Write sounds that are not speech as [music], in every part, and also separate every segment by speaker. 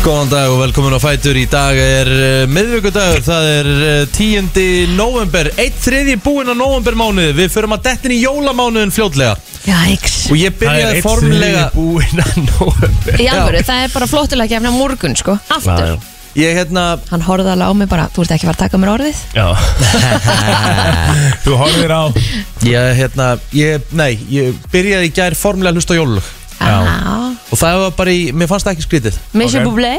Speaker 1: Góðan dag og velkomin á Fætur. Í dag er uh, miðvíkudagur, það er uh, 10. november, eitt þriðji búinn á novembermánuði. Við förum að dettin í jólamánuðin fljótlega.
Speaker 2: Jæks
Speaker 1: Og ég byrjaði formlega,
Speaker 3: búinn að nóvember
Speaker 2: Í alvöru, það er bara flottulega gefna morgun sko Aftur
Speaker 1: ég hérna,
Speaker 2: Hann horfði alveg á mig bara, þú ert ekki að fara að taka mér orðið [laughs]
Speaker 3: Já Þú horfir á
Speaker 1: ég hérna, ég, nei, ég byrjaði í gær formlega að hlusta á jólulög.
Speaker 2: Já
Speaker 1: Og það var bara í, mér fannst það ekki skrítið.
Speaker 2: Mission
Speaker 3: Ok.
Speaker 2: Bublé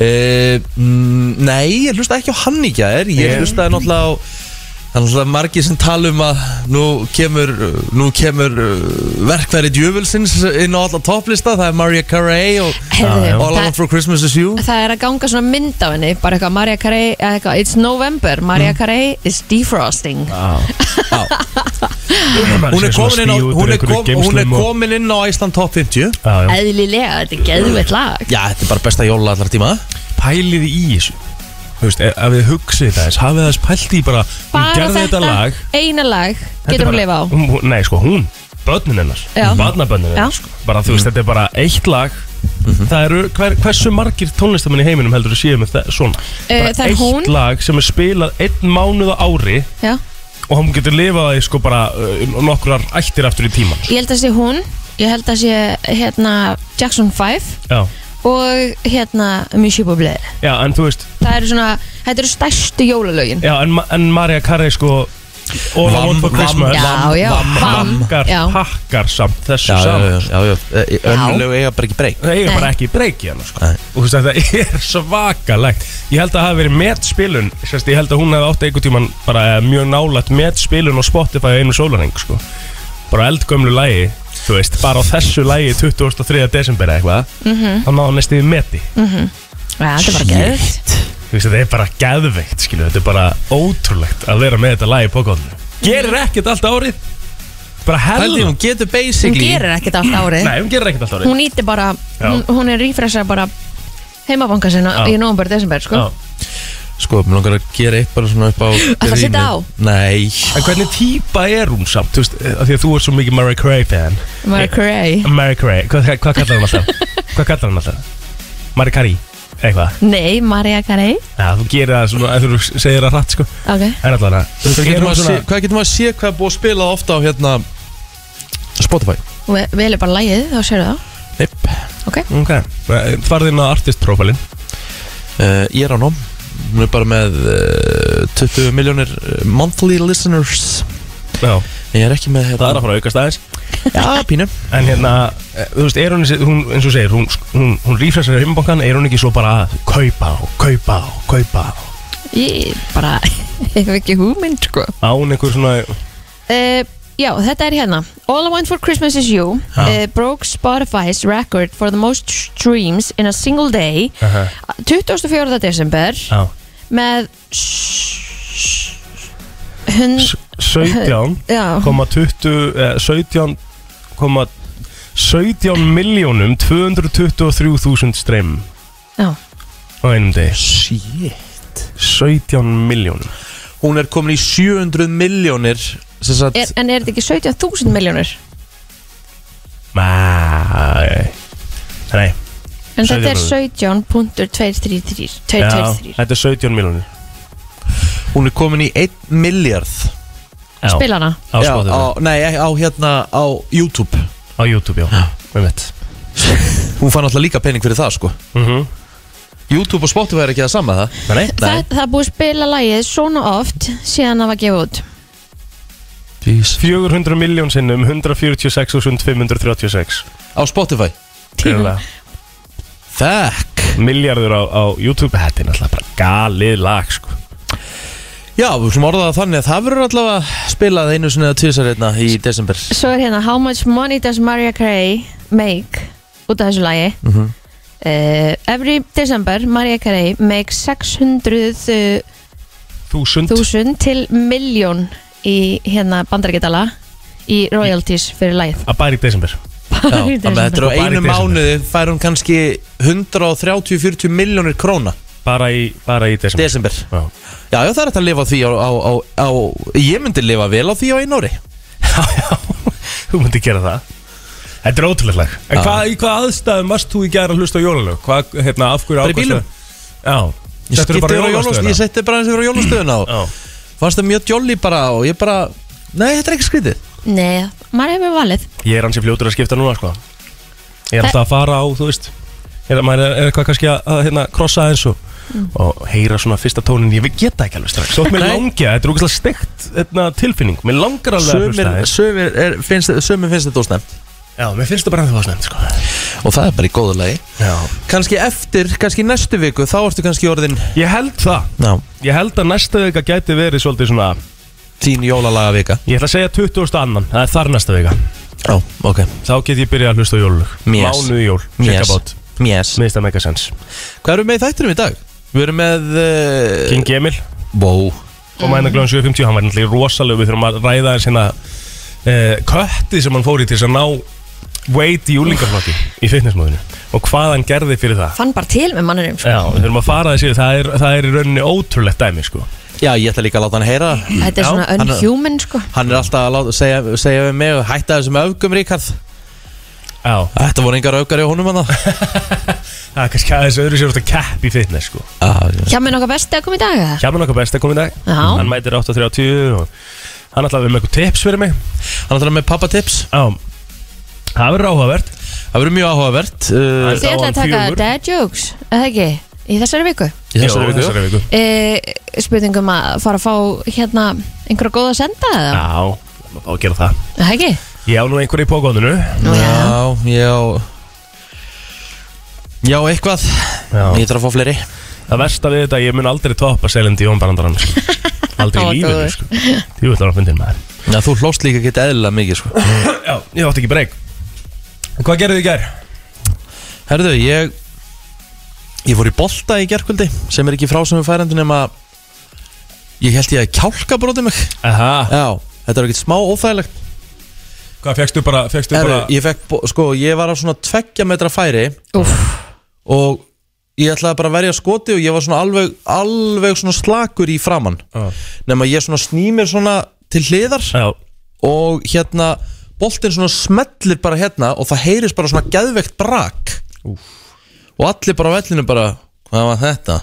Speaker 1: Uh, mm, nei, ég hlusta ekki á hann í gær, ég
Speaker 3: Nei.
Speaker 1: hlustaði náttúrulega á... Það er náttúrulega margir sem tala um að nú kemur, uh, nú kemur uh, verkfæri djöfulsins inn á alla topplista, það er Mariah Carey og
Speaker 3: Já, já.
Speaker 2: Heyrðu,
Speaker 1: All I Want
Speaker 2: það,
Speaker 1: For Christmas Is You
Speaker 2: það er að ganga svona mynd á henni Bara eitthvað Maria Carey eða eitthvað, It's November, Maria
Speaker 3: Mm.
Speaker 2: Carey is defrosting
Speaker 1: Já. hún er komin inn á hún er, kom, hún er komin inn á Ísland Top 50
Speaker 3: komin
Speaker 2: Eðlilega, þetta er geðveitt lag
Speaker 1: Já, þetta er bara besta jóla allar tíma
Speaker 3: Pælið í þessu Þú veist, ef ef þið hugsið þetta eins Hafið þess pælt í bara Hún
Speaker 2: Bara
Speaker 3: gerði þetta lag
Speaker 2: eina lag,
Speaker 3: Þetta er
Speaker 2: getur hún
Speaker 3: bara-
Speaker 2: lifa á
Speaker 3: hún- Nei, sko, hún Börnin hennar
Speaker 2: Já.
Speaker 3: Barnabörnin
Speaker 2: Já.
Speaker 3: hennar sko. Bara þú veist, þetta er bara eitt lag
Speaker 1: Mhm.
Speaker 3: Það eru, hver, hversu margir tónlistamenn í heiminum heldur þú séu með það, svona
Speaker 2: Eh,
Speaker 3: Bara
Speaker 2: það er
Speaker 3: eitt
Speaker 2: hún.
Speaker 3: lag sem er spilað einn mánuð á ári
Speaker 2: Já.
Speaker 3: Og hann getur lifað það í sko bara uh, nokkrar ættir aftur í tíman sko.
Speaker 2: Ég held að sé hún Ég held að sé hérna Jackson 5
Speaker 3: Já,
Speaker 2: Og hérna Mission Bublé
Speaker 3: já en þú veist
Speaker 2: Það eru svona, þetta eru stærstu jólalögin
Speaker 3: Já, en, Ma- en Marja Karri sko All I
Speaker 1: Vam-
Speaker 3: want for
Speaker 1: vam-
Speaker 3: Christmas
Speaker 1: já,
Speaker 2: Já, já,
Speaker 1: Vamm,
Speaker 2: vamm,
Speaker 3: Pakkar,
Speaker 2: já.
Speaker 3: pakkar samt þessu
Speaker 1: Já, já,
Speaker 3: saman
Speaker 1: já, já, já. Önnulegu eiga bara ekki breyk
Speaker 3: Það eiga
Speaker 2: Nei.
Speaker 3: bara ekki breyk í hann sko.
Speaker 1: Nei.
Speaker 3: Og þú veist að það [laughs] er svakalegt Ég held að það hafi verið metspilun Sérst, Ég held að hún hefði átt einhvern tíman bara eh, mjög nálægt metspilun á Spotify á einu sólarheng sko. Bara eldgömlu lægi Þú veist, bara á þessu lægi 23. desember eða eitthvað
Speaker 2: Mhm.
Speaker 3: -hmm. Þá náðu næstu við meti
Speaker 2: Já, þetta er bara geðvitt
Speaker 3: Þú veist, þetta er bara geðveikt, skilu, þetta er bara ótrúlegt að vera með þetta lag í pokaðinu. Gerir ekkert allt árið, bara
Speaker 1: Hældi,
Speaker 3: helgum.
Speaker 1: hún getur
Speaker 2: Hún
Speaker 1: basically
Speaker 2: gerir ekkert allt árið
Speaker 3: Nei, hún gerir ekkert allt árið.
Speaker 2: Hún íti bara,
Speaker 3: Já.
Speaker 2: hún, hún er rífresa bara heimabanka sinna
Speaker 3: Já.
Speaker 2: í november, desember sko.
Speaker 3: Já.
Speaker 1: Sko, mér langar að gera eitt bara svona upp á
Speaker 2: Ætlar að setja á?
Speaker 1: Nei
Speaker 3: En hvernig típa er hún samt, þú veist, eh, af því að þú ert svo mikið Mary Cray fan.
Speaker 2: Mariah Carey
Speaker 3: Mary Cray, hvað, hvað kallar
Speaker 2: [laughs]
Speaker 3: hún alltaf? hvað kallar hún alltaf? Mary Carey, eitthvað.
Speaker 2: Nei, Mariah Carey
Speaker 3: Já, þú gerir það svona, ef þú segir það hratt, sko.
Speaker 2: Ok,
Speaker 3: En allavega, þú
Speaker 1: Hvað
Speaker 3: veist,
Speaker 1: getur
Speaker 3: er hún
Speaker 1: maður að
Speaker 3: svona,
Speaker 1: sé- hvað getur maður að sé hvað er búið að spila ofta á hérna Spotify?
Speaker 2: Ve vel er bara lægið, þá sérðu það
Speaker 1: Neip
Speaker 2: Ok,
Speaker 3: ok, farðið inn á artist profilinn.
Speaker 1: uh, Ég er á nóm Hún er bara með uh, 20 miljónir eh, monthly listeners
Speaker 3: Já,
Speaker 1: Ég er ekki með hérna,
Speaker 3: það er að fara að aukast aðeins.
Speaker 1: Já, pínu
Speaker 3: En hérna, eh, þú veist, er hún, hún eins og þú segir, hún, hún, hún rífræsar í heimabankan, er hún ekki svo bara að kaupa og kaupa og kaupa á?
Speaker 2: ég bara [laughs] hef ekki húmynd sko.
Speaker 3: Á hún einhver svona,
Speaker 2: uh, Já, þetta er hérna All I want for Christmas is you
Speaker 3: Já.
Speaker 2: uh, broke Spotify's record for the most streams in a single day
Speaker 3: aha,
Speaker 2: 24. desember
Speaker 3: á,
Speaker 2: með s- hun,
Speaker 3: S- 17,
Speaker 2: [laughs] já,
Speaker 3: komma 20, eh, 17, komma 17 miljónum 223.000 streym
Speaker 2: já,
Speaker 3: á einum degi.
Speaker 1: Shit
Speaker 3: 17 miljónum.
Speaker 1: Hún er komin í 700 miljónir sem sagt,
Speaker 2: er, en er þetta ekki 17.000 miljónir
Speaker 3: Nei, nei,
Speaker 2: en þetta er
Speaker 3: já,
Speaker 2: 17.233
Speaker 3: þetta er 17 miljónir.
Speaker 1: Hún er komin í 1 miljard
Speaker 2: spilana
Speaker 3: Á
Speaker 1: Já,
Speaker 3: Spotify,
Speaker 1: á, Nei, á hérna á YouTube
Speaker 3: á YouTube, já, með mitt.
Speaker 1: [laughs] Hún fann alltaf líka pening fyrir það sko
Speaker 3: Mhm,
Speaker 1: YouTube og Spotify er ekki það sama það
Speaker 2: [laughs]
Speaker 3: nei.
Speaker 1: Nei.
Speaker 2: það, það er búið að spila lagið svona oft síðan það var gefið út
Speaker 1: Jeez.
Speaker 3: 400 miljón sinnum 146.536
Speaker 1: Á Spotify
Speaker 3: Greinilega.
Speaker 1: Fuck
Speaker 3: Milljarður á, á YouTube Þetta er náttúrulega bara galið lag sko.
Speaker 1: Já, við slum orðaða þannig að það verður allavega spilað einu sinni eða tvisar hérna í desember
Speaker 2: svo er hérna how much money does Mariah Carey make út af þessu lagi
Speaker 1: mm -hmm.
Speaker 2: uh, every December Mariah Carey makes 600
Speaker 3: Þúsund
Speaker 2: þúsund til miljón í hérna bandarækjadala í royalties fyrir læð
Speaker 3: Að bara í desember
Speaker 1: Já, þannig að þetta er á
Speaker 3: Og bara í
Speaker 1: einu
Speaker 3: desember.
Speaker 1: mánuði fær hún kannski 130-40 miljónir króna
Speaker 3: Bara í, bara í desember
Speaker 1: desember
Speaker 3: Já.
Speaker 1: Já, já, það er hægt að lifa á því á, á, á, á,
Speaker 3: [laughs]
Speaker 1: Ég myndi lifa vel á því á einu ári
Speaker 3: Já, já Þú myndi gera það Þetta er ótrúlega lag En
Speaker 1: Já.
Speaker 3: hvað, í hvað aðstæðum varst þú í gæra að hlusta á jólalög? Hvað, hérna, af hverju
Speaker 1: Bara í bílum.
Speaker 3: ákvæmstu? Já,
Speaker 1: Ég skipti
Speaker 3: Settirðu bara
Speaker 1: bara jólastöðuna Ég setti bara eins og fyrir jólastöðuna
Speaker 3: Já.
Speaker 1: og fannst það mjög jolly bara og ég bara Nei, þetta er ekki skrítið
Speaker 2: [laughs] Nei, maður hefur valið
Speaker 3: Ég er hansi fljótur að skipta núna, sko Ég er alltaf að fara á, þú veist Hérna, maður er, er eitthvað kannski að, að hérna, krossa eins og Og heyra svona fyrsta tónin Ég geta ekki alveg strax Þótt mér
Speaker 1: Nei.
Speaker 3: langja, þetta er úkvæmst stegt hérna, tilfinning Mér langar alveg að hlusta
Speaker 1: Sumir,
Speaker 3: aðeins.
Speaker 1: sumir, er, finnst, sumir finnst þetta ósnæmt
Speaker 3: Já, mér finnst það bara ennþá snemt, sko
Speaker 1: Og það er bara í góðu lagi
Speaker 3: Já.
Speaker 1: Kanski eftir, kannski næstu viku Þá ertu kannski orðin
Speaker 3: Ég held það
Speaker 1: Ná,
Speaker 3: Ég held að næsta vika gæti verið svolítið svona
Speaker 1: þín jólalaga vika
Speaker 3: Ég ætla að segja 20. annan, það er þar næsta vika
Speaker 1: Já, ok
Speaker 3: Þá get ég byrjað að hlusta á jólulög
Speaker 1: Yes.
Speaker 3: Mánuð í jól,
Speaker 1: Yes.
Speaker 3: checkabot
Speaker 1: Yes
Speaker 3: Mér finnst það mega sens
Speaker 1: Hvað erum við með í þættinum í dag? Við erum með uh,
Speaker 3: King Emil,
Speaker 1: Wow
Speaker 3: kom að hérna glöðum 7.50 Hann var náttúrulega rosalega, við þurfum að ræða hans hérna uh, Kötti sem hann fór í til þess að ná Weight í júlingaflokki Í fitnessmóðinu Og hvað hann gerði fyrir það
Speaker 2: Fann bara til með mannurum sko.
Speaker 3: Já, við þurfum að fara þessi, það er, það er í rauninni ótrúlegt dæmi sko
Speaker 1: Já, ég ætla líka að láta hann heyra það.
Speaker 2: Þetta er
Speaker 1: Já,
Speaker 2: svona
Speaker 1: hann er-
Speaker 2: unhuman sko.
Speaker 1: Hann er alltaf að láta, segja, segja við mig Hætta þessum öfgum, Ríkard
Speaker 3: Já,
Speaker 1: Þetta voru engar öfgar í honum hann
Speaker 3: [laughs] það er kannski aðeins öðru sér út að keppi í fitness sko
Speaker 1: ah,
Speaker 2: Hjá með nokkað besti að koma í dag eða?
Speaker 3: Hjá mér nokkuð besta kom í dag
Speaker 2: Já.
Speaker 3: Hann mætir 8.30 og hann ætlaði að vera með eitthvað tips fyrir mig
Speaker 1: Hann ætlaði með pappatips
Speaker 3: Já Það verður áhugavert
Speaker 1: Það verður mjög áhugavert uh,
Speaker 3: Æ,
Speaker 2: Þið ætlaði að taka
Speaker 3: fjögur.
Speaker 2: dad jokes, eða ekki? Í þessari viku
Speaker 1: Í þessari
Speaker 3: Jú,
Speaker 1: viku
Speaker 3: þessari viku
Speaker 2: e, Spurningum að fara að fá hérna einhverja góða að senda eða?
Speaker 3: Já, það má fá að gera það
Speaker 2: Eða ekki?
Speaker 3: Ég á nú einhverju í pókóðinu
Speaker 2: Nú, já.
Speaker 1: Já, já Já, eitthvað Ég
Speaker 3: Já
Speaker 1: þarf að fá fleiri
Speaker 3: Það versta við þetta, ég mun aldrei toppa Selendi Jón Barandran
Speaker 2: [laughs]
Speaker 3: sko. Aldrei
Speaker 2: Hann var
Speaker 3: í lífinu
Speaker 2: góður.
Speaker 3: sko. Jú, það var að fundin maður
Speaker 1: Já, þú hlóst líka ekki eðlilega mikið sko.
Speaker 3: Já, ég átti ekki breyk Hvað gerðu þið í gær?
Speaker 1: Herðu, ég Ég fór í bolta í gerkvöldi Sem er ekki frá sem við færendin nema Ég held ég að kjálka broti mig
Speaker 3: Aha
Speaker 1: Já, þetta er ekkert smá óþægilegt
Speaker 3: Hvað fegstu bara, fegstu
Speaker 1: Herðu,
Speaker 3: bara
Speaker 1: ég fekk, bo- sko, ég var á svona tveggja metra færi
Speaker 2: Úff,
Speaker 1: Og ég ætlaði bara að verja skoti Og ég var svona alveg, alveg svona slakur í framann
Speaker 3: Já.
Speaker 1: Nefn að ég svona snýmir svona til hliðar
Speaker 3: Já,
Speaker 1: og hérna boltinn svona smellir bara hérna og það heyrist bara svona geðveikt brak og allir bara á vellinu bara hvað var þetta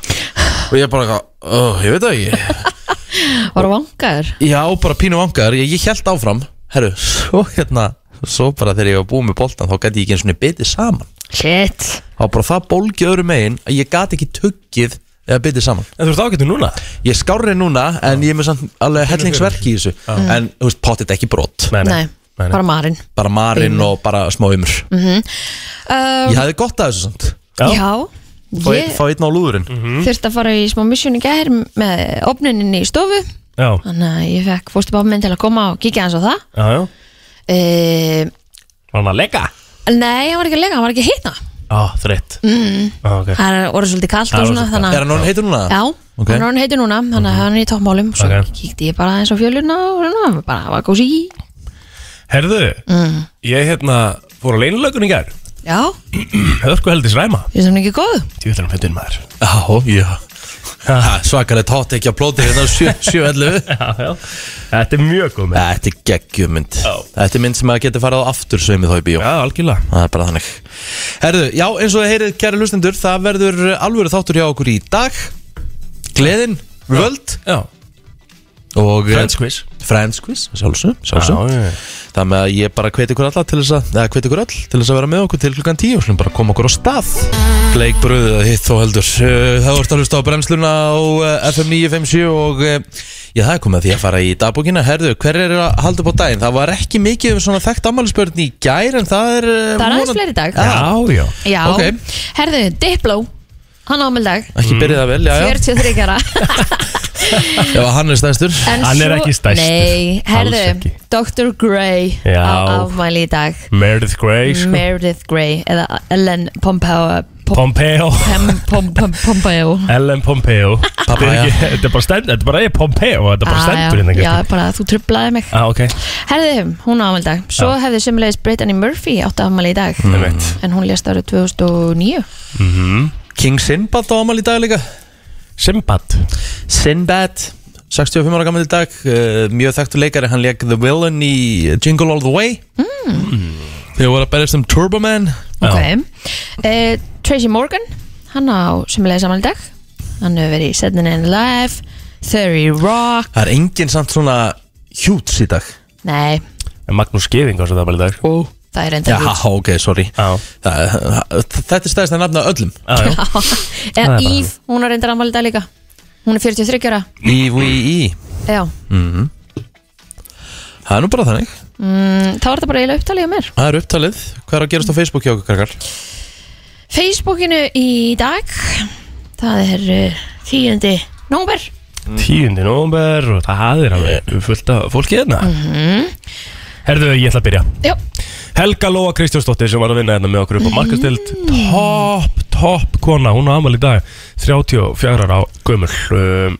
Speaker 1: og ég bara, oh, ég veit það ekki
Speaker 2: var vangaður
Speaker 1: já, bara pínu vangaður, ég, ég held áfram herru, svo hérna svo bara þegar ég var búið með boltan þá gæti ég ekki einu svona bitið saman
Speaker 2: Shit
Speaker 1: þá var bara það bólgið öðru megin að ég gæti ekki tuggið eða bitið saman
Speaker 3: en þú ert ágættu núna
Speaker 1: ég skárri núna en ég er með samt alveg hellingsverk í þessu en, þú veist, potið ekki brot
Speaker 2: Nei, bara marinn
Speaker 1: bara marinn og bara smá umur
Speaker 2: um,
Speaker 1: Ég hefði gott að þessu samt
Speaker 3: Já. Mhm.
Speaker 2: Já,
Speaker 1: Fá,
Speaker 2: ég
Speaker 1: fá Mm. einn á lúðurinn
Speaker 2: þurfti að fara í smá misjón í gær með opnuninni í stofu
Speaker 3: Já,
Speaker 2: Þannig að ég fekk fóstubáfum minn til að koma og kíkja hans á það
Speaker 3: já, já
Speaker 2: e,
Speaker 3: Var hann að leggja?
Speaker 2: Nei, hann var ekki að lega, hann var ekki að hitna Mhm.
Speaker 3: Já, þreytt mm. okay.
Speaker 2: Það er orðið svolítið kallt
Speaker 3: Það
Speaker 2: og
Speaker 3: er
Speaker 2: svona
Speaker 3: orðið
Speaker 2: þannig
Speaker 1: Er
Speaker 2: að
Speaker 1: hann orðin heitur núna?
Speaker 2: Já,
Speaker 1: Ok.
Speaker 2: hann er orðin heitur núna þannig að hann er í toppmálum Svo
Speaker 3: Ok.
Speaker 2: kíkti ég bara eins á fjöluna og svona, bara var gósi í
Speaker 3: Herðu,
Speaker 2: Mm.
Speaker 3: ég hérna fór á leinlögun í gær [clears throat]
Speaker 2: Já,
Speaker 3: Hörku heldis ræma
Speaker 2: finnst hann ekki góð?
Speaker 3: Tjóðlar hann fyndin maður
Speaker 1: Já, já Svakarlega tótt ekki að plóti hérna á
Speaker 3: [laughs]
Speaker 1: 711
Speaker 3: Já, já Þetta er mjög góð með
Speaker 1: Þetta er geggjumynd
Speaker 3: Já.
Speaker 1: Þetta er mynd sem að geta farið á aftur sveimið þá í bíó
Speaker 3: Já, algjörlega
Speaker 1: Það er bara þannig Herðu, já, eins og þið heyrið, kæri hlustendur Það verður alvöru þáttur hjá okkur í dag Gleðin, völd
Speaker 3: Já,
Speaker 1: og eh,
Speaker 3: Friends quiz
Speaker 1: Friends quiz, sjálfsög, sjálfsög
Speaker 3: já, já.
Speaker 1: Það með að ég bara hveti ykkur alla til þess að eða hveti ykkur all til þess að vera með okkur til klukkan 10 og slum bara koma okkur á stað Bleik bröðið að hitt þó heldur Uh, Það voru að hlusta á bremsluna á uh, FM 957 og uh, já, það er komið að því að fara í dagbókina Herðu, hver er að halda upp á daginn? Það var ekki mikið um svona þekkt ammælisbörn í gær en það er uh,
Speaker 2: Það er aðeins
Speaker 1: vonan-
Speaker 2: fleiri í dag.
Speaker 3: já, já.
Speaker 2: Já,
Speaker 1: Ok.
Speaker 2: herðu, Diplo Hann á ámeldag,
Speaker 1: Ekki byrjað það vel, já, já
Speaker 2: 43
Speaker 3: [laughs]
Speaker 2: ára
Speaker 1: Ef að hann er stærstur
Speaker 2: En
Speaker 3: Hann er
Speaker 2: svo-
Speaker 3: ekki stærstur.
Speaker 2: Nei,
Speaker 3: Alls
Speaker 2: herðu,
Speaker 3: ekki.
Speaker 2: Dr. Grey
Speaker 3: Já.
Speaker 2: á afmæli í dag
Speaker 3: Meredith Grey sko.
Speaker 2: Meredith Grey eða Ellen Pompeo Pom-
Speaker 3: Pompeo
Speaker 2: Pem- Pom- Pom- Pompeo
Speaker 3: Ellen Pompeo Þetta er
Speaker 1: Papaya.
Speaker 3: ekki- þetta er bara stendur Þetta er bara ég Pompeo Þetta er bara
Speaker 2: Ah,
Speaker 3: stendur
Speaker 2: já,
Speaker 3: hérna
Speaker 2: já,
Speaker 3: kannski.
Speaker 2: bara þú trublaði mig
Speaker 3: Já, ok
Speaker 2: Herðu, hún á afmæli í dag Svo
Speaker 3: Já. Mm.
Speaker 2: hefði semulegis Brittany Murphy átt afmæli í dag
Speaker 3: Það veit
Speaker 2: En hún lést árið 2009
Speaker 3: Mhm.
Speaker 1: King Sinbad á ammæli í dag líka
Speaker 3: Simbad
Speaker 1: Sinbad 65 ára gammal í Eh, dag uh, mjög þekktur leikari, hann leik The Villain í Jingle All The Way Þegar voru að berjast um Turbo Man
Speaker 2: Mm. Ok uh, Tracy Morgan Hann á semulega saman í dag Hann hefur verið í Saturday Night Live Theory Rock
Speaker 1: Það er enginn samt svona hjúts í dag
Speaker 2: Nei,
Speaker 3: En Magnús Geving á svo það bara í dag sko.
Speaker 1: oh.
Speaker 2: það er enda
Speaker 1: Já, ok, sorry
Speaker 3: Já,
Speaker 1: Það, þetta er stæðist að nafna öllum
Speaker 2: [laughs]
Speaker 1: [laughs]
Speaker 3: já, já
Speaker 2: hút
Speaker 3: það
Speaker 2: Eða
Speaker 3: er bara
Speaker 2: Eve, hún er enda rammál í dag líka Hún er 43 ára
Speaker 1: Í-V-I
Speaker 2: Já,
Speaker 1: Mhm. Það er nú bara þannig
Speaker 2: mm, þá er þetta bara eiginlega upptalið á mér
Speaker 1: Það er upptalið Hvað er að gerast á Facebook hjá okkur, krakkar?
Speaker 2: Facebookinu í dag Það er uh, 10. nómber
Speaker 3: 10. november og það er alveg fullt af fólki hérna
Speaker 2: Mm.
Speaker 3: Herðu, ég ætla að byrja
Speaker 2: Jó,
Speaker 3: Helga Lóa Kristjánsdóttir sem var að vinna hérna með okkur upp
Speaker 2: Mm-hmm.
Speaker 3: á markastild Topp, topp kona, hún á amal í dag 34 ára gömul um,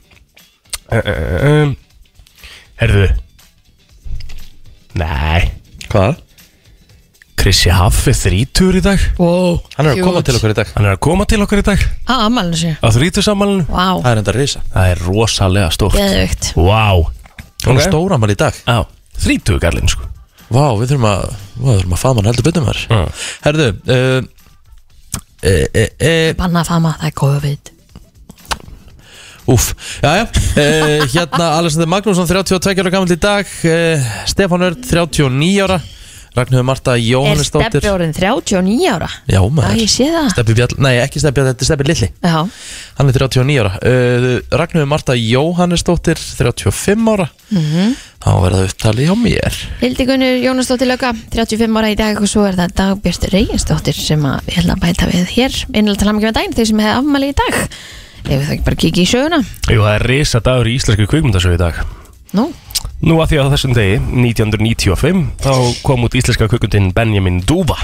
Speaker 3: um, um, Herðu Nei
Speaker 1: Hvað?
Speaker 3: Krissi Haffi 30 í dag
Speaker 2: wow,
Speaker 1: Hann er að koma til okkur í dag
Speaker 3: Hann er að koma til okkur í dag
Speaker 2: Á, ammálinu sér
Speaker 3: á 30 sammálinu
Speaker 2: Vá,
Speaker 1: Það er enda risa
Speaker 3: Það er rosalega stórt
Speaker 2: geðvögt
Speaker 3: Vá
Speaker 1: Hann er stóra mann í dag
Speaker 3: Já, 30 gallin sko
Speaker 1: Vá, við þurfum að Vá, við þurfum að faða mann heldur betur maður
Speaker 3: Já.
Speaker 1: Herðu uh, e, e, e,
Speaker 2: Banna að fama, það er COVID
Speaker 1: Úf, jæja uh, Hérna Alexander Magnússon 32 ára gammal í dag uh, Stefán Örd 39 ára Ragnhjóður Marta
Speaker 2: Er
Speaker 1: Jóhannesdóttir
Speaker 2: steppi orðin 39 ára?
Speaker 1: Já
Speaker 2: Já,
Speaker 1: maður
Speaker 2: ég sé það
Speaker 1: Steppi Bjall, nei ekki Steppi Bjall, þetta er Steppi Lilli
Speaker 2: Já,
Speaker 1: Hann er 39 ára uh, Ragnhjóður Marta Jóhannesdóttir 35 ára
Speaker 2: Mhm.
Speaker 1: Þá verða upptali hjá mér
Speaker 2: Hildikunur Jónasdóttir Löka 35 ára í dag og svo er það Dagbjörst Reyinsdóttir sem að við heldum að bæta við hér innlega tala mikið með daginn þeir sem hefði afmæli í dag Ef við það ekki bara kikið í söguna
Speaker 3: Jú, það er risa dagur í íslensku kvikmyndasögu í dag
Speaker 2: Nú,
Speaker 3: Nú að því að á þessum degi, 1995, þá kom út íslenska kvikmyndin Benjamin Dúva.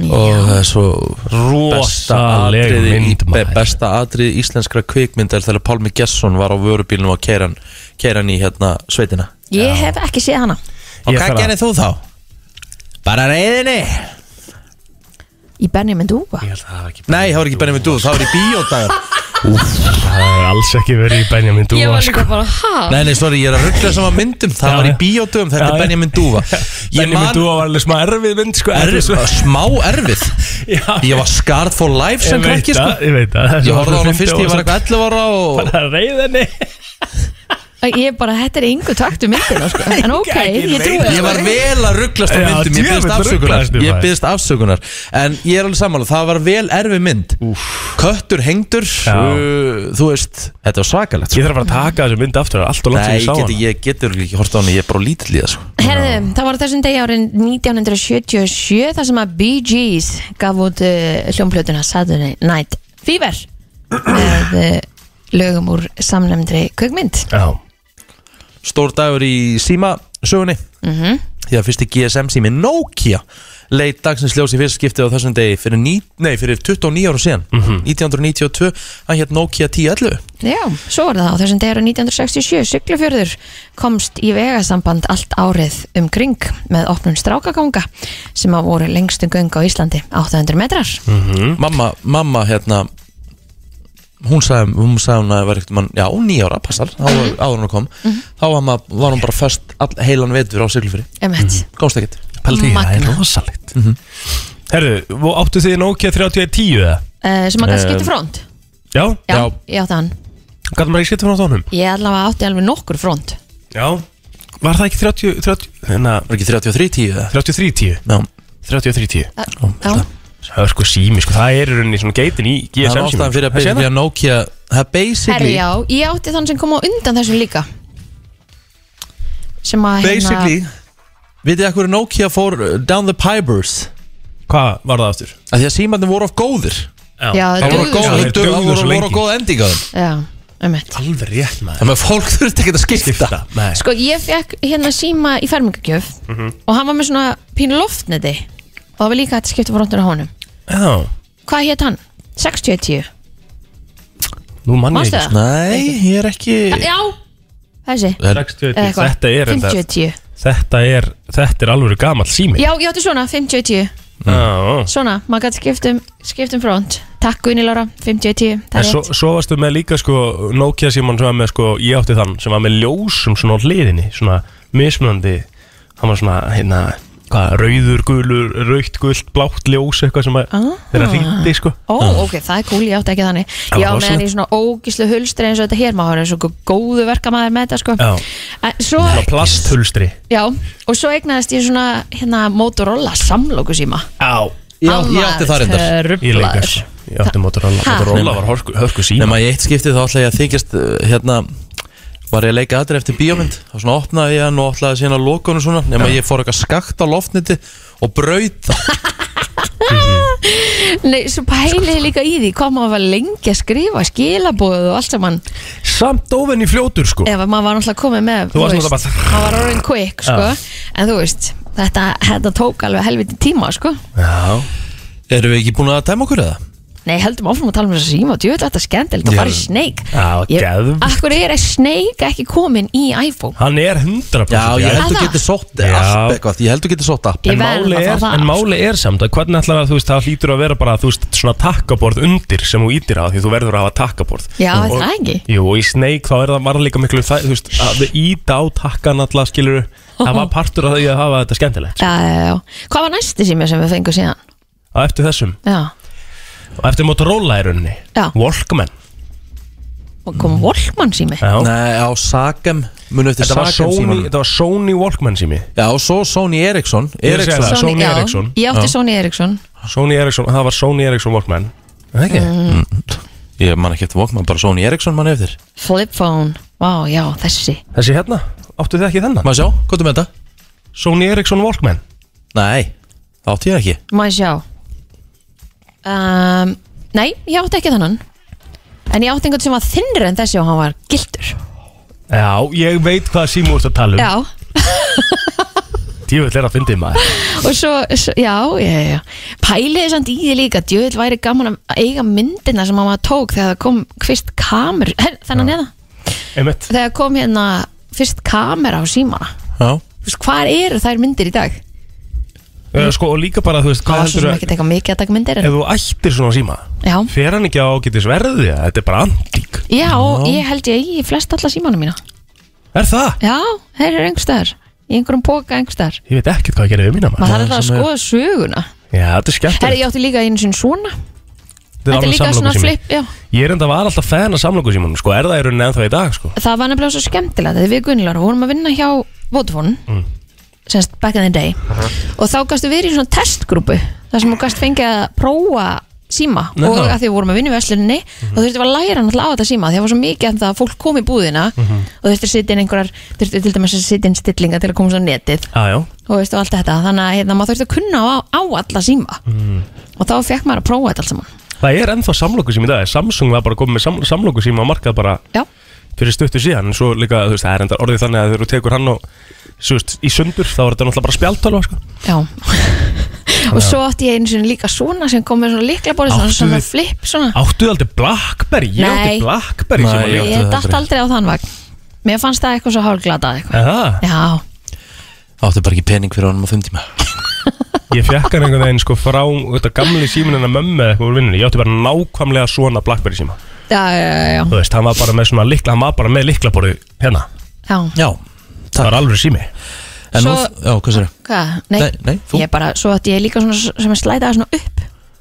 Speaker 1: Og það er svo besta
Speaker 3: Rosaleg
Speaker 1: atriði í-
Speaker 3: mynd,
Speaker 1: be-
Speaker 3: maður.
Speaker 1: Besta atrið íslenskra kvikmynd er þegar Pálmi Gesson var á vörubílnum að keira hann keira hann í hérna sveitina
Speaker 2: ég hef ekki séð hana
Speaker 1: Og
Speaker 3: Ég
Speaker 1: hvað
Speaker 3: þarf að-
Speaker 1: gerir þú þá? Bara reyðinni
Speaker 2: í Benjamin Dúa
Speaker 3: Ég held að það hafi ekki...
Speaker 1: Nei, það var ekki bennið með dúð, það var í bíódagar
Speaker 3: Það hefur alls ekki verið í Benjamin Dúva, sko.
Speaker 2: bara, ha?
Speaker 1: Nei, nei, sorry, ég er að ruggla saman myndum Það
Speaker 3: Já,
Speaker 1: var í
Speaker 3: já.
Speaker 1: bíódöfum, þetta
Speaker 3: Já,
Speaker 1: er
Speaker 3: já.
Speaker 1: Benjamin
Speaker 3: [laughs]
Speaker 1: Dúfa Ég
Speaker 3: Benjamin
Speaker 1: man
Speaker 3: Dúva var alveg smá erfið mynd, sko.
Speaker 1: erfið,
Speaker 3: svo-
Speaker 1: smá erfið
Speaker 3: [laughs] Já.
Speaker 1: Ég var scarred for life sem
Speaker 3: Ég veit
Speaker 1: krakki sko.
Speaker 3: það, Ég veit það.
Speaker 1: Ég horfði á hana fyrst, ég var eitthvað 11 ára
Speaker 3: [laughs]
Speaker 1: og...
Speaker 3: Það reyði henni.
Speaker 2: Ég bara, þetta er yngu taktu myndina
Speaker 3: [laughs]
Speaker 2: sko. En ok,
Speaker 3: Ekki
Speaker 2: ég trúi
Speaker 3: meira.
Speaker 2: það
Speaker 1: Ég var
Speaker 2: sko.
Speaker 1: vel að rugglast á
Speaker 3: Já,
Speaker 1: myndum, ég
Speaker 3: djöfull
Speaker 1: byggðist
Speaker 3: ruglaðist
Speaker 1: afsökunar
Speaker 3: þú,
Speaker 1: Ég
Speaker 3: maður.
Speaker 1: byggðist afsökunar En ég er alveg sammála, það var vel erfið mynd Köttur hengdur uh, Þú veist, þetta var svakalegt
Speaker 3: Ég
Speaker 1: sko.
Speaker 3: þarf bara að taka þessu mynd aftur, það er allt og langt
Speaker 1: Nei,
Speaker 3: sem ég sá
Speaker 1: ég getur
Speaker 3: hana.
Speaker 1: ég getur ekki hort á hana, ég er bara lítill í það sko.
Speaker 2: Herðu, það var á þessum degi árin 1977 þar sem að Bee Gees gaf út uh, hljómplötuna Saturday Night Fever með uh, lögum úr samlemdri kvikmynd
Speaker 3: Já.
Speaker 1: Stór dagur í síma sögunni
Speaker 2: Mhm.
Speaker 1: Því að fyrsti GSM sími Nokia leit dagsins ljós í fyrsta skipti á þessum degi fyrir, ní, nei, fyrir 29 ára síðan
Speaker 3: Mhm.
Speaker 1: 1992, hann hétt Nokia 1011
Speaker 2: Já, svo var það á þessum degi árin 1967 Siglufjörður komst í vegasamband allt árið umkring með opnun strákaganga sem að voru lengstu göng á Íslandi 800 metrar
Speaker 3: Mhm.
Speaker 1: mamma, mamma hérna hún sagði, hún sagði hún að það var eitthvað mann, já, nýja ára, passar, á,
Speaker 3: Mhm.
Speaker 1: áður hún kom þá var, ma, var hún bara föst all, heilan vetur á siglufyrir,
Speaker 2: Emmett,
Speaker 1: komst Mhm. ekkert
Speaker 3: Paldi, það er
Speaker 2: Magnað.
Speaker 3: rosalegt. Herðu, vo- áttu þið Nokia 3110 eða?
Speaker 2: uh, sem að gæti
Speaker 3: Eh,
Speaker 2: skipta front
Speaker 3: Já,
Speaker 2: Já,
Speaker 1: já.
Speaker 2: ég átti hann
Speaker 3: gætum maður ekki skipt frá þónum?
Speaker 2: Ég allavega átti alveg nokkur front
Speaker 3: Já Var það ekki 30, 30, hérna,
Speaker 1: var ekki 33 tíu það
Speaker 3: 33 tíu?
Speaker 1: já,
Speaker 3: 33 tíu
Speaker 2: Eh, Já,
Speaker 3: Það er sko sími, sko, það er í rauninni svona geitin í
Speaker 1: það er
Speaker 3: GSM sími
Speaker 1: ástæðan fyrir að basically að Nokia það
Speaker 2: Herri,
Speaker 1: basically,
Speaker 2: já, ég átti þann sem kom á undan þessu líka sem að hérna-
Speaker 1: basically vitið þið að hverju Nokia fór uh, down the pipers
Speaker 3: Hvað var það aftur?
Speaker 1: að því að símarnir voru of góðir
Speaker 2: Já,
Speaker 1: það voru
Speaker 2: Dugðu
Speaker 1: góð,
Speaker 2: svo.
Speaker 1: það voru,
Speaker 3: Dugðu svo
Speaker 1: voru, voru
Speaker 3: lengi.
Speaker 1: góð ending á þeim
Speaker 2: já, einmitt.
Speaker 3: Alveg rétt maður
Speaker 1: þannig að fólk þurfti ekki að skipta,
Speaker 3: Skipta, nei
Speaker 2: Sko, ég fekk hérna síma í fermingagjöf
Speaker 3: Mhm.
Speaker 2: og hann var með svona pínu loftneti og það var líka hægt að skipta frontur á honum
Speaker 3: Já,
Speaker 2: Hvað hétt hann? 6010
Speaker 3: nú mann ég
Speaker 2: Manstu
Speaker 3: ekki sko.
Speaker 2: það?
Speaker 1: nei, ég er ekki
Speaker 2: Já, þessi
Speaker 1: það er
Speaker 3: 60,
Speaker 2: Eða eitthvað.
Speaker 3: Þetta er enda
Speaker 2: 5010
Speaker 3: Þetta er, þetta er alveg gammal sími
Speaker 2: Já, ég átti svona, 5010
Speaker 3: Já
Speaker 2: Svona, maður gæti skiptum, skiptum um front Takk Gunni Lára, 5010 Það
Speaker 3: En
Speaker 2: er
Speaker 3: svo,
Speaker 2: rétt
Speaker 3: svo varstu með líka sko Nokia síman sem var með sko Ég átti þann sem var með ljósum svona á hliðinni Svona mismunandi Hann var svona hérna hvað, rauður, gulur, raukt, gult, blátt ljós, eitthvað sem að
Speaker 2: Ah.
Speaker 3: þeirra hringdi, sko
Speaker 2: Ó, ok, það er cool, ég átti ekki þannig
Speaker 3: Það var
Speaker 2: Já, meðan
Speaker 3: rosalegt.
Speaker 2: í svona ógíslu hulstri eins og þetta hér maður er eins og einhver góðu verkamæður með þetta sko
Speaker 3: Já.
Speaker 2: en, svo,
Speaker 3: Svona plasthulstri
Speaker 2: já, og svo eignaðist ég svona hérna Motorola samlóku síma
Speaker 3: Á,
Speaker 1: Ég átti- ég átti það reyndar
Speaker 3: ég leikar
Speaker 2: reyndar
Speaker 3: Ég átti Motorola,
Speaker 2: Ha?
Speaker 3: Motorola var hörku, hörku síma
Speaker 1: Nefn að ég eitt skipti þá ætla ég að þykjast uh, hérna var ég að leika aðri eftir bíómynd þá svona opnaði ég hann og ætlaði síðan að loka hann og svona nefn að ég fór eitthvað skakt á loftniti og braut það
Speaker 3: Mhm.
Speaker 2: Nei, svo pæliði líka í því hvað maður var lengi að skrifa skilabóðu og allt saman
Speaker 3: Samt ofenn í fljótur, sko
Speaker 2: ef maður var náttúrulega komið með
Speaker 3: Þú varst
Speaker 2: veist,
Speaker 3: náttúrulega bara-
Speaker 2: maður var orðin quick sko. en þú veist, þetta, þetta tók alveg helviti tíma sko.
Speaker 3: Já
Speaker 1: Erum við ekki búin að tæma okkur eða?
Speaker 2: nei, heldum áfram að tala um þess að síma og djöðu þetta er skemmtilegt
Speaker 1: Já.
Speaker 2: að fara í Snake
Speaker 3: Já, geðveikt.
Speaker 2: akkur er Snake ekki komin í iPhone
Speaker 3: Hann er 100%
Speaker 1: Já, ég held
Speaker 2: Það
Speaker 1: þú
Speaker 2: það?
Speaker 1: getur sótt
Speaker 3: Já.
Speaker 1: allt eitthvað, ég held þú getur sótt app
Speaker 2: Ég
Speaker 3: En
Speaker 2: verð
Speaker 3: máli,
Speaker 2: að fá
Speaker 3: er,
Speaker 2: það,
Speaker 3: en
Speaker 2: sko.
Speaker 3: máli er samt að hvernig ætlar að þú veist það hlýtur að vera bara þú veist svona takkaborð undir sem þú ítir á því þú verður að hafa takkaborð
Speaker 2: Já,
Speaker 3: Og-
Speaker 2: er það ekki?
Speaker 3: Jú, og í Snake þá er það var líka miklu það, þú veist að þau íta á takkan alltaf skilur það var partur af því að hafa þetta skemmtilegt
Speaker 2: já, já, já. hvað var næsti sími sem við fengum síðan
Speaker 3: og eftir þessum
Speaker 2: já,
Speaker 3: og eftir Motorola er unni
Speaker 2: Já.
Speaker 3: Walkman
Speaker 2: og kom Volkmann sími
Speaker 3: Já.
Speaker 1: Nei, á Sakem munu eftir
Speaker 3: Þetta var,
Speaker 1: Sakem
Speaker 3: Sony,
Speaker 1: símanum.
Speaker 3: þetta var Sony Walkman sími
Speaker 1: Já, og svo Sony Ericsson
Speaker 3: Ég er að segja
Speaker 1: Ericsson
Speaker 3: það. Sony Ericsson.
Speaker 2: já, ég átti
Speaker 3: Já.
Speaker 2: Sony Ericsson
Speaker 3: Sony Ericsson, það var Sony Ericsson Walkman Er Það ekki?
Speaker 2: Mm.
Speaker 1: Ég man ekki eftir Walkman, bara Sony Ericsson man eftir
Speaker 2: flip phone, vá, já, þessi
Speaker 3: Þessi hérna, áttu þið ekki þennan?
Speaker 1: Má sjá, hvað er með þetta?
Speaker 3: Sony Ericsson Walkman
Speaker 1: Nei, það átti ég ekki
Speaker 2: Má ég sjá um, Nei, ég átti ekki þannan En ég átti einhvern sem var þinnri en þessi og hann var gildur
Speaker 3: Já, ég veit hvað símur þú ert að tala um
Speaker 2: Já,
Speaker 3: Djöfull er að fyndið maður
Speaker 2: og svo, svo já, já, já Pæliði samt í því líka, djöðl væri gaman að eiga myndina sem hann maður tók þegar það kom fyrst kamer [laughs] her, Þannig neða,
Speaker 3: Einmitt
Speaker 2: þegar kom hérna fyrst kamera á símana
Speaker 1: Já,
Speaker 2: Þú veist, Hvar eru þær myndir í dag?
Speaker 3: Eh, Sko og líka bara þú veist
Speaker 2: Það
Speaker 3: Hvað
Speaker 2: var svo
Speaker 3: heldur
Speaker 2: sem
Speaker 3: að
Speaker 2: ekki teka mikið að taka myndir
Speaker 3: Ef
Speaker 2: en,
Speaker 3: þú ættir svona síma
Speaker 2: Já,
Speaker 3: Fer hann ekki á getið sverði Þetta er bara antík
Speaker 2: já, ég held ég í flest alla símana mína
Speaker 3: Er það?
Speaker 2: Já, þeir eru einhverstaðar Í einhverjum póka einhverstaðar
Speaker 3: Ég veit ekkert hvað ég gerði við mína maður
Speaker 2: maður þarf alltaf að
Speaker 1: sem er-
Speaker 2: skoða söguna
Speaker 3: Já þetta er skemmt
Speaker 2: Herri, ég átti líka einu sinni svona Þetta er líka svona flip, já
Speaker 3: Ég er enda var alltaf fæðan að samlöku símanum Sko er það í rauninni ennþá í dag sko
Speaker 2: Það var nefnilega svo skemmtilegt Þegar við Gunnilar vorum að vinna hjá Vodafone Semst back in the day Og þá gastu verið í svona testgrúpu þar sem þú gast fengið að prófa síma
Speaker 3: Nei,
Speaker 2: og
Speaker 3: það.
Speaker 2: að því við vorum að vinna í vesluninni og þú þurfti að læra náttúrulega á þetta síma því það var svo mikið að það að fólk kom í búðina
Speaker 3: Mm.
Speaker 1: Mhm.
Speaker 2: og þú þurfti að sitja inn einhverjar þurfti til dæmis að sitja inn stillinga til að komast á netið
Speaker 3: Já já
Speaker 2: og veist og allt þetta þannig að hérna, maður þurfti að kunna á, á alla síma
Speaker 1: Mhm.
Speaker 2: og þá fekk maður að prófa þetta allt saman
Speaker 3: Það er ennþá samlöku síma í dag Samsung var bara komið með sam, samlöku síma á markað bara
Speaker 2: Já,
Speaker 3: fyrir stuttu síðan En svo líka þú veist það er enda orðið þannig að þegar þú tekur hann og Svo veist í sundur þá er þetta náttúrulega bara spjaltölva sko
Speaker 2: já [laughs] Og svo átti ég einu sinni líka svona sem kom með svona líklabóri svona,
Speaker 3: Áttu
Speaker 2: svona
Speaker 3: þið-
Speaker 2: flip svona
Speaker 3: Áttu aldrei Blackberry? Ég
Speaker 2: Ah. Nei.
Speaker 3: átti Blackberry
Speaker 1: Nei, ég
Speaker 3: síma líka.
Speaker 2: Ég
Speaker 1: átti það
Speaker 2: datt
Speaker 1: aldrei.
Speaker 2: aldrei á þann vagn Mér fannst það eitthvað svo hálglatað eitthvað
Speaker 3: Er það?
Speaker 2: Já,
Speaker 1: átti bara ekki pening fyrir honum á fimm tíma
Speaker 3: Ég fekk hann einhvern veginn sko frá þetta gamli síminina mömmu eða eitthvað úr vinnunni Ég átti bara nákvæmlega svona Blackberry síma
Speaker 2: já, já, já, já.
Speaker 3: Þú veist, hann var bara með svona likla, hann var bara með liklaborðu hérna
Speaker 2: já.
Speaker 1: Já,
Speaker 3: Það
Speaker 1: takk
Speaker 3: var alveg sími
Speaker 1: En nú,
Speaker 2: Svo-
Speaker 1: já, hvað sér
Speaker 2: Hvað? Nei,
Speaker 1: Nei, nei, þú?
Speaker 2: ég bara, svo átti ég líka svona s- sem að slæta það svona upp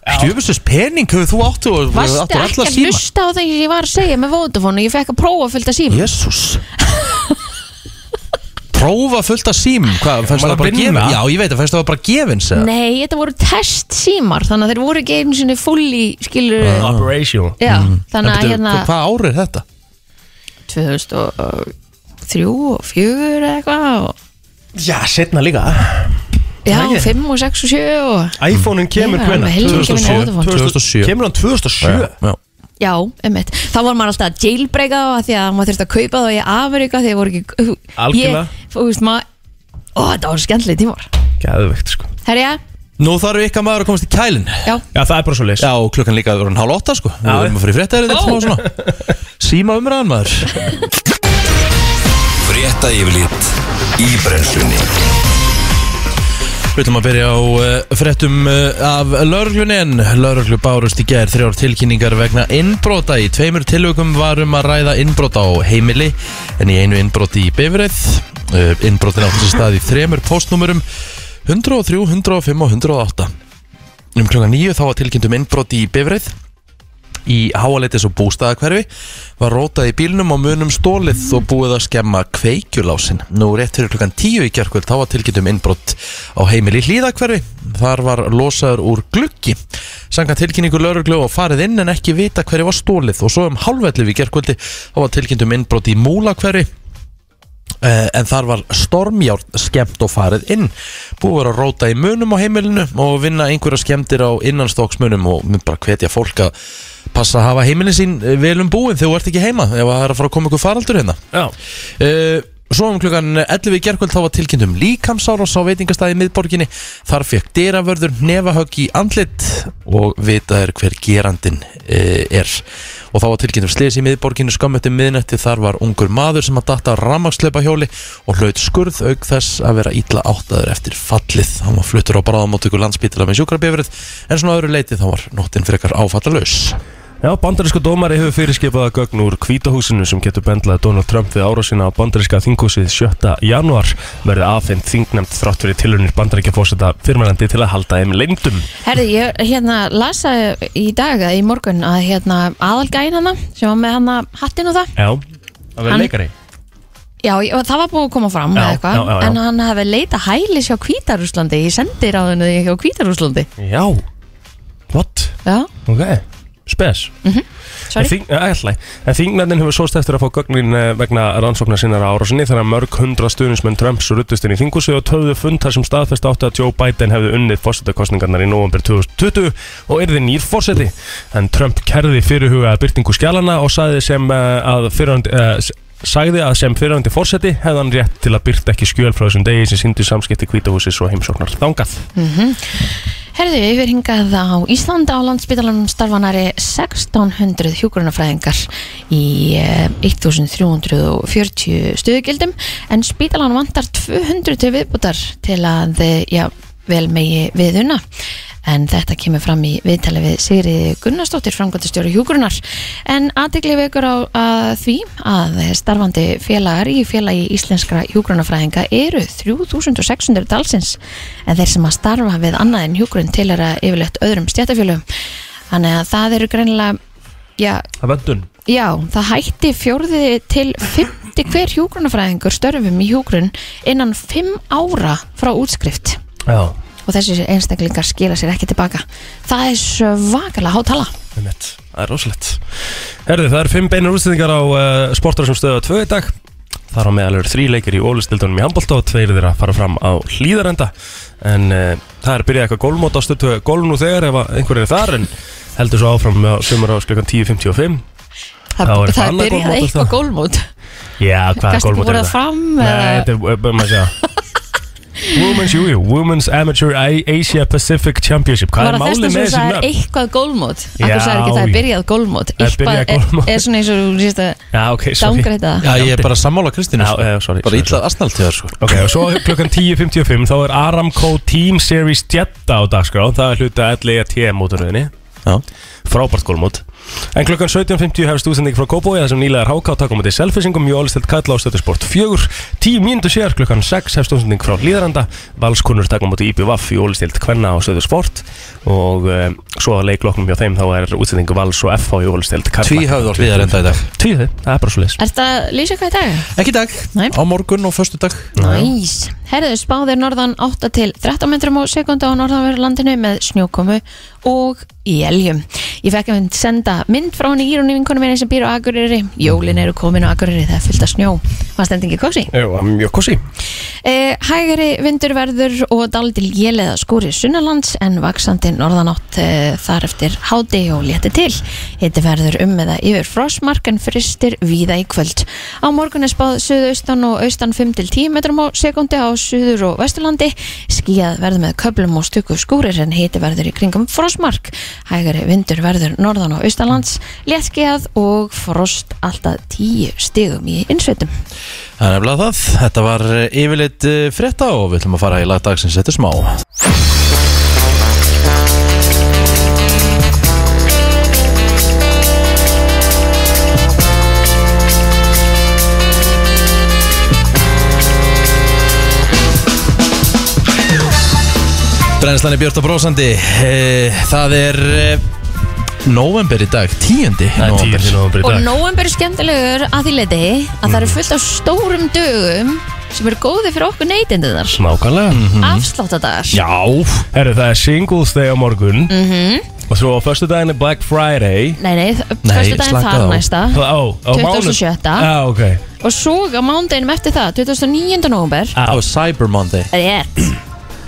Speaker 1: Stjöfustus pening hefur þú áttu og
Speaker 2: Varstu
Speaker 1: áttu
Speaker 2: ekki
Speaker 1: alla
Speaker 2: að
Speaker 1: síma
Speaker 2: hlusta á það sem ég var að segja með Vodafone og ég fekk að prófa fylgta síma
Speaker 1: Jésús Prófa fullt af sím Hvað, fannst
Speaker 3: maður
Speaker 1: það bara
Speaker 3: að vinna?
Speaker 1: gefin? Já, ég veit, að fannst það bara gefins eða?
Speaker 2: Nei, þetta voru test símar þannig að þeir voru ekki einu sinni fulli skilur
Speaker 3: Operation
Speaker 2: Já, þannig að
Speaker 1: Ah. Mm. Bíddu,
Speaker 2: hérna
Speaker 1: hva- Hvað ár er þetta?
Speaker 2: 2003 og 4 eða eitthvað og-
Speaker 3: Já, setna líka
Speaker 2: Já,
Speaker 3: Það ekki?
Speaker 2: 5 og 6 og 7 og
Speaker 3: iPhone-un kemur
Speaker 2: Ég var
Speaker 3: hvenær?
Speaker 2: alveg heilmikið með
Speaker 1: 2007.
Speaker 2: Vodafone.
Speaker 1: 2007.
Speaker 3: Kemur hann 2007?
Speaker 1: Já,
Speaker 2: Já, einmitt Þá var maður alltaf að jailbreaka þá af því að maður þurfti að kaupa þá í Ameríka því að voru ekki
Speaker 3: Algjörlega.
Speaker 2: Ég, Þú veist maður Ó, þetta voru skemmtileg tímar
Speaker 3: Gæðvegt sko
Speaker 2: Herja,
Speaker 1: Nú þarf ykkar maður að komast í kælin
Speaker 2: já,
Speaker 3: Já, það er bara svo leys
Speaker 1: Já, og klukkan líka að vera hann hálf åtta sko Við
Speaker 3: Já.
Speaker 1: erum að fyrir frétta eða þetta smá svona Síma
Speaker 2: [laughs]
Speaker 1: umræðan maður
Speaker 4: Frétta yfirlit í brennslunni
Speaker 1: Við ætlum að byrja á uh, fréttum uh, af lauruglun en lauruglu bárust í gær þrjár tilkynningar vegna innbrota í tveimur tilvökum varum að ræða innbrota á heimili Eh, en í einu innbroti í bifrið uh, innbrotin átti sér stað í þremur postnúmurum 103, 105 og 108 Um klukkan 9 þá var tilkynnt um innbrot í bifrið Í háaleitis og bústaðakverfi var rótað í bílnum og munum stólið og búið að skemma kveikjulásin. Nú rétt fyrir klukkan 10 í kjarkvöld þá var tilkynnt um innbrott á heimili hlýðakverfi. Þar var losaður úr gluggi. Sanga tilkynningu lauruglu og farið inn en ekki vita hverju var stólið og svo um halvellið í kjarkvöldi þá var tilkynnt um innbrott í múlakverfi Eh, en þar var stormjárn skemmt og farið inn búið var að róta í munum á heimilinu og vinna einhverja skemmtir á innanstokksmunum og mun bara hvetja fólk að passa að hafa heimilin sín eh, vel um búin þegar þú ert ekki heima ef það er að fara að koma ykkur faraldur hérna
Speaker 3: Já,
Speaker 1: Eh, Svo um klukkan 11 í gerkvöld þá var tilkynnt um líkamsár og sá veitingastæði í miðborginni. Þar fekk dyravörður nefahögg í andlit og vita er hver gerandin eh, er. Og þá var tilkynnt um slis í miðborginni skömmetum miðnætti. Þar var ungur maður sem að datta rammaksleipa hjóli og hlaut skurð auk þess að vera ítla áttaður eftir fallið. Hann var fluttur á bráðamóttöku landspítala með sjúkrabifrið en svona að öðru leiti þá var nóttin frekar áfallalaus.
Speaker 3: Já, bandarísku dómari hefur fyrirskipaða gögn úr kvítahúsinu sem getur bendlaði Donald Trump við árásina á bandaríska þinghúsið 7. janúar verði afhengt þingnemt þrátt fyrir tilunir bandaríkja fósita fyrmælandi til að halda þeim leyndum.
Speaker 2: Herði, ég hérna lasa í dag eða í morgun að hérna aðalgæin hana sem var með hana hattinn og það
Speaker 3: Já, það verði
Speaker 2: Hann-
Speaker 3: leikari.
Speaker 2: Já, ég- og það var búið að koma fram
Speaker 3: Já,
Speaker 2: eða eitthvað
Speaker 3: já, já, já.
Speaker 2: en hann hefði leita hælis hjá Kvítarúslandi í sendiráðinu hjá Kvítarúslandi
Speaker 3: Já, what?
Speaker 2: Já,
Speaker 3: Ok, spes. En
Speaker 2: sorry
Speaker 3: þing- eh, ætla ég. En þingnefndin hefur sóst eftir að fá gögnin eh, vegna rannsóknar sinnar á árásinni þannig að mörg hundra stuðnismenn Trumps ruttust inn í þinghúsið og töðu fund þar sem staðfest átti að Joe Biden hefði unnið fórsetakostningarnar í november 2020 og yrði nýr fórseti. En Trump kerði fyrirhugaða byrtingu skjálana og sagði sem eh, að fyrirhandi eh, sagði að sem fyrirhandi fórseti hefði hann rétt til að byrta ekki skjöl frá þessum degi sem sýndu samskipti kvítahúsis og heimsóknar þangað.
Speaker 2: Mhm. Herði, yfir hingað á Íslanda á landsbytalanum starfanari 1600 hjúkurunafræðingar í eh, 1340 stöðugildum en spítalan vantar 200 til viðbútar til að eh, já, vel megi viðuna en þetta kemur fram í viðtali við Sigri Gunnarsdóttir framkvæmtastjóri hjúkurunar en aðtegli vekur á að því að starfandi félagar í félagi íslenskra hjúkurunafræðinga eru 3600 talsins en þeir sem að starfa við annað en hjúkurun til er að yfirleitt öðrum stjættafjölum þannig að það eru greinilega já,
Speaker 3: Það vöndun.
Speaker 2: já, það hætti fjórði til 50 hver hjúkurunafræðingur störfum í hjúkurun innan 5 ára frá útskrift
Speaker 3: Já,
Speaker 2: og þessi einstaklingar skila sér ekki tilbaka það er svakalega hátala
Speaker 3: Einmitt. Það er rosalegt Herði, það eru fimm beinar útsendingar á uh, sportar sem stöða tvö í dag Þar á meðal eru þrý leikir í ólistildunum í handbólta og tveir þeirra fara fram á hlýðarenda En uh, það er byrjað eitthvað gólmót á stöðu gólf nú þegar ef að einhver er þar en heldur svo áfram með sömur á sklukan 10.55
Speaker 2: Þa,
Speaker 3: Það var eitthvað
Speaker 2: það
Speaker 3: annað
Speaker 2: byrjaði
Speaker 3: gólfmót,
Speaker 2: eitthvað gólmót
Speaker 3: sko. það? Já, hvaða
Speaker 2: kannski
Speaker 3: gólmót
Speaker 2: búið
Speaker 3: er
Speaker 2: það
Speaker 3: það?
Speaker 2: fram
Speaker 3: Nei,
Speaker 2: eða-
Speaker 3: þetta er, bæðum að segja Women's Jújú, Women's Amateur A- Asia Pacific Championship Hvað
Speaker 2: var
Speaker 3: er
Speaker 2: það
Speaker 3: málið
Speaker 2: þess
Speaker 3: með
Speaker 2: að
Speaker 3: þessi
Speaker 2: það er
Speaker 3: nöfn?
Speaker 2: eitthvað gólmót akkur
Speaker 3: Já,
Speaker 2: sagði ekki það er
Speaker 3: já.
Speaker 2: byrjað gólmót
Speaker 3: Það er byrjað
Speaker 2: Eitthvað er,
Speaker 3: gólfmót.
Speaker 2: er svona eins og þú sést að
Speaker 3: Já, ok, sorry
Speaker 2: dángreita það
Speaker 1: Já, ég er bara sammála Kristínu.
Speaker 3: Já, já, sorry,
Speaker 1: Bara
Speaker 3: sorry,
Speaker 1: ítlað asnaltíðar, sko.
Speaker 3: sko. Ok, og svo klukkan 10.55 þá er Aramco Team Series Jetta á dagskrá, það er hluta LET móturöðinni,
Speaker 1: Já.
Speaker 3: E frábært gólmót En klukkan 17.50 hefst útsending frá Kópói þar sem nýlegar háká takum til selfisingum í ólistelt kalla á stöðusport 4 10 mínútu sér klukkan 6 hefst útsending frá Líðaranda Valskunnur takum til IBVF í ólistelt kvenna á stöðusport og um, svo að leikloknum hjá þeim þá er útsendingu Vals og FH í ólistelt
Speaker 1: Tvíhöfðar hlýðar enda í dag.
Speaker 3: Tvíhöð, það er bara svo
Speaker 2: Er þetta að lýsa eitthvað í dag?
Speaker 1: Ekki í dag,
Speaker 2: Nei.
Speaker 1: á morgun og förstu dag.
Speaker 2: Næs Herðu spáðir norðan 8 til 13 metrum á sekundu á norðanverðu landinu með snjókomu og í eljum Ég fekk að senda mynd frá henni Írunni vinkonu minni sem býr á Akureyri Jólin eru komin á Akureyri, það er fyllt af snjó Var stendingi kósi?
Speaker 3: Jú, mjög kosi
Speaker 2: Eh, Hægari vindur verður og daldil jéleða skúri sunnalands en vaksandi norðanátt eh, þar eftir háti og létti til. Hiti verður um eða yfir frostmark en fristir víða í kvöld. Á morgun er spáð suðaustan og austan 5-10 metrum á sekundi á suður og vesturlandi. Skíðað verður með köplum og stöku skúrir en hiti verður í kringum frostmark. Hægari vindur verður norðan og austanlands, léttskíðað og frost alltaf 10 stigum í innsveitum.
Speaker 1: Það er nefnilega það. Þetta var eh, yfirleitt eh, frétta og við ætlum að fara í lagdagsins þetta smá. Brennslan er Björn og Brósandi Eh, Það er eh, Nóvember í dag, tíundi
Speaker 3: Það er tíu til nóvambri í
Speaker 2: Og
Speaker 3: dag
Speaker 2: nóvember er skemmtilegur að því leiti að það
Speaker 3: Mm.
Speaker 2: eru fullt af stórum dögum sem eru góði fyrir okkur neytindinnar þar
Speaker 3: Nákvæmlega
Speaker 2: Afsláttadagar
Speaker 3: Mhm. Mm. Já Herru, það er Singles Day á morgun
Speaker 2: Mhm.
Speaker 3: Og svo á förstu daginn er Black Friday
Speaker 2: Nei, nei,
Speaker 1: Nei,
Speaker 2: fyrstu daginn þar
Speaker 1: slakaðu á.
Speaker 2: næsta
Speaker 3: Það á, á
Speaker 2: 27..
Speaker 3: mánu- Já, ok
Speaker 2: Og svo á mándeginum eftir það, 29. nóvember
Speaker 1: Á Cyber Monday
Speaker 2: Rétt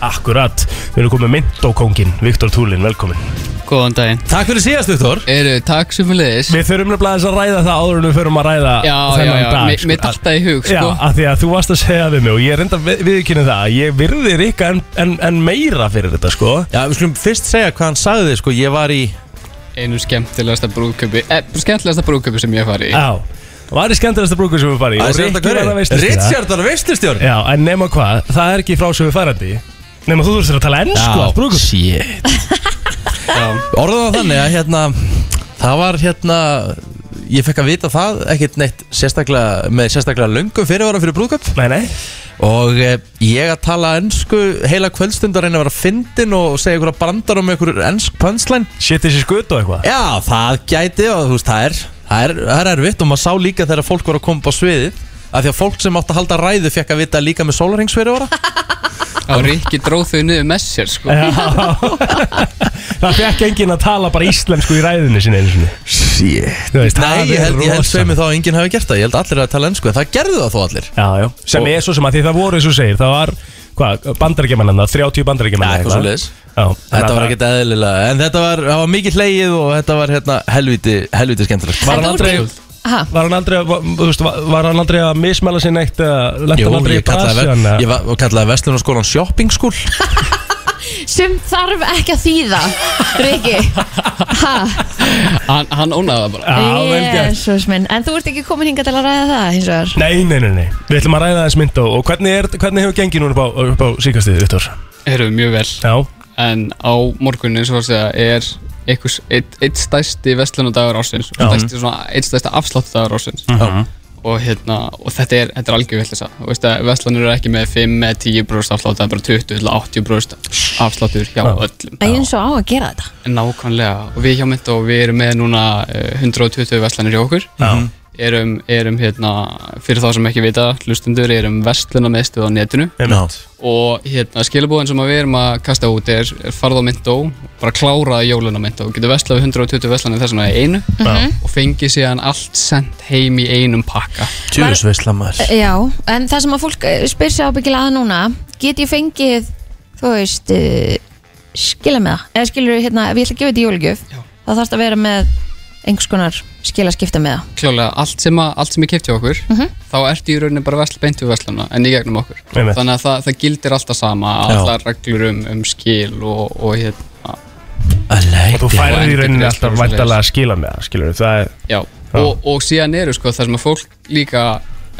Speaker 3: Akkurat Við erum komið myndókóngin Viktor Túlin, velkomin
Speaker 5: Góðan daginn
Speaker 1: Takk fyrir síðast, Viktor
Speaker 5: Eru, takk sem fyrir leiðis
Speaker 3: Við þurfum nefnilega aðeins að ræða það áður en við förum að ræða
Speaker 5: Já, já,
Speaker 3: þennan
Speaker 5: já,
Speaker 3: dag
Speaker 5: mér-
Speaker 3: sko.
Speaker 5: mér datt það í hug, sko.
Speaker 3: Já, af því að þú varst að segja við mig og ég er enda viðkynni það að Ég virðir ykkar en, en, en meira fyrir þetta, sko
Speaker 1: Já, við skulum fyrst segja hvað hann sagði þig, sko Ég var í
Speaker 5: Einu skemmtilegasta brúðköpi eh, Skemmtilegasta brúðköpi sem ég hef farið í
Speaker 3: Já Hvað er skemmtilegasta brúkur sem við farið í? Og Rikki var að veistlustjóra.
Speaker 1: Richardar veistlustjóri
Speaker 3: Já, en nema hvað, það er ekki frá sem við farandi Nema þú þurftir að tala ennsku á brúkum [laughs]
Speaker 1: shit Orðan það þannig að hérna Það var hérna Ég fekk að vita það, ekkert neitt sérstaklega, með sérstaklega löngum fyrirvara fyrir brúðköp
Speaker 3: Nei, nei
Speaker 1: og eh, ég að tala ennsku heila kvöldstund að reyna að vera fyndin og segja ykkur að brandar um ykkur ennsk pönslæn
Speaker 3: Shit þessi skut og eitthvað
Speaker 1: Já, það gæti og þú veist, það er, það er, það er erfitt og maður sá líka þegar fólk var að koma upp á sviðið af því að fólk sem átti að halda ræðu fekk að vita líka með
Speaker 5: [laughs]
Speaker 1: sólarhengsveri vara
Speaker 5: Á Rikki dróð þau niður með sér, sko
Speaker 3: Já Það fekk enginn að tala bara íslensku í ræðinu sinni einu sinni
Speaker 1: Shit
Speaker 3: Þú veist,
Speaker 1: Nei,
Speaker 3: það
Speaker 1: ég
Speaker 3: er
Speaker 1: held, ég held
Speaker 3: rosa.
Speaker 1: sveimi þá að enginn hafi gert það Ég held allir að tala ennsku en það gerðu það þó allir
Speaker 3: Já, já Sem
Speaker 1: Og-
Speaker 3: er svo sem að því það voru eins og þú segir Það var, hvað, bandarækjamannanda, 30
Speaker 1: Já,
Speaker 3: bandarækjamanna
Speaker 1: eitthvað svoleiðis. Þetta
Speaker 3: Þetta
Speaker 1: var ekkert eðlilega En þetta var, það var mikið hlegið og þetta var hérna helviti, helviti skemmtilegt
Speaker 2: En
Speaker 3: Var hann
Speaker 2: þú
Speaker 3: aldrei-
Speaker 2: ert- Ha,
Speaker 3: Var hann aldrei, að- var, þú veist, var var hann aldrei að mismæla sér neitt eða lenti
Speaker 1: Jú,
Speaker 3: hann aldrei
Speaker 1: ég
Speaker 3: í brasi
Speaker 1: kallaði,
Speaker 3: hann,
Speaker 1: ver-
Speaker 3: eða?
Speaker 1: ég var- og kallaði Vestlunarskólan Shopping School
Speaker 2: sem þarf ekki að þýða Riki Ha,
Speaker 5: Hann, hann ónaði það bara
Speaker 3: Já, vel gert
Speaker 2: Jesus minn En þú ert ekki komin hingað til að ræða það hins vegar
Speaker 3: Nei, nei, nei, nei, við ætlum að ræða þess mynd og, og hvernig, er, hvernig hefur gengið núna upp á, upp á síkastíði, Viktor?
Speaker 5: Eru, mjög vel
Speaker 3: Já,
Speaker 5: En á morgun, eins og var að segja, er einhvers, eitt, eitt stæsti vestlunadagur ásins
Speaker 3: Já.
Speaker 5: stæsti, svona, Eitt stæsti afsláttadagur ásins
Speaker 1: Já.
Speaker 5: Og hérna, og þetta er, þetta er algjör vill þess að Þú veist að vestlunur eru ekki með 5, með 10 brúst afslátt Það er bara 20 til 80 brúst afsláttur hjá öllum
Speaker 2: Eins og á að gera þetta
Speaker 5: Nákvæmlega, og við hjá Myndó, við erum með núna eh, 120 verslanir hjá okkur
Speaker 3: já,
Speaker 5: erum, erum hérna, fyrir þá sem ekki vita hlustundur, erum versluna meðstuð á netinu
Speaker 3: einmitt
Speaker 5: og hérna, skilabóðin sem að við erum að kasta út er, er farð á Myndó, bara klára jóluna Myndó, getur verslað við 120 verslanir þess vegna í einu
Speaker 3: Já.
Speaker 5: og fengið síðan allt sendt heim í einum pakka
Speaker 1: Tjúrisveisla maður
Speaker 2: Eh, Já, en það sem að fólk eh, spyr sér ábyggilega að núna Get ég fengið, þú veist uh, Skila með það Eða skilur hérna, ef ég ætla að gefa þetta í jólugjöf
Speaker 5: Já.
Speaker 2: þá þarf það að vera með einhvers konar skilaskipta með [laughs] það
Speaker 5: Klálega, allt sem, að, allt sem ég kefti hjá okkur þá ertu í rauninni bara versla beint við verslana en í gegnum okkur
Speaker 3: Einmitt.
Speaker 5: þannig að það, það gildir alltaf sama,
Speaker 1: Já.
Speaker 5: allar reglur um, um skil og, og hérna
Speaker 3: Þú
Speaker 1: Alæti
Speaker 3: færði í
Speaker 5: endurgreiðslur
Speaker 3: rauninni
Speaker 5: og
Speaker 3: alltaf
Speaker 5: svoleiðis.
Speaker 3: væntalega að skila með það, skilur það er,
Speaker 5: Já, og, og síðan eru sko það sem að fólk líka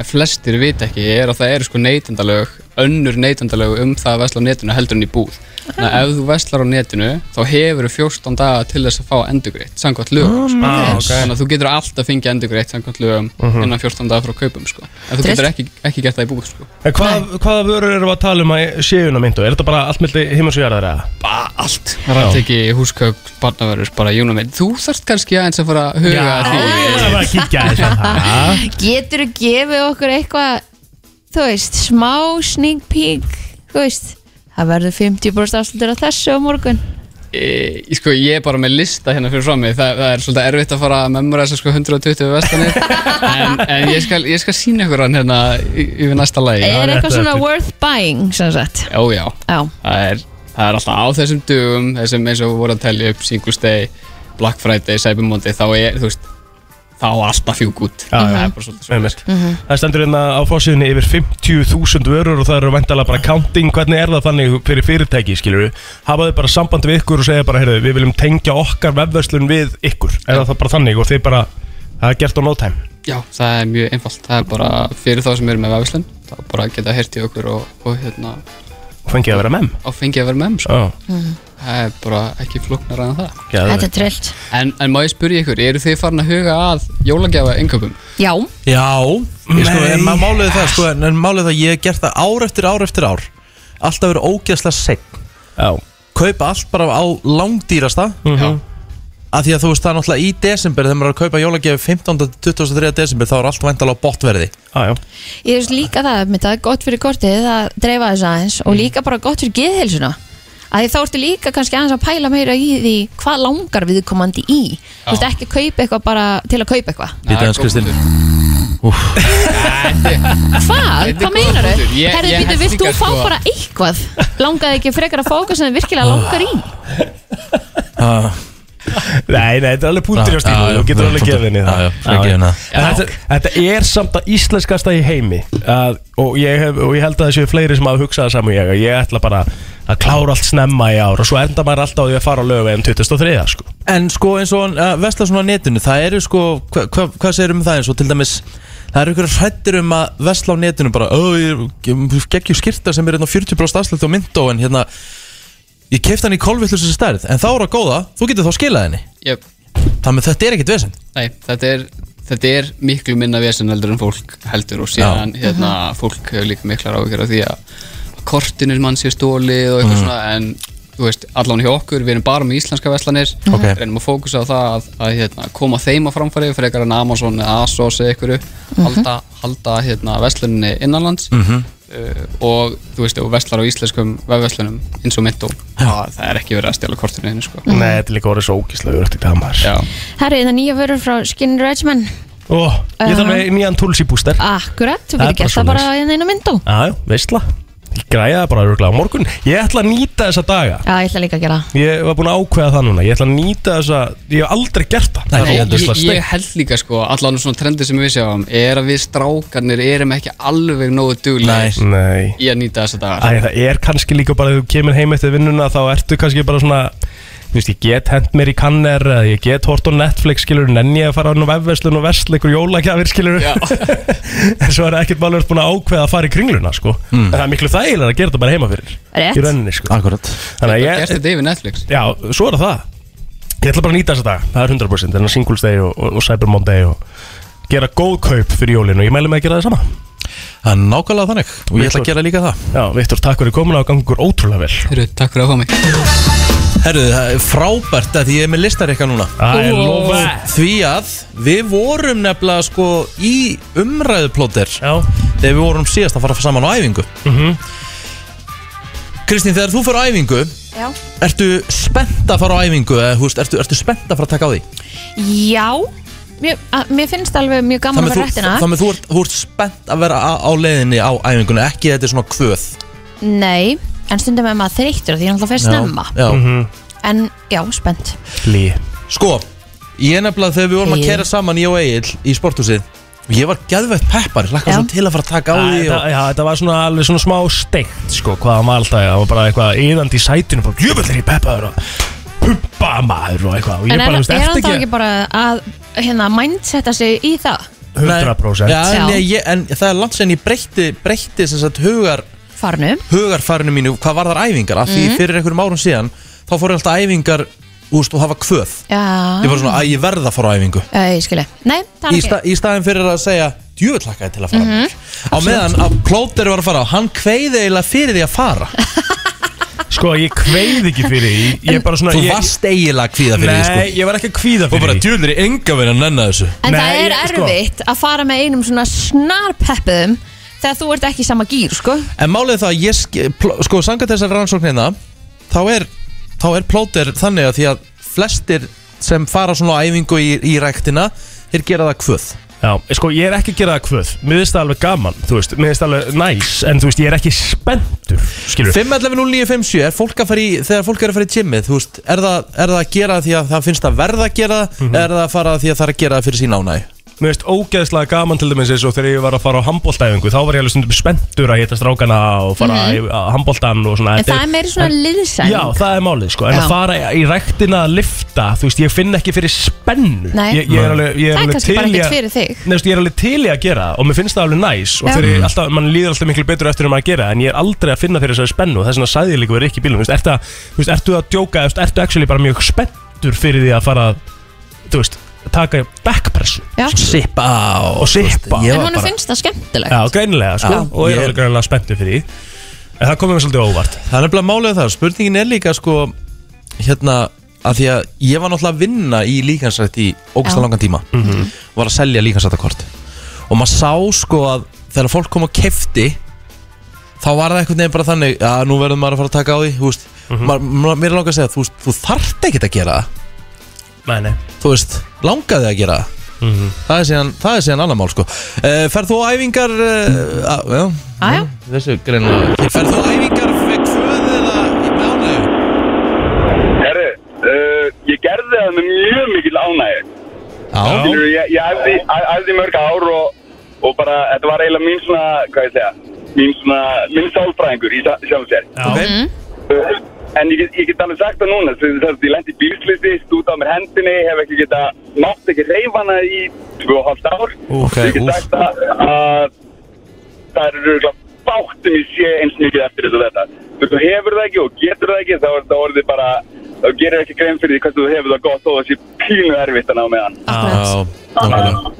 Speaker 5: flestir vita ekki er að það eru sko neytendalög önnur neytendalög um það að vesla á netinu heldur en í búð Þannig að ef þú veslar á netinu þá hefur þú 14 daga til þess að fá endurgreitt samkvæmt lögum sko.
Speaker 3: ah, Mhm.
Speaker 5: þannig að þú getur alltaf fengið endurgreitt samkvæmt lögum innan 14 daga frá kaupum sko. en þú
Speaker 2: Trist.
Speaker 5: getur ekki, ekki gert það í búð sko.
Speaker 3: En hvað, hvaða vörur erum við að tala um að séuna myndu? Er þetta bara allt milli himins og jarðar eða?
Speaker 5: bara allt rætteki, húskökk, barnaverur bara júna með, þú þarft kannski aðeins að fara að huga að því
Speaker 3: Það er bara að kíkja þess að það
Speaker 2: Getur þú gefið okkur eitthvað þú veist, smá sneak peek þú veist, það verður 50% afslutur á þessu á morgun
Speaker 5: e, sko, ég er bara með lista hérna fyrir frá mig Þa, það er svolítið erfitt að fara að memora þessar sko 120
Speaker 2: [laughs]
Speaker 5: vestanir en, en ég skal, ég skal sína ykkur hann hérna y- yfir næsta lagi
Speaker 2: Er
Speaker 3: rétt,
Speaker 2: eitthvað svona
Speaker 3: rétt.
Speaker 2: worth buying sem sagt
Speaker 5: já, já,
Speaker 2: Já,
Speaker 5: það er, það er alltaf á þessum dugum þessum eins og við vorum að telja upp Singles Day, Black Friday, Cyber Monday þá er, þú veist, þá er alltaf fjúk út
Speaker 3: Já, já.
Speaker 5: það er bara svolítið svona
Speaker 3: Einmitt. Það stendur hérna á fórsíðinni yfir 50.000 vörur og það eru væntalega bara counting Hvernig er það þannig fyrir fyrirtæki, skilur við? Hafaðu bara samband við ykkur og segja bara, heyrðu, við viljum tengja okkar vefverslun við ykkur Er það bara þannig og þið bara, það er gert á no time
Speaker 5: já, það er mjög einfalt, það er bara fyrir þá sem eru með vefslun þá bara geta hertið okkur og, og hérna,
Speaker 3: og fengið að vera mem
Speaker 5: á fengið að vera með þeim, sko.
Speaker 3: Já,
Speaker 5: það er bara ekki flóknar en það
Speaker 2: þetta er trillt
Speaker 5: En, en má ég spyrja ykkur, eru þið farin að huga að jólagjafa yngöpum?
Speaker 2: Já,
Speaker 1: Já, ég sko,
Speaker 3: Nei.
Speaker 1: en maður málið það sko, en, en málið það, ég hef gert það ár eftir ár eftir ár Alltaf verið ógeðslega segn
Speaker 3: já Mhm.
Speaker 1: kaupa allt bara á langdýrasta
Speaker 5: Já.
Speaker 1: af því að þú veist það er náttúrulega í desember þegar maður er að kaupa jólagjöf 15. til 23. desember þá er allt væntalega á botverði
Speaker 3: Já, já
Speaker 2: Ég veist líka það, mitt, það er gott fyrir kortið að dreifa þess aðeins og líka bara gott fyrir geðhelsuna að því þá ertu líka kannski aðeins að pæla meira í því hvað langar viðkomandi í þú veist ekki að kaupa eitthvað bara til að kaupa eitthvað
Speaker 1: Bíddu aðeins, Kristín.
Speaker 2: Hvað?
Speaker 5: Þetta er
Speaker 2: Hvað
Speaker 5: góður
Speaker 2: meinar þau?
Speaker 5: punktur. Ég-
Speaker 2: Herðu
Speaker 5: ég
Speaker 2: býtu,
Speaker 5: held
Speaker 2: vilt þú
Speaker 5: líka,
Speaker 2: fá
Speaker 5: sko-
Speaker 2: bara eitthvað? Langaði ekki frekar að fá eitthvað sem þið virkilega langar í?
Speaker 3: Nei, nei, þetta er alveg púntur hjá stílu Þú getur alveg gefið henni það
Speaker 1: Já, já, frekar
Speaker 3: Já,
Speaker 1: en
Speaker 3: já.
Speaker 1: það.
Speaker 3: En þetta, þetta er samt að íslenskasta í heimi að, og, ég hef, og ég held að það séu fleiri sem hafa hugsað það saman ég að Ég ætla bara að klára allt snemma í ár Og svo enda maður alltaf á því að fara á lögveginn 23 sko.
Speaker 1: En sko eins og hann uh, vesla svona á netinu Það eru sko, hva, hva, hvað segir um það eins og til dæmis Það eru ykkur hrættir um að vesla á netinu bara Ó, ég geggjur skyrta sem er hérna á 40% afslætti á myndó En hérna, ég kefti hann í kolvillusins stærð En þá er það góða, þú getur þá skilað henni
Speaker 5: Jöp.
Speaker 1: Þannig að þetta er ekkit vesend
Speaker 5: Nei, þetta er, þetta er miklu minna vesen heldur en fólk heldur og síðan hérna,
Speaker 3: Mhm.
Speaker 5: fólk hefur líka miklar áhyggjur af því að kortinir mann sé stólið og eitthvað
Speaker 3: Mhm.
Speaker 5: svona en þú veist, allan hjá okkur, við erum bara með íslenska veslanir
Speaker 3: Mhm.
Speaker 1: Ok.
Speaker 5: reynum að fókusa á það að, að hérna, koma þeim á framfæri fyrir eitthvað en Amazon eða Asos eða eitthvað
Speaker 3: Mhm.
Speaker 5: halda, halda hérna, veslaninni innanlands
Speaker 6: Mhm.
Speaker 5: uh, og þú veist, og veslar á íslenskum vefveslunum eins og mitt og það er ekki verið að stjála kortinu einu sko.
Speaker 3: Nei, þetta er líka orðið svo ógislega Þetta er það maður
Speaker 5: Já,
Speaker 2: Herðu, það nýja vörur frá Skin Regimen
Speaker 3: Ó, Ég þarf með nýjan tulsi búster
Speaker 2: Akkurat, þú
Speaker 3: Það er
Speaker 2: getur gert
Speaker 3: bara
Speaker 2: það bara
Speaker 3: svoleiðis.
Speaker 2: hérna inn á myndó
Speaker 3: Já, veistla Ég græða það bara örgulega á morgun Ég ætla að nýta þessa daga
Speaker 2: Já, ég ætla líka að gera það
Speaker 3: Ég var búin að ákveða það núna Ég ætla að nýta þessa Ég hef aldrei gert það
Speaker 1: Nei,
Speaker 3: Það er
Speaker 5: Ég,
Speaker 3: ógeðslega
Speaker 5: ég, ég
Speaker 3: steikt.
Speaker 5: held líka sko, allan svona trendir sem við sjáum er að við strákarnir erum ekki alveg nógu duglegir
Speaker 3: Nei
Speaker 5: í að nýta þessa dagar
Speaker 3: Æ, það er kannski líka bara þegar þú kemur heim eftir vinnuna þá ertu kannski bara svona þú veist, ég get hent mér í kanner eða ég get hort á Netflix, skilur en ég að fara á vefverslun og versla ykkur jólagjafir, skilur
Speaker 5: Já.
Speaker 3: [laughs] en svo er ekkert málur búin að ákveða að fara í kringluna, sko en það er miklu þægilega að gera þetta bara heima fyrir
Speaker 2: Rétt.
Speaker 3: í rauninni, sko
Speaker 1: Akkurat
Speaker 3: Þannig að
Speaker 5: Gerst
Speaker 3: ég,
Speaker 5: þetta yfir Netflix
Speaker 3: já, svo er það ég ætla bara að nýta þessa dag, það er 100% þannig að Singles Day og, og, og Cyber Monday og gera góð kaup fyrir jólinu og ég mæli mig að gera það sama
Speaker 1: Það er nákvæmlega þannig og ég ætla að gera líka það
Speaker 3: Já, Viktor, takk fyrir komuna og gangur ótrúlega vel
Speaker 5: Heru, Takk fyrir að fá mig
Speaker 1: Herðu, það er frábært að því ég er með listarikka núna
Speaker 3: Það er lofa
Speaker 1: Því að við vorum nefnilega sko í umræðuplóter
Speaker 3: Já, Mhm.
Speaker 1: þegar við vorum síðast að fara saman á æfingu Kristín, þegar þú fyrir á æfingu
Speaker 2: Já,
Speaker 1: ertu spennt að fara á æfingu eða, þú veist, ertu, ertu spennt að fara að taka á því
Speaker 2: mér, að, mér finnst alveg mjög gaman að
Speaker 1: þú,
Speaker 2: vera réttina
Speaker 1: þannig þú, ert, þú ert spennt að vera á, á leiðinni á æfingunni ekki þetta er svona kvöð
Speaker 2: Nei, en stundum er maður þreyttur því ég er alltaf fyrir snemma
Speaker 1: já.
Speaker 3: Mhm.
Speaker 2: En já, spennt
Speaker 3: Lí
Speaker 1: Sko, ég nefnilega þegar við vorum að
Speaker 2: Egill.
Speaker 1: kera saman ég og Egil í sporthúsið og ég var gæðvægt peppar, lakka
Speaker 2: Já.
Speaker 1: svona til að fara að taka á því
Speaker 3: Þetta
Speaker 1: og,
Speaker 3: já, þetta var svona alveg svona smá steikt sko, hvað hann var alltaf, það var bara eitthvað yðandi í sætinu, bara jöfnvel er ég peppaður og pumpa maður og eitthvað og ég
Speaker 2: En er,
Speaker 3: bara, þú veist,
Speaker 2: er hann
Speaker 3: eftir
Speaker 2: þá ekki
Speaker 3: ekki
Speaker 2: bara að hérna, mindsetta sig í það
Speaker 1: Nei, já,
Speaker 3: 100%
Speaker 2: Já.
Speaker 1: En, ég, ég- en það er langt sem ég breytti, breytti sem sagt, hugar,
Speaker 2: farnu?
Speaker 1: hugarfærinu mínu hvað var þar æfingar, af því
Speaker 2: Mhm.
Speaker 1: fyrir einhverjum árum síðan þá fór ég alltaf á æfingar úst, og það var kvöð
Speaker 2: Já,
Speaker 1: Ég var
Speaker 2: Ah.
Speaker 1: svona að ég verða að fara á æfingu
Speaker 2: Eh, ég skilja Nei, það
Speaker 1: Í,
Speaker 2: er
Speaker 1: sta,
Speaker 2: ekki Mhm.
Speaker 1: í staðin fyrir að segja djöfull lakka ég til að fara mm
Speaker 3: Eh,
Speaker 1: Á meðan að plóter var að fara á Hann kveiði eiginlega fyrir því að fara
Speaker 3: [laughs] Sko, ég kveið ekki fyrir því, ég er bara svona
Speaker 1: Þú
Speaker 3: ég,
Speaker 1: varst eiginlega kvíða fyrir því
Speaker 3: Nei,
Speaker 1: sko.
Speaker 3: ég var ekki að kvíða
Speaker 1: Og
Speaker 3: fyrir
Speaker 1: bara
Speaker 3: því
Speaker 1: djöfull er ég enga verið að nenna þessu
Speaker 2: En það
Speaker 3: Nei,
Speaker 2: er
Speaker 3: ég- sko.
Speaker 2: erfitt að fara með einum svona snarpeppuðum þegar þú ert ekki í sama gýr, sko
Speaker 1: En málið er það að ég sk- pló- Sko, sangað þessar rannsóknina hérna, Þá er, þá er plóter þannig að því að Flestir sem fara svona á æfingu í, í ræktina Þeir gera það kvöð
Speaker 3: Já, sko, ég er ekki að gera það kvöð, mér finnst það alveg gaman, þú veist, mér finnst það alveg næs, en þú veist, ég er ekki spenntur, skilur
Speaker 1: 5.11.09.57 er fólk að fara í Þegar fólk er að fara í gymmið, þú veist Er það, er það að gera það því að það finnst að verða að gera það
Speaker 3: Mhm.
Speaker 1: Er það að fara því að það er að gera það fyrir sín ánæg
Speaker 3: Mér finnst ógeðslega gaman til dæmis eins og þegar ég var að fara á handbóltæfingu þá var ég alveg stundum spenntur að hitta strákana og fara mm -hmm. á handbóltan og svona
Speaker 2: Mhm. En það er meiri svona liðsæng
Speaker 3: Já, það er málið sko En
Speaker 2: Já.
Speaker 3: að fara í ræktina að lifta Þú veist, ég finn ekki fyrir spennu
Speaker 2: Nei.
Speaker 3: ég, ég er alveg, ég er
Speaker 2: Það er
Speaker 3: alveg
Speaker 2: kannski bara
Speaker 3: til í
Speaker 2: ekkert
Speaker 3: að-
Speaker 2: fyrir þig.
Speaker 3: [laughs] Nei, þú veist, ég er alveg til í að gera það Og mér finnst það alveg næs Og
Speaker 2: Já. Mm.
Speaker 3: þegar ég alltaf, mann líður alltaf miklu betur eftir um að gera það, En ég er aldrei að finna fyrir þessari spennu og Þess vegna sagði ég líka verið ekki í bílum Þú veist, ertu, að- þú veist, ertu að djóka Þú veist, ertu actually bara mjög spenntur fyrir því að fara að, Þú veist, taka backpressu
Speaker 2: Já.
Speaker 1: Sippa á
Speaker 3: Og sippa
Speaker 1: Ég
Speaker 2: En
Speaker 1: var
Speaker 2: honum
Speaker 1: bara-
Speaker 2: finnst það skemmtilegt
Speaker 3: Já, greinilega, sko
Speaker 1: Já.
Speaker 3: Og
Speaker 1: Ég-
Speaker 3: er alveg greinilega spenntur fyrir því En það komið mér svolítið á óvart
Speaker 1: Það er nefnilega málið það, spurningin er líka sko hérna að því að ég var náttúrulega að vinna í líkansrætt í
Speaker 2: Já.
Speaker 1: ógæsla langan tíma
Speaker 3: Mhm.
Speaker 1: og var að selja líkansrættakort og maður sá sko að þegar fólk kom og kefti þá var það einhvern veginn bara þannig að nú verður maður að fara að taka á því þú veist,
Speaker 3: Mhm.
Speaker 1: maður, maður, mér er langar að segja þú, veist, þú þarft ekkert að gera það
Speaker 3: Nei, nei
Speaker 1: þú veist, langaði að gera það
Speaker 3: Mhm.
Speaker 1: það, er síðan, það er síðan annar mál sko uh, Ferð þú á æfingar uh, að, já,
Speaker 2: Aja,
Speaker 1: þessu greinu Ferð þú á æfingar fyrir kvöð eða í mánuðu?
Speaker 7: Herru, uh, ég gerði það með mjög mikil ánægir.
Speaker 1: Já,
Speaker 7: Skilur, ég, ég æfði, æ- æfði í mörg ár og, og bara, þetta var eiginlega mín svona, hvað ég segja, mín svona, mín sálfræðingur í sjá- sjálfum sér.
Speaker 3: Já, okay.
Speaker 7: Uh, en ég, get- ég get alveg sagt það núna, sem þess að ég lendi í bílslisti, stúta á mér hendinni, hef ekki geta, mátt ekki reyfana í tvö og halvt ár.
Speaker 1: ok,
Speaker 7: ég get
Speaker 1: úf
Speaker 7: sagt það að það eru röglega báttum ég sé eins mikið eftir þessu þetta. Þú veist, þú hefur það ekki og getur það ekki, þá er þetta orðið bara, þá gerir ekki grein fyrir því hversu þú hefur það gott þó það sé pínu erfitt að ná með hann.
Speaker 2: akkurat
Speaker 1: Já, nákvæmlega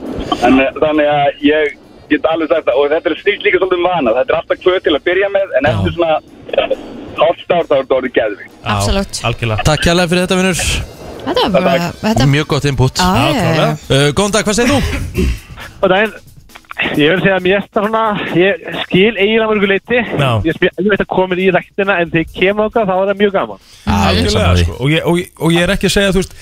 Speaker 7: En, eh, þannig að ég get alveg sagt það og þetta er stílt líka svolítið um vana þetta er alltaf kvöð til að byrja með en eftir svona hálft ár þá er þetta orðið geðvikt
Speaker 3: Já,
Speaker 2: Absolutt.
Speaker 3: Algjörlega
Speaker 1: Takk hérlega fyrir þetta vinnur
Speaker 2: Þetta var bara, þetta
Speaker 1: Mjög gott input
Speaker 2: Já, já, já, já.
Speaker 3: klálega.
Speaker 1: uh, Góðan dag, hvað segir þú?
Speaker 8: Og daginn, ég vil segja að mér þetta svona, ég skil eiginlega mörgu leiti.
Speaker 3: Já.
Speaker 8: Ég spil alveg þetta komin í rektina en þegar ég kem okkar þá er það mjög gaman.
Speaker 3: Algjörlega, sko og ég, og, ég- og ég er ekki að segja, þú veist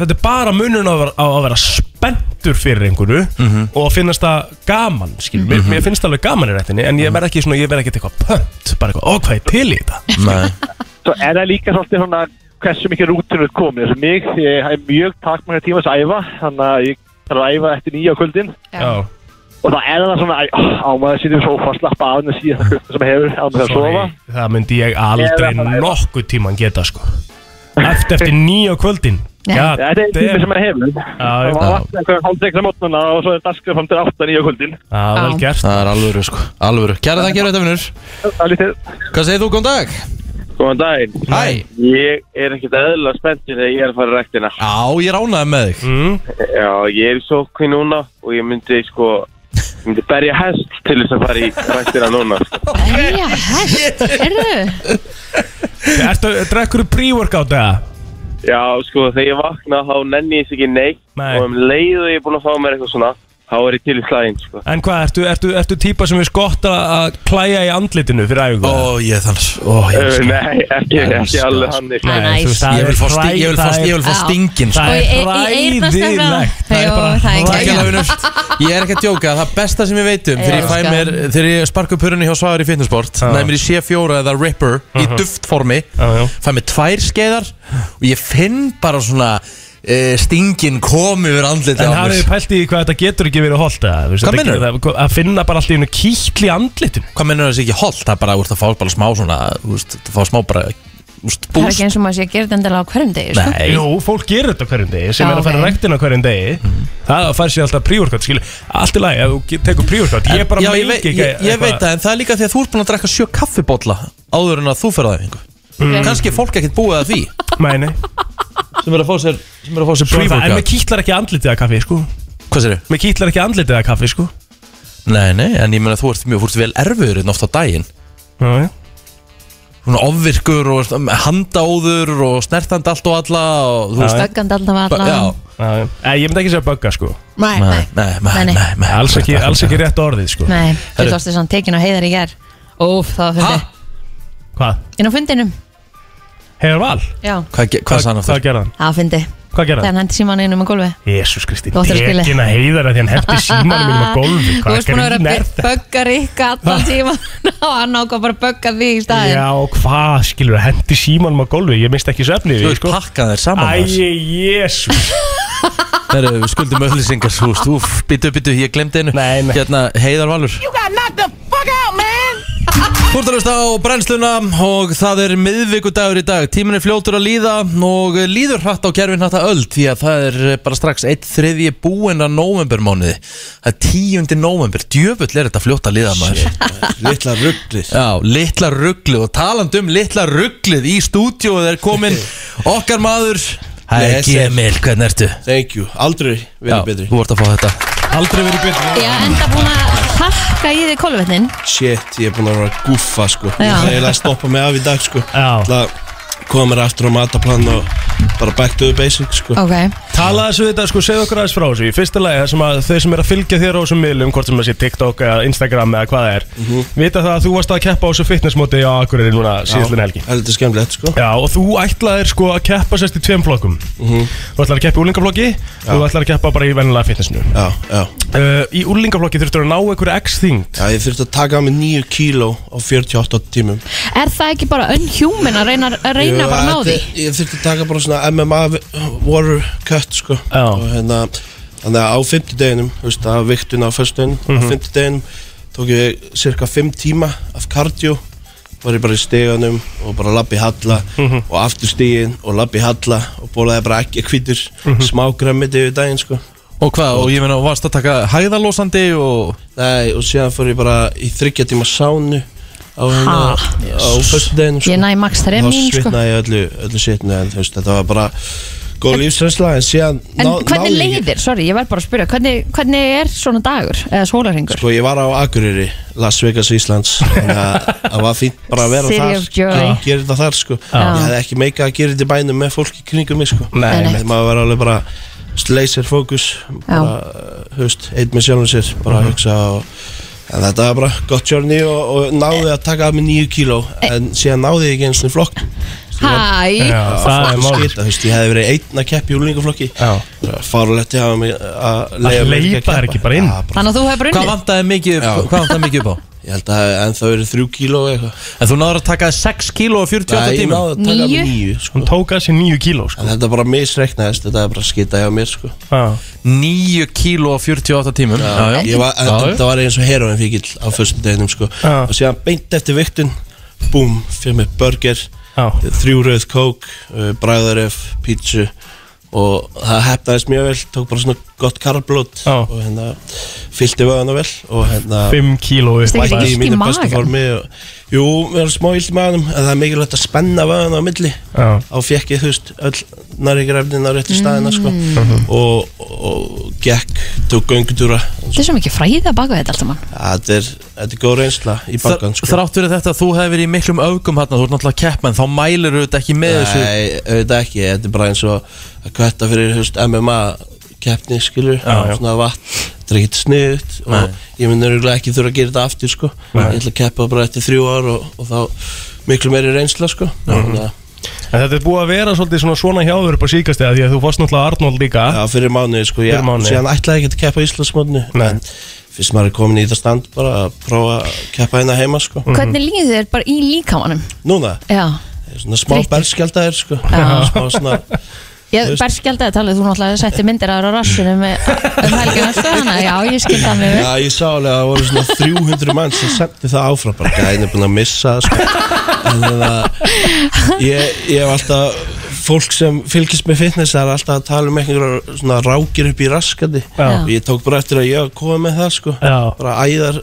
Speaker 3: Þetta er bara munurinn á, að vera- á að vera spenntur fyrir einhverju og að finnast það gaman, skil mér,
Speaker 8: Mhm.
Speaker 3: mér finnst það alveg gaman í rættinni en ég verð ekki svona, ég verð ekki eitthvað pönt bara eitthvað, ó hvað er til í þetta
Speaker 1: Nei,
Speaker 8: Svo er það líka svolítið svona hversu mikið rútinu er komin. Þessu mig, ég hef mjög takmarga tíma að æfa, þannig að ég þarf að æfa eftir nýja á kvöldin.
Speaker 2: já.
Speaker 8: Og það er það svona, æ, á maður að sitja í sófa, slappa af þessi síðan kvöldu sem hefur, á maður að sofa.
Speaker 3: Sorry, það myndi ég aldrei nokkuð tíman geta sko Eftir eftir nýja á kvöldin
Speaker 2: Nei.
Speaker 3: God
Speaker 8: Ja, þetta er tími
Speaker 3: damn.
Speaker 8: sem maður hefur.
Speaker 3: Já,
Speaker 8: Það
Speaker 3: já.
Speaker 8: var vatna eitthvað hálf tekna mótnana og svo er dasgrið fram til 8 nýja á kvöldin.
Speaker 3: Já, vel
Speaker 2: Já.
Speaker 3: gert
Speaker 1: það er alvöru sko, alvöru Kæra þakk fyrir þetta vinnur
Speaker 8: Það er lítið.
Speaker 1: Hvað segir þú, góðan dag?
Speaker 8: Góðan daginn.
Speaker 1: Hæ
Speaker 8: Ég er ekkert eðla spenntur þegar ég er að fara í ræktina.
Speaker 1: Já, ég ránaði með þig
Speaker 3: mm,
Speaker 8: Já, ég er í sókví núna og ég myndi sko, ég myndi berja hest til þess að fara í ræktina núna. sko.
Speaker 2: Berja hest, erðu
Speaker 3: Ertu, drekkur þú pre-workout eða?
Speaker 8: Já, sko, þegar ég vakna þá nenni ég þess ekki neitt
Speaker 3: Nei.
Speaker 8: og um leið og ég er búin að fá mér eitthvað svona, þá er ég til í slæðin, sko.
Speaker 3: En hvað, ertu, ertu, ertu típa sem er skott að- að klæja í andlitinu fyrir æfingu?
Speaker 1: Ó, ég þannig, ó, ég
Speaker 8: Uh,
Speaker 1: elska
Speaker 8: nei, ekki, ekki
Speaker 1: Elskar.
Speaker 8: alveg hannig.
Speaker 2: Nei. Nice.
Speaker 3: það
Speaker 1: Ég
Speaker 3: er
Speaker 1: vil fá sting-
Speaker 3: hræ-
Speaker 1: ég vil fá-
Speaker 3: það er-
Speaker 1: ég vil fá
Speaker 2: Já.
Speaker 1: stingin sko.
Speaker 3: Það
Speaker 2: Og í- í-
Speaker 3: er
Speaker 2: í eyrnasnefna.
Speaker 3: hræðilegt Það er
Speaker 2: Jú, það
Speaker 3: bara
Speaker 2: er
Speaker 1: Takk
Speaker 2: geggjað.
Speaker 3: hræðilegt
Speaker 1: hérna vinnur Ég er ekki að djóka, það besta sem ég veit um Þegar ég fæ
Speaker 2: Elskan.
Speaker 1: mér, þegar ég sparka upp hörunni hjá Svagar í fitnessport
Speaker 3: Já. Mhm.
Speaker 1: Næmir í C4 eða Ripper í duftformi
Speaker 3: Já, já.
Speaker 1: Fæ mér tvær skeiðar Og ég finn bara svona e, Stingin komi yfir andliti
Speaker 3: En
Speaker 1: á
Speaker 3: hafið
Speaker 1: mér
Speaker 3: þið pælt í hvað þetta getur ekki verið holdt eða?
Speaker 1: Hvað meinarðu?
Speaker 3: Að finna bara alltaf einu kýtli í andlitinu
Speaker 1: Hvað mennur það sé ekki holt? Það er bara, þú ert að fá bara smá svona Þú veist, þú fá smá bara úst,
Speaker 2: Það er
Speaker 1: Búst
Speaker 2: ekki eins og maður sé að gera þetta endilega á hverjum degi sko.
Speaker 1: Nei,
Speaker 3: Jú, fólk gerir þetta á hverjum degi sem
Speaker 2: Já,
Speaker 3: er að fara
Speaker 2: ok.
Speaker 3: okay. rektina hverjum degi
Speaker 1: Mhm.
Speaker 3: það fær sér alltaf prívorkátt skilu allt í lagi að þú ge- tekur prívorkátt ég bara
Speaker 1: Já, ég,
Speaker 3: meik
Speaker 1: veit-
Speaker 3: ekki
Speaker 1: ég, ég veit það, en það er líka því að þú ert búin að drekka sjö kaffibólla áður en að þú ferða æfingu mm. Kanski er fólk ekkert búið að því
Speaker 3: mæni
Speaker 1: sem er að fá sér, sem er að fá sér
Speaker 3: en mér
Speaker 1: pre-workout
Speaker 3: kýtlar ekki andlitið að kaffi sko
Speaker 1: Hvað sér
Speaker 3: mér kýtlar ekki andlitið að kaffi sko
Speaker 1: Nei, nei, en ég meina þú ert mjög, þú ert vel erfiður en oft á daginn
Speaker 3: já, já.
Speaker 1: Svona ofvirkur og st- handaóður og snertandi allt og alla og þú veist
Speaker 2: Böggandi alltaf
Speaker 1: ba-
Speaker 2: allan
Speaker 1: Já,
Speaker 3: Já, já. Eh, ég myndi ekki segja bögga sko
Speaker 2: Nei,
Speaker 1: nei, nei, nei, nei, nei
Speaker 3: alls ekki, alls ekki rétt orðið sko
Speaker 2: Nei, þú tókstu svona tekin á heiðar í ger Óf, það var
Speaker 1: Ha?
Speaker 2: fundið
Speaker 3: hvað
Speaker 2: Inn á fundinum,
Speaker 3: hefur val
Speaker 2: já,
Speaker 1: Hvað, ge- hvað sagði hann
Speaker 3: hvað
Speaker 1: aftur?
Speaker 3: gerði hann
Speaker 2: það var fundið
Speaker 3: hvað gerði
Speaker 2: Þegar
Speaker 3: hann
Speaker 2: hann hendi síman inn um að gólfi
Speaker 3: Jésús Kristi,
Speaker 2: Þú áttir að skilja.
Speaker 3: tekin að heiðar að því hann hefði símanum mínum á gólfi
Speaker 2: Þú veist búin að
Speaker 3: grín
Speaker 2: vera
Speaker 3: er
Speaker 2: að
Speaker 3: þetta?
Speaker 2: bögga Rikka
Speaker 3: [laughs]
Speaker 2: allan tíma [laughs] og hann ákvað bara að bögga því í staðin
Speaker 3: Já, hvað skilur að hendi símanum á gólfi Ég misti ekki söfni
Speaker 1: Þú veist, pakkaði þér saman maður.
Speaker 3: Æi, jésus
Speaker 1: Heyrðu, Við skuldum öllisingar, þú veist, úf, býtu, býtu, ég glemdi einu
Speaker 3: Nei, nei.
Speaker 1: Hérna, Heiðar Valur Þú ert að hlusta á brennsluna og það er miðvikudagur í dag Tíminn er fljótur að líða og líður hratt á kerfin hratt að öll því að það er bara strax eitt þriðji búinn að novembermánuði Það er tíundi november, djöfull er þetta fljótt að líða maður
Speaker 9: Littla rugglis
Speaker 1: Já, litla
Speaker 9: [laughs]
Speaker 1: rugglið og talandi um litla rugglið í stúdíóið er kominn okkar maður Hæ,
Speaker 9: Nei, sir.
Speaker 1: Gemil, hvernig ertu?
Speaker 9: Thank you, aldrei verið betri
Speaker 1: þú vart að fá þetta
Speaker 3: Aldrei verið betri
Speaker 2: Já, enda búin að hakka í því kolvetnin
Speaker 9: Shit, ég er búin að vera að guffa sko
Speaker 2: Já.
Speaker 9: Það er eiginlega að stoppa mig af í dag sko
Speaker 3: Já.
Speaker 9: Það koma mér aftur á mataplan og bara back to the basics
Speaker 10: [laughs]
Speaker 9: sko
Speaker 2: Ok,
Speaker 3: Tala þessu við þetta, sko, segðu okkur aðeins frá þessu Í fyrsta lagi, það sem að þau sem er að fylgja þér á þessum miðlum Hvort sem það sé TikTok eða Instagram eða hvað það er
Speaker 9: Mhm.
Speaker 3: Vita það að þú varst að keppa á þessu fitnessmóti á Akureyri núna síðallin helgi
Speaker 9: Það er þetta skemmtilegt sko
Speaker 3: Já, og þú ætlaðir sko að keppa sérst í tveim flokkum
Speaker 9: Mhm.
Speaker 3: Þú ætlar að keppa í úlingaflokki og þú ætlar að keppa bara í vennilega fitnessinu
Speaker 9: Já, já
Speaker 3: uh, Í úlingaflokki þurftur að ná einhverju x-þyngd
Speaker 9: Já, ég þurfti að taka á mig 9 kíló á 48 tímum
Speaker 2: er það ekki bara unhuman að reyna, að reyna bara að ná því?
Speaker 9: Ég, ég þurfti að taka bara svona MMA water cut sko
Speaker 3: Já.
Speaker 9: og hérna þannig að á 50 deginum þú veist að viktun á fyrstu deginum á
Speaker 1: Mhm.
Speaker 9: 50 deginum tók ég cirka 5 tíma af kardio var ég bara í steganum og bara labbi halla
Speaker 1: Mhm.
Speaker 9: og aftur stegin og labbi halla og bólaði bara ekki hvítur mm -hmm. smágrammiti yfir daginn sko
Speaker 1: Mhm. Og hvað, og ég meina, varst að taka hæðalósandi og
Speaker 9: Nei, og síðan fór ég bara í 30 tíma sánu á, hérna, á fyrstu deginum sko
Speaker 2: Ég næ max 3
Speaker 9: þá
Speaker 2: mín sko
Speaker 9: svitnaði ég öllu, öllu sitnu en þú veist, þetta var bara góð lífsrensla en síðan
Speaker 2: En
Speaker 9: ná-
Speaker 2: hvernig
Speaker 9: náði ég ekki-
Speaker 2: leiðir, sorry, ég verð bara að spyrja Hvernig, hvernig er svona dagur eða sólarhengur?
Speaker 9: Sko ég var á Akureyri, Las Vegas Íslands þannig
Speaker 2: [laughs]
Speaker 9: að það var fínt bara að vera
Speaker 2: City
Speaker 9: þar
Speaker 2: of joy.
Speaker 9: gera- gera þetta þar sko ég hefði ekki meika að gera þetta í bænum með fólk í kringum mig sko
Speaker 2: Nei, nei.
Speaker 9: Þegar maður var alveg bara laser fókus bara, höfst, einn með sjálfum sér
Speaker 2: Mhm.
Speaker 9: bara að hugsa og En þetta var bara gott journey og, og náði að taka af mig nýju kíló
Speaker 2: E-
Speaker 9: en síðan náði ég ekki eins og flokk
Speaker 2: Hæ,
Speaker 3: Já, það er mál
Speaker 9: skita, þú veist, ég hefði verið einn að keppi í úlingaflokki
Speaker 3: Já.
Speaker 9: farulegt ég hafa mig að
Speaker 3: Að
Speaker 9: leyfa mér
Speaker 3: leipa
Speaker 9: ekki keppa.
Speaker 3: þær ekki bara inn?
Speaker 9: Já, bara,
Speaker 2: þannig að þú hefur
Speaker 1: Hvað
Speaker 2: unnið
Speaker 1: vantaði mikið, hvað vantaði mikið upp á?
Speaker 9: ég held að en það verið þrjú kíló eða eitthvað
Speaker 1: En þú náður að taka 6 kíló og 48
Speaker 9: ég
Speaker 1: tíma
Speaker 9: náði að taka
Speaker 2: Níu?
Speaker 9: mig nýju sko.
Speaker 3: Hún tók að sér nýju kíló sko.
Speaker 9: en þetta bara misreiknaðist þetta er bara skita hjá mér sko.
Speaker 3: Já.
Speaker 1: 9 kíló og 48 tímum Já, já
Speaker 9: ég var, en, þetta var eins og heroin fíkil á fyrstum deginum sko.
Speaker 3: Já.
Speaker 9: og síðan beint eftir viktun búm, fyrir mig burger
Speaker 3: Já.
Speaker 9: þrjú rauð kók, uh, bræðaref pítsu og það hefnaðist mjög vel, tók bara svona gott karblót
Speaker 3: Já.
Speaker 9: og hérna fyllti vöðana vel og hérna
Speaker 3: Fimm kíló upp
Speaker 2: Stig-
Speaker 9: bætti
Speaker 2: Illt
Speaker 9: í
Speaker 2: í
Speaker 9: mínu bestu
Speaker 2: magann?
Speaker 9: formi og, Jú, við erum smá illt í maganum en það er mikilvægt að spenna vagan á milli
Speaker 3: Já.
Speaker 9: á fekk ég, þú veist, öll næringarefnin á réttu staðina, sko
Speaker 2: Mm.
Speaker 3: Mhm.
Speaker 9: og, og gekk, tók göngutúra
Speaker 2: Þetta er svo mikið fræða baka þetta allt saman
Speaker 9: þetta er, þetta er góð reynsla í
Speaker 1: Þr-
Speaker 9: bakkan, sko
Speaker 1: Þrátt fyrir þetta að þú hefði verið í miklum öfgum hérna, þú ert náttúrulega að keppa en þá mælir þú þetta ekki með þessu
Speaker 9: Nei, auðvitað ekki, þetta er bara eins og að kvætta fyrir, þú veist, MMA keppni, skilur,
Speaker 3: já.
Speaker 9: svona vatn þetta er ekkert sniðut og ég mun örgulega ekki þurfa að gera þetta aftur, sko ég ætla að keppa bara eftir þrjú ár og, og þá miklu meiri reynsla, sko þannig að
Speaker 3: Mhm. En þetta er búið að vera svolítið svona svona hjáður upp á síkast eða því að þú fórst náttúrulega Arnold líka
Speaker 9: Já, fyrir mánuði sko, ég
Speaker 3: Fyrir mánuði.
Speaker 9: síðan ætlaði ekki að keppa í Íslandsmótinu
Speaker 3: Nei.
Speaker 9: en fyrst maður er komin í þetta stand bara að prófa að keppa hérna heima sko
Speaker 2: Mhm.
Speaker 3: Mhm.
Speaker 2: Hvernig líður þér bara í líkamanum?
Speaker 9: Núna,
Speaker 2: Já,
Speaker 9: ég er svona smá
Speaker 2: Þreyttur.
Speaker 9: berskjaldæðir sko
Speaker 2: Já.
Speaker 9: smá svona,
Speaker 2: ég bara skjald að tala Þú náttúrulega setti myndir aðra á rassinu með um helgina sko hana Já, ég skil það mjög
Speaker 9: já
Speaker 2: vel.
Speaker 9: ég sá alveg að það voru svona 300 mann sem sendi það áfram bara gæðin er búin að missa það, sko en það ég, ég hef alltaf fólk sem fylgist með fitness það er alltaf að tala um einhverjar svona rákir upp í raskandi
Speaker 2: Já.
Speaker 9: og ég tók bara eftir að ég var að koma með það sko
Speaker 3: Já.
Speaker 9: bara æðar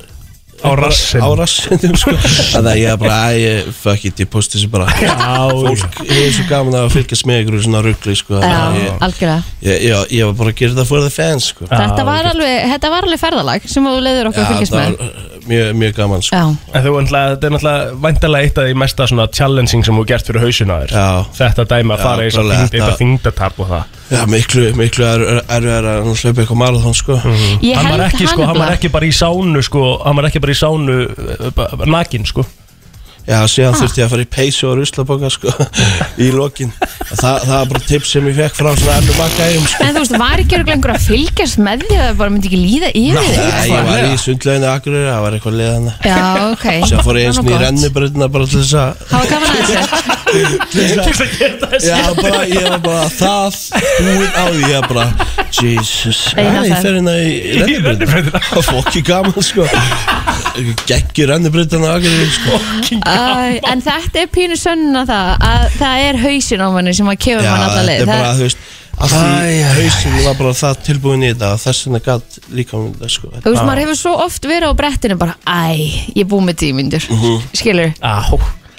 Speaker 3: á rassin
Speaker 9: á rassinum
Speaker 3: [laughs]
Speaker 9: sko. þannig að ég er bara, æ, ég- fuck it, ég posti þessu bara
Speaker 3: fólk
Speaker 9: fólk er svo gaman að fylgjast með ykkur í svona ruggli sko. þannig
Speaker 2: Já,
Speaker 9: að ég,
Speaker 2: algjörlega
Speaker 9: ég, ég, ég var bara að gera þetta for the fans sko.
Speaker 2: Þetta var alveg, þetta var alveg ferðalag sem þú leiður okkur að
Speaker 9: það
Speaker 2: fylgjast
Speaker 9: var
Speaker 2: með
Speaker 9: uh, mjög, mjög gaman sko.
Speaker 2: Já,
Speaker 3: En þú, náttúrulega- þetta er náttúrulega væntalega eitt af því mesta svona challenging sem þú gert fyrir hausina þér
Speaker 9: Já.
Speaker 3: Þetta dæmi að
Speaker 9: Já,
Speaker 3: fara í þess að
Speaker 9: klálega,
Speaker 3: þyngd, þetta
Speaker 9: þetta-
Speaker 3: þyngdatab og það
Speaker 9: Já, miklu, miklu er, er, er að hlaupa eitthvað marathon sko.
Speaker 2: ég
Speaker 3: Hann
Speaker 2: held
Speaker 3: var ekki,
Speaker 2: hann
Speaker 3: sko, hann var
Speaker 2: nefnilega-
Speaker 3: ekki bara í sánu, sko, hann var ekki bara í sánu uh, bara- nakin, sko
Speaker 9: Já,
Speaker 2: Ah.
Speaker 9: síðan þurfti ég að fara í peysu og ruslaboka sko, [laughs] í lokin það, það var bara tips sem ég fekk frá svona ennum akkæðum sko.
Speaker 2: En þú veist, var ekki örugglega einhver að fylgjast með því að það bara myndi ekki líða yfir
Speaker 9: Æ,
Speaker 2: þig?
Speaker 9: Ég var í sundleginu akkurir, það var eitthvað leiðana
Speaker 2: Já, ok
Speaker 9: [laughs] Sér fór
Speaker 2: Það
Speaker 9: ég eins
Speaker 2: var
Speaker 9: og í
Speaker 2: gott.
Speaker 9: rennibröðina bara til þess að
Speaker 2: Það var gaman að þessu
Speaker 9: Já, bara, ég var bara það búinn á því, ég var bara Jesus,
Speaker 2: Nei,
Speaker 9: já, ég
Speaker 2: það-
Speaker 9: fer hérna í rennibreytina Það er fokki gaman, sko Gekki rennibreytina aðgjörði, sko
Speaker 2: Æ, En þetta er pínu sönnuna það að það er hausin á manni sem að kefur
Speaker 9: Já,
Speaker 2: mann alla
Speaker 9: þetta
Speaker 2: leið
Speaker 9: er
Speaker 2: Það-
Speaker 9: bara, þú veist Allt í hausinu var bara það tilbúin í þetta og Þess vegna gætt líka um þetta, sko
Speaker 2: Þú veist, maður hefur svo oft verið á brettinu bara, æ, ég er búið með tímindur,
Speaker 9: Mhm.
Speaker 2: skilur,
Speaker 3: Á,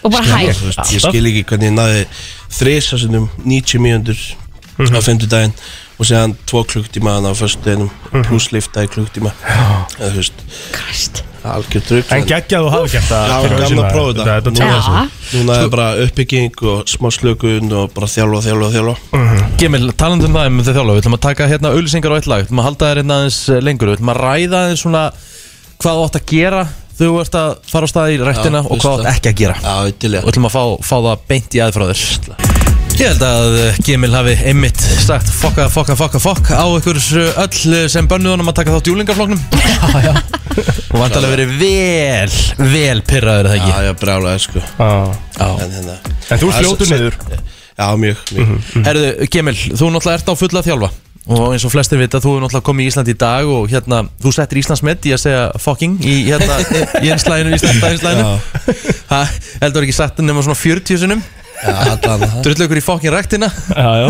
Speaker 2: og bara hæ.
Speaker 9: Þú veist, Ég skil ekki hvernig ég náði þrisasunum 90 mínútur á fimmtudaginn og séðan tvo klukktímaðan á föstudeginum pluss lifta í klukktíma eða þú veist,
Speaker 2: Krist
Speaker 9: algjör drugg
Speaker 3: En geggjað þú hafa gert það
Speaker 9: Já,
Speaker 3: fyrir
Speaker 9: gaman
Speaker 3: sinna-
Speaker 9: að prófa þetta.
Speaker 3: Þetta
Speaker 2: Já,
Speaker 3: tjáði þessu
Speaker 9: Núna er bara uppbygging og smá slökun og bara þjálfa, þjálfa, þjálfa
Speaker 1: Gemil, talandi um það um þið þjálfa, við ætlum að taka hérna auðlýsingar á eitt lag, við ætlum að halda þér hérna aðeins eh, lengur, við ætlum að ræða aðeins svona hvað þú átt að gera þegar þú ert að fara á stað í rættina
Speaker 9: Já,
Speaker 1: og hvað þú átt
Speaker 9: veist
Speaker 1: ekki að gera
Speaker 9: Já, ég til ég
Speaker 1: og ætlum að fá, fá það beint í aðfráður Ég held að eh, Gemil hafi einmitt sagt fokka, fokka, fokka, fokk á ykkur eh, öll eh, sem bönnuð honum að taka
Speaker 9: [laughs]
Speaker 1: þátt í júlingafloknum og vantarlega verið vel, vel pyrraður það
Speaker 9: Já,
Speaker 1: ekki
Speaker 9: ég er brjálaði sko
Speaker 3: Já.
Speaker 9: En hérna
Speaker 3: En þú
Speaker 9: Já,
Speaker 3: fljótu
Speaker 9: s- s-
Speaker 3: niður Mhm,
Speaker 9: Já, mjög, mjög
Speaker 1: Herðu, Gemil, þú náttúrulega ert á fulla þjálfa og eins og flestir vita, þú er náttúrulega komið í Ísland í dag og hérna, þú settir Íslands með í að segja fucking í
Speaker 9: [laughs]
Speaker 1: hérna í einslæðinu, í stæðinslæðinu
Speaker 9: Já.
Speaker 1: heldur ekki sagt nema svona 40 sinum
Speaker 9: Já, allan
Speaker 1: drullu ykkur í fucking ræktina
Speaker 3: Já, já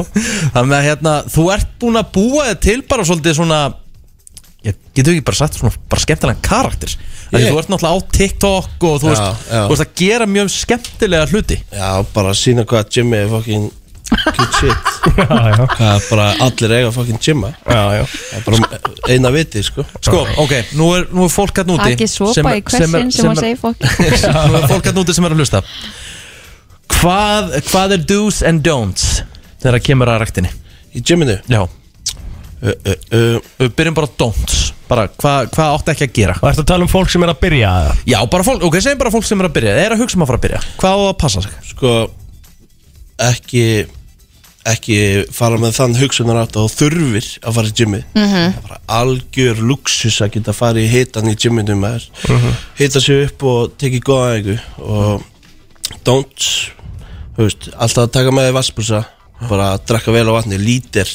Speaker 1: þannig að hérna, þú ert búin að búa þig til bara svolítið svona ég getur ekki bara sagt svona bara skemmtilegan karakter yeah.
Speaker 9: Ég-
Speaker 1: þú ert náttúrulega á TikTok og þú
Speaker 9: Já,
Speaker 1: veist,
Speaker 9: já.
Speaker 1: þú veist að gera mjög skemmtilega hluti
Speaker 9: Já, bara sína hvað Jimmy er fucking good
Speaker 1: [laughs]
Speaker 9: shit
Speaker 3: Já, já
Speaker 9: Hvað bara allir eiga fucking Jimma
Speaker 3: Já, já
Speaker 9: Það er bara eina viti, sko
Speaker 1: Sko, ok, nú er, nú er fólk hann úti [laughs]
Speaker 2: Ekki sopa í hversin sem að segja fólk
Speaker 1: Nú er fólk hann úti sem er að hlusta Hvað, hvað er do's and don'ts þegar það kemur að ræktinni?
Speaker 9: Í Jimminu
Speaker 1: Já,
Speaker 9: uh, uh, uh,
Speaker 1: við byrjum bara á don'ts Bara, hvað, hvað átti ekki að gera?
Speaker 3: Og ertu að tala um fólk sem er að byrja eða?
Speaker 1: Já, bara fólk, ok, segjum bara fólk sem er að byrja Er að hugsa um að fara að byrja Hvað á að passa sig?
Speaker 9: Sko Ekki Ekki fara með þann hugsunar átt og þurfir að fara í Jimmy Það er bara algjör luxus að geta fara í hitan í Jimminu maður
Speaker 1: Mhm.
Speaker 9: Hita sig upp og tekið góða einhver Og don't þú veist, Alltaf að taka með því vassbúsa Bara að drekka vel á vatni Lítir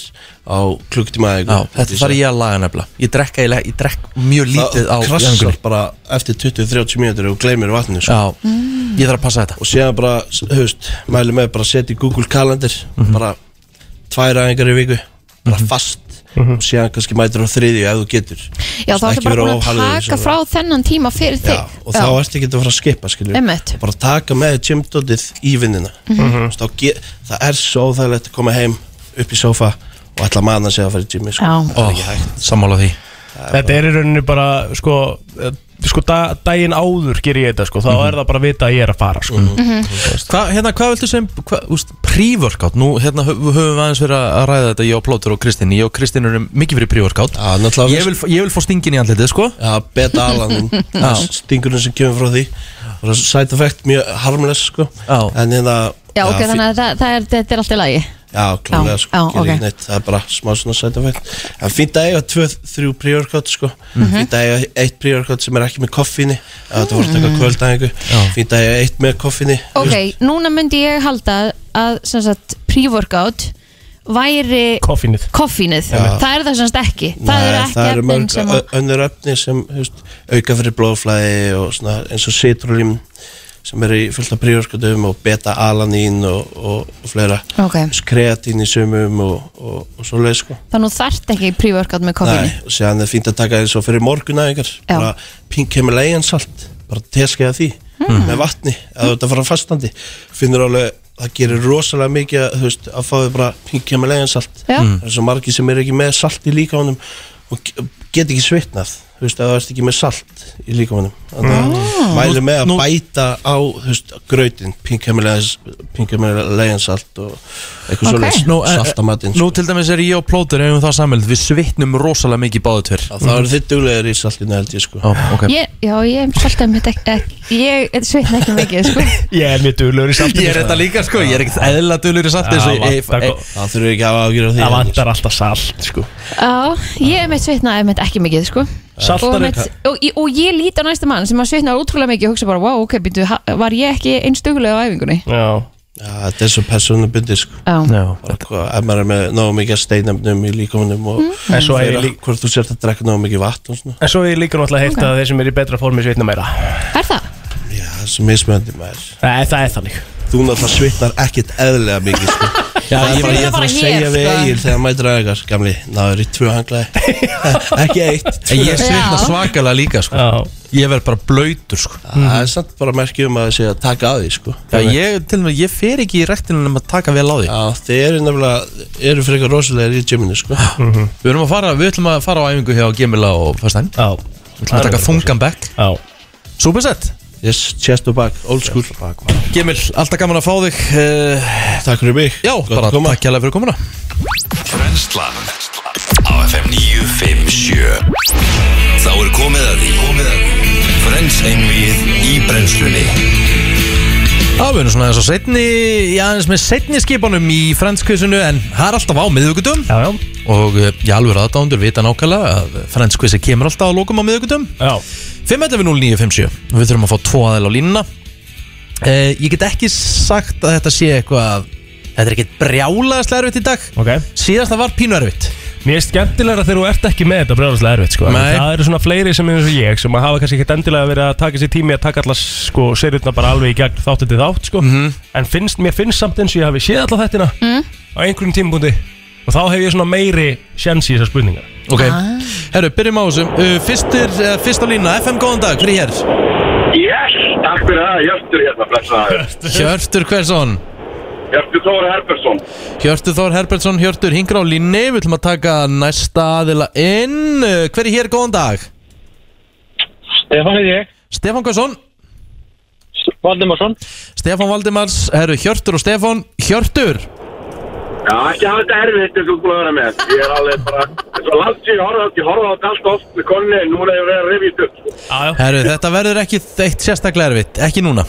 Speaker 9: á klukktíma eða
Speaker 1: Já,
Speaker 9: eitthvað.
Speaker 1: þetta þarf ég að laga nefnilega Ég drekka, ég, ég drekk mjög lítið á
Speaker 9: Það krassar
Speaker 1: æfingunni.
Speaker 9: bara eftir 20-30 mínútur og gleymir vatninu sko.
Speaker 1: Já, ég þarf að passa þetta
Speaker 9: og síðan bara, höfst, mælu með bara setja í Google kalender
Speaker 1: Mhm.
Speaker 9: bara tvær aðingar í viku bara fast
Speaker 1: Mhm.
Speaker 9: og síðan kannski mætir á þriðju ef þú getur
Speaker 2: Já, þá
Speaker 9: Ekki
Speaker 2: ertu bara
Speaker 9: vera
Speaker 2: búin að
Speaker 9: of harður í
Speaker 2: taka
Speaker 9: þessu.
Speaker 2: frá þennan tíma fyrir
Speaker 9: Já,
Speaker 2: þig
Speaker 9: og þá ertu ekki að fara að skipa skilju
Speaker 2: Einmitt. Mhm.
Speaker 9: bara taka með gymdótið í vinnina mm -hmm. það er svo óþægilegt að koma heim upp í sófa og ætla að manna sig að fara í gymmi sko.
Speaker 2: Já.
Speaker 9: það er ekki hægt
Speaker 1: Sammála því
Speaker 3: Þetta er í rauninni bara, sko, eh, sko da, daginn áður ger ég þetta, sko, þá er það bara að vita að ég er að fara, sko.
Speaker 5: Mhm.
Speaker 2: Mhm.
Speaker 1: Hva, hérna, hvað viltu sem, hva, úst, pre-workout Nú, hérna, hö- höfum við aðeins verið að ræða þetta Ég og Plótur og Kristinn, ég og Kristinn erum mikið fyrir pre-workout
Speaker 9: Já, náttúrulega-
Speaker 1: ég, vil, fá- ég vil fá stingin í andlitið, sko
Speaker 9: Já, beta
Speaker 1: [laughs]
Speaker 9: alanum Stingurinn sem kemur frá því Það er side effect, mjög harmless sko
Speaker 1: Já.
Speaker 9: En hérna
Speaker 2: Já, ok,
Speaker 9: fí-
Speaker 2: þannig að það- það er- þetta er allt í lagi
Speaker 9: Já, klálega
Speaker 2: Já,
Speaker 9: sko,
Speaker 2: já,
Speaker 9: já,
Speaker 2: ok.
Speaker 9: neitt, það er bara smá svona side effect En fínt að eiga tvö, þrjú pre-workout sko Fínt að eiga eitt pre-workout sem er ekki með koffinni Það voru að taka kvöldæðingu Fínt að eiga eitt með koffinni
Speaker 2: Ok, núna myndi ég halda að sem sagt pre-workout væri
Speaker 3: Koffinnið.
Speaker 2: koffínið Það er það sem sagt ekki Það eru ekki
Speaker 9: það eru
Speaker 2: efnin
Speaker 9: mörg
Speaker 2: sem að
Speaker 9: ö- önnur öfni sem hefst, auka fyrir blóðflæði og svona eins og sitrulím sem eru í fullt af príorskatum og beta-alanín og, og, og fleira
Speaker 2: Ok.
Speaker 9: kreatín í sumum og, og, og svo leið sko
Speaker 2: Þannig þú þarft ekki pre-workout með koffíni
Speaker 9: Nei, og séðan er fínt að taka eins og fyrir morguna ykkar
Speaker 2: Já.
Speaker 9: bara pink himalayan salt bara teskeiða því
Speaker 2: Mm.
Speaker 9: með vatni eða þú ert að fara fastandi finnur alveg það gerir rosalega mikið að, þú veist, að fá þau bara pink himalayan salt
Speaker 2: Já. Mm.
Speaker 9: það er svo margi sem er ekki með salt í líkamanum og ge- get ekki svitnað þú veist að það ert ekki með salt í líkamanum þannig að
Speaker 2: Ah.
Speaker 9: mælu með að
Speaker 1: Nú-
Speaker 9: bæta á þú veist, grautin pink himalayan, pink himalayan salt og
Speaker 2: Ok.
Speaker 9: eitthvað okay.
Speaker 1: Nú,
Speaker 9: svoleiðis
Speaker 1: eh,
Speaker 9: saltamatinn
Speaker 1: Nú til dæmis er ég og Plótur eigum það samveld Við svitnum rosalega mikið báðu tver
Speaker 9: Já, Það eru þitt duglegir í saltinu held ég sko
Speaker 1: Ó, ok
Speaker 2: Ég, já, ég svolítið mitt ekki, ekki Ég sveitna ekki mikið, sko
Speaker 3: Ég er mjög duglur í saltinu.
Speaker 1: Ég er þetta líka sko, ég er ekkert eðla dölur í satt
Speaker 3: Já,
Speaker 1: eins og ég-
Speaker 3: vantar
Speaker 1: ég-
Speaker 3: gott.
Speaker 9: Það þurfum við ekki að hafa ágjur á því
Speaker 3: Það vantar alltaf salt, sko.
Speaker 2: Já, ég mitt sveitnaði mitt ekki mikið, sko og,
Speaker 3: Saltari.
Speaker 2: mitt, og, ég- og ég lít á næsta mann sem að sveitnaði ótrúlega mikið og hugsa bara, wow, ok, býtu, var ég ekki einstögulega á æfingunni?
Speaker 3: Já.
Speaker 9: Já, þetta er svo persónubundir sko
Speaker 2: Já,
Speaker 1: Já,
Speaker 9: Bara hvað, Ef maður er með náðu mikið steinefnum í líkamunum og
Speaker 3: En svo er ég
Speaker 9: þeirra,
Speaker 3: líka,
Speaker 9: hvort þú sért að drekka náðu mikið vatn og svona
Speaker 3: en svo er ég líka náttúrulega heilt að þeir sem er í betra formi svitna meira.
Speaker 2: er
Speaker 3: [laughs]
Speaker 2: það?
Speaker 9: Já, það er svo mismöndi maður
Speaker 3: Nei, það er þannig.
Speaker 9: Þú náttúrulega svitnar ekkert eðlega mikið sko Já,
Speaker 2: Það
Speaker 9: ég var
Speaker 2: er
Speaker 9: ég
Speaker 2: bara
Speaker 9: þarf að
Speaker 2: hér,
Speaker 9: segja við
Speaker 2: sko.
Speaker 9: Egil þegar hann mætir að ykkar, gamli, náður í tvö hanglaði Ekki eitt,
Speaker 1: En
Speaker 9: tvö
Speaker 1: ég svitna
Speaker 2: Já.
Speaker 1: svakalega líka sko.
Speaker 3: Já,
Speaker 1: Ég verð bara blöytur sko.
Speaker 9: Það er samt bara merkið um að það sé að taka að því, sko
Speaker 1: Já, ég, til og með, ég fer ekki í rektinu nema að taka vel á því
Speaker 9: Já, þið eru nefnilega, eru frekar rosalegir í gyminu, sko
Speaker 1: Við, erum að fara, við ætlum að fara á æfingu hjá Gemila og Fastæn
Speaker 3: já
Speaker 1: Við ætlum að taka þungan bekk
Speaker 3: Já,
Speaker 1: Súpersett
Speaker 9: Yes, chest og back, old school
Speaker 1: Gemil, alltaf gaman að fá þig uh,
Speaker 9: Takk fyrir mig
Speaker 1: Já,
Speaker 9: Gott
Speaker 1: bara
Speaker 9: að koma.
Speaker 1: takk hérlega fyrir komuna
Speaker 4: Brenslan Á FM 957 Þá er komið að því Komið að því Frens einvið í brennslunni
Speaker 1: Já, við erum svona þess að setni Já, eins með setni skipanum í franskvísinu En það er alltaf á miðvíkutum
Speaker 3: já, já,
Speaker 1: Og eh, í alveg aðdándur vita nákvæmlega að franskvísi kemur alltaf á lókum á miðvíkutum
Speaker 3: já.
Speaker 1: 5.11.09.57 Við þurfum að fá tvo aðeil á línuna eh, Ég get ekki sagt að þetta sé eitthvað Þetta er ekkit brjálaðast erfitt í dag
Speaker 3: ok
Speaker 1: Síðast það var pínu erfitt
Speaker 3: Mér er skemmtilega þegar þú ert ekki með þetta brjóðslega erfitt sko.
Speaker 1: Nei.
Speaker 3: Það eru svona fleiri sem er eins og ég sem að hafa kannski ekkert endilega verið að taka sér tími að taka allar sko, seriutna bara alveg í gegn þáttu til þátt sko. En finnst, mér finnst samt eins og ég hafi séð allar þettina mm. á einhverjum tímabundi og þá hef ég svona meiri sjans í þessar spurningar
Speaker 1: Ok, herru, byrjum á þessum uh, Fyrstir, uh, fyrsta lína, FM góðan dag, hver er hér?
Speaker 7: Yes, takk fyrir það, Hjörtur hérna, blessaður.
Speaker 1: Hjörtur Hversson
Speaker 7: Hjörtur Þóri Herbersson.
Speaker 1: Hjörtur Þór Herbertsson, Hjörtur hingra á línni Við ætlum að taka næsta aðila inn Uh, Hver er hér, góðan dag?
Speaker 8: Stefán heiti ég,
Speaker 1: Stefán Hversson,
Speaker 8: Valdimarsson
Speaker 1: Stefán Valdimars Herru, Hjörtur og Stefán, Hjörtur
Speaker 7: Já, ekki hafa þetta erfitt eins og þú búið að vera með. Ég er alveg bara, eins og langt sér, ég horfa á þetta, ég horfa á þetta allt oft með konni, en núna hefur verið að rifja þetta upp. sko.
Speaker 3: Já, já,
Speaker 1: Herru, þetta verður ekki eitt sérstaklega erfitt Ekki núna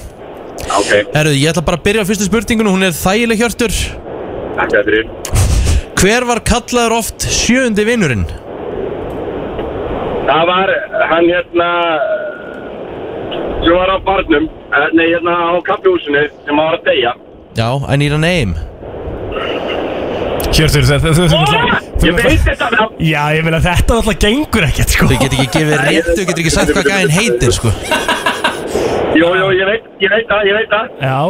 Speaker 7: Já, Ok,
Speaker 1: Herru, ég ætla bara að byrja á fyrstu spurningunum Hún er þægileg Hjörtur
Speaker 7: þetta er þrjum.
Speaker 1: Hver var kallaður oft sjöundi vinurinn?
Speaker 7: Það var hann hérna, sem var á barnum, eh, nei, hérna á kaffihúsinu, sem var að deyja.
Speaker 1: Já, I need a name
Speaker 3: Hjörtur, það, það, það,
Speaker 7: Ég
Speaker 3: það,
Speaker 7: veit þetta með hann.
Speaker 3: Já, ég vil að þetta alltaf gengur ekkert sko.
Speaker 1: Þú getur ekki gefið réttu, getur ekki sagt hvað gæðin heitir sko
Speaker 7: Jú, jú, ég veit, ég veit það, ég veit það.
Speaker 3: Já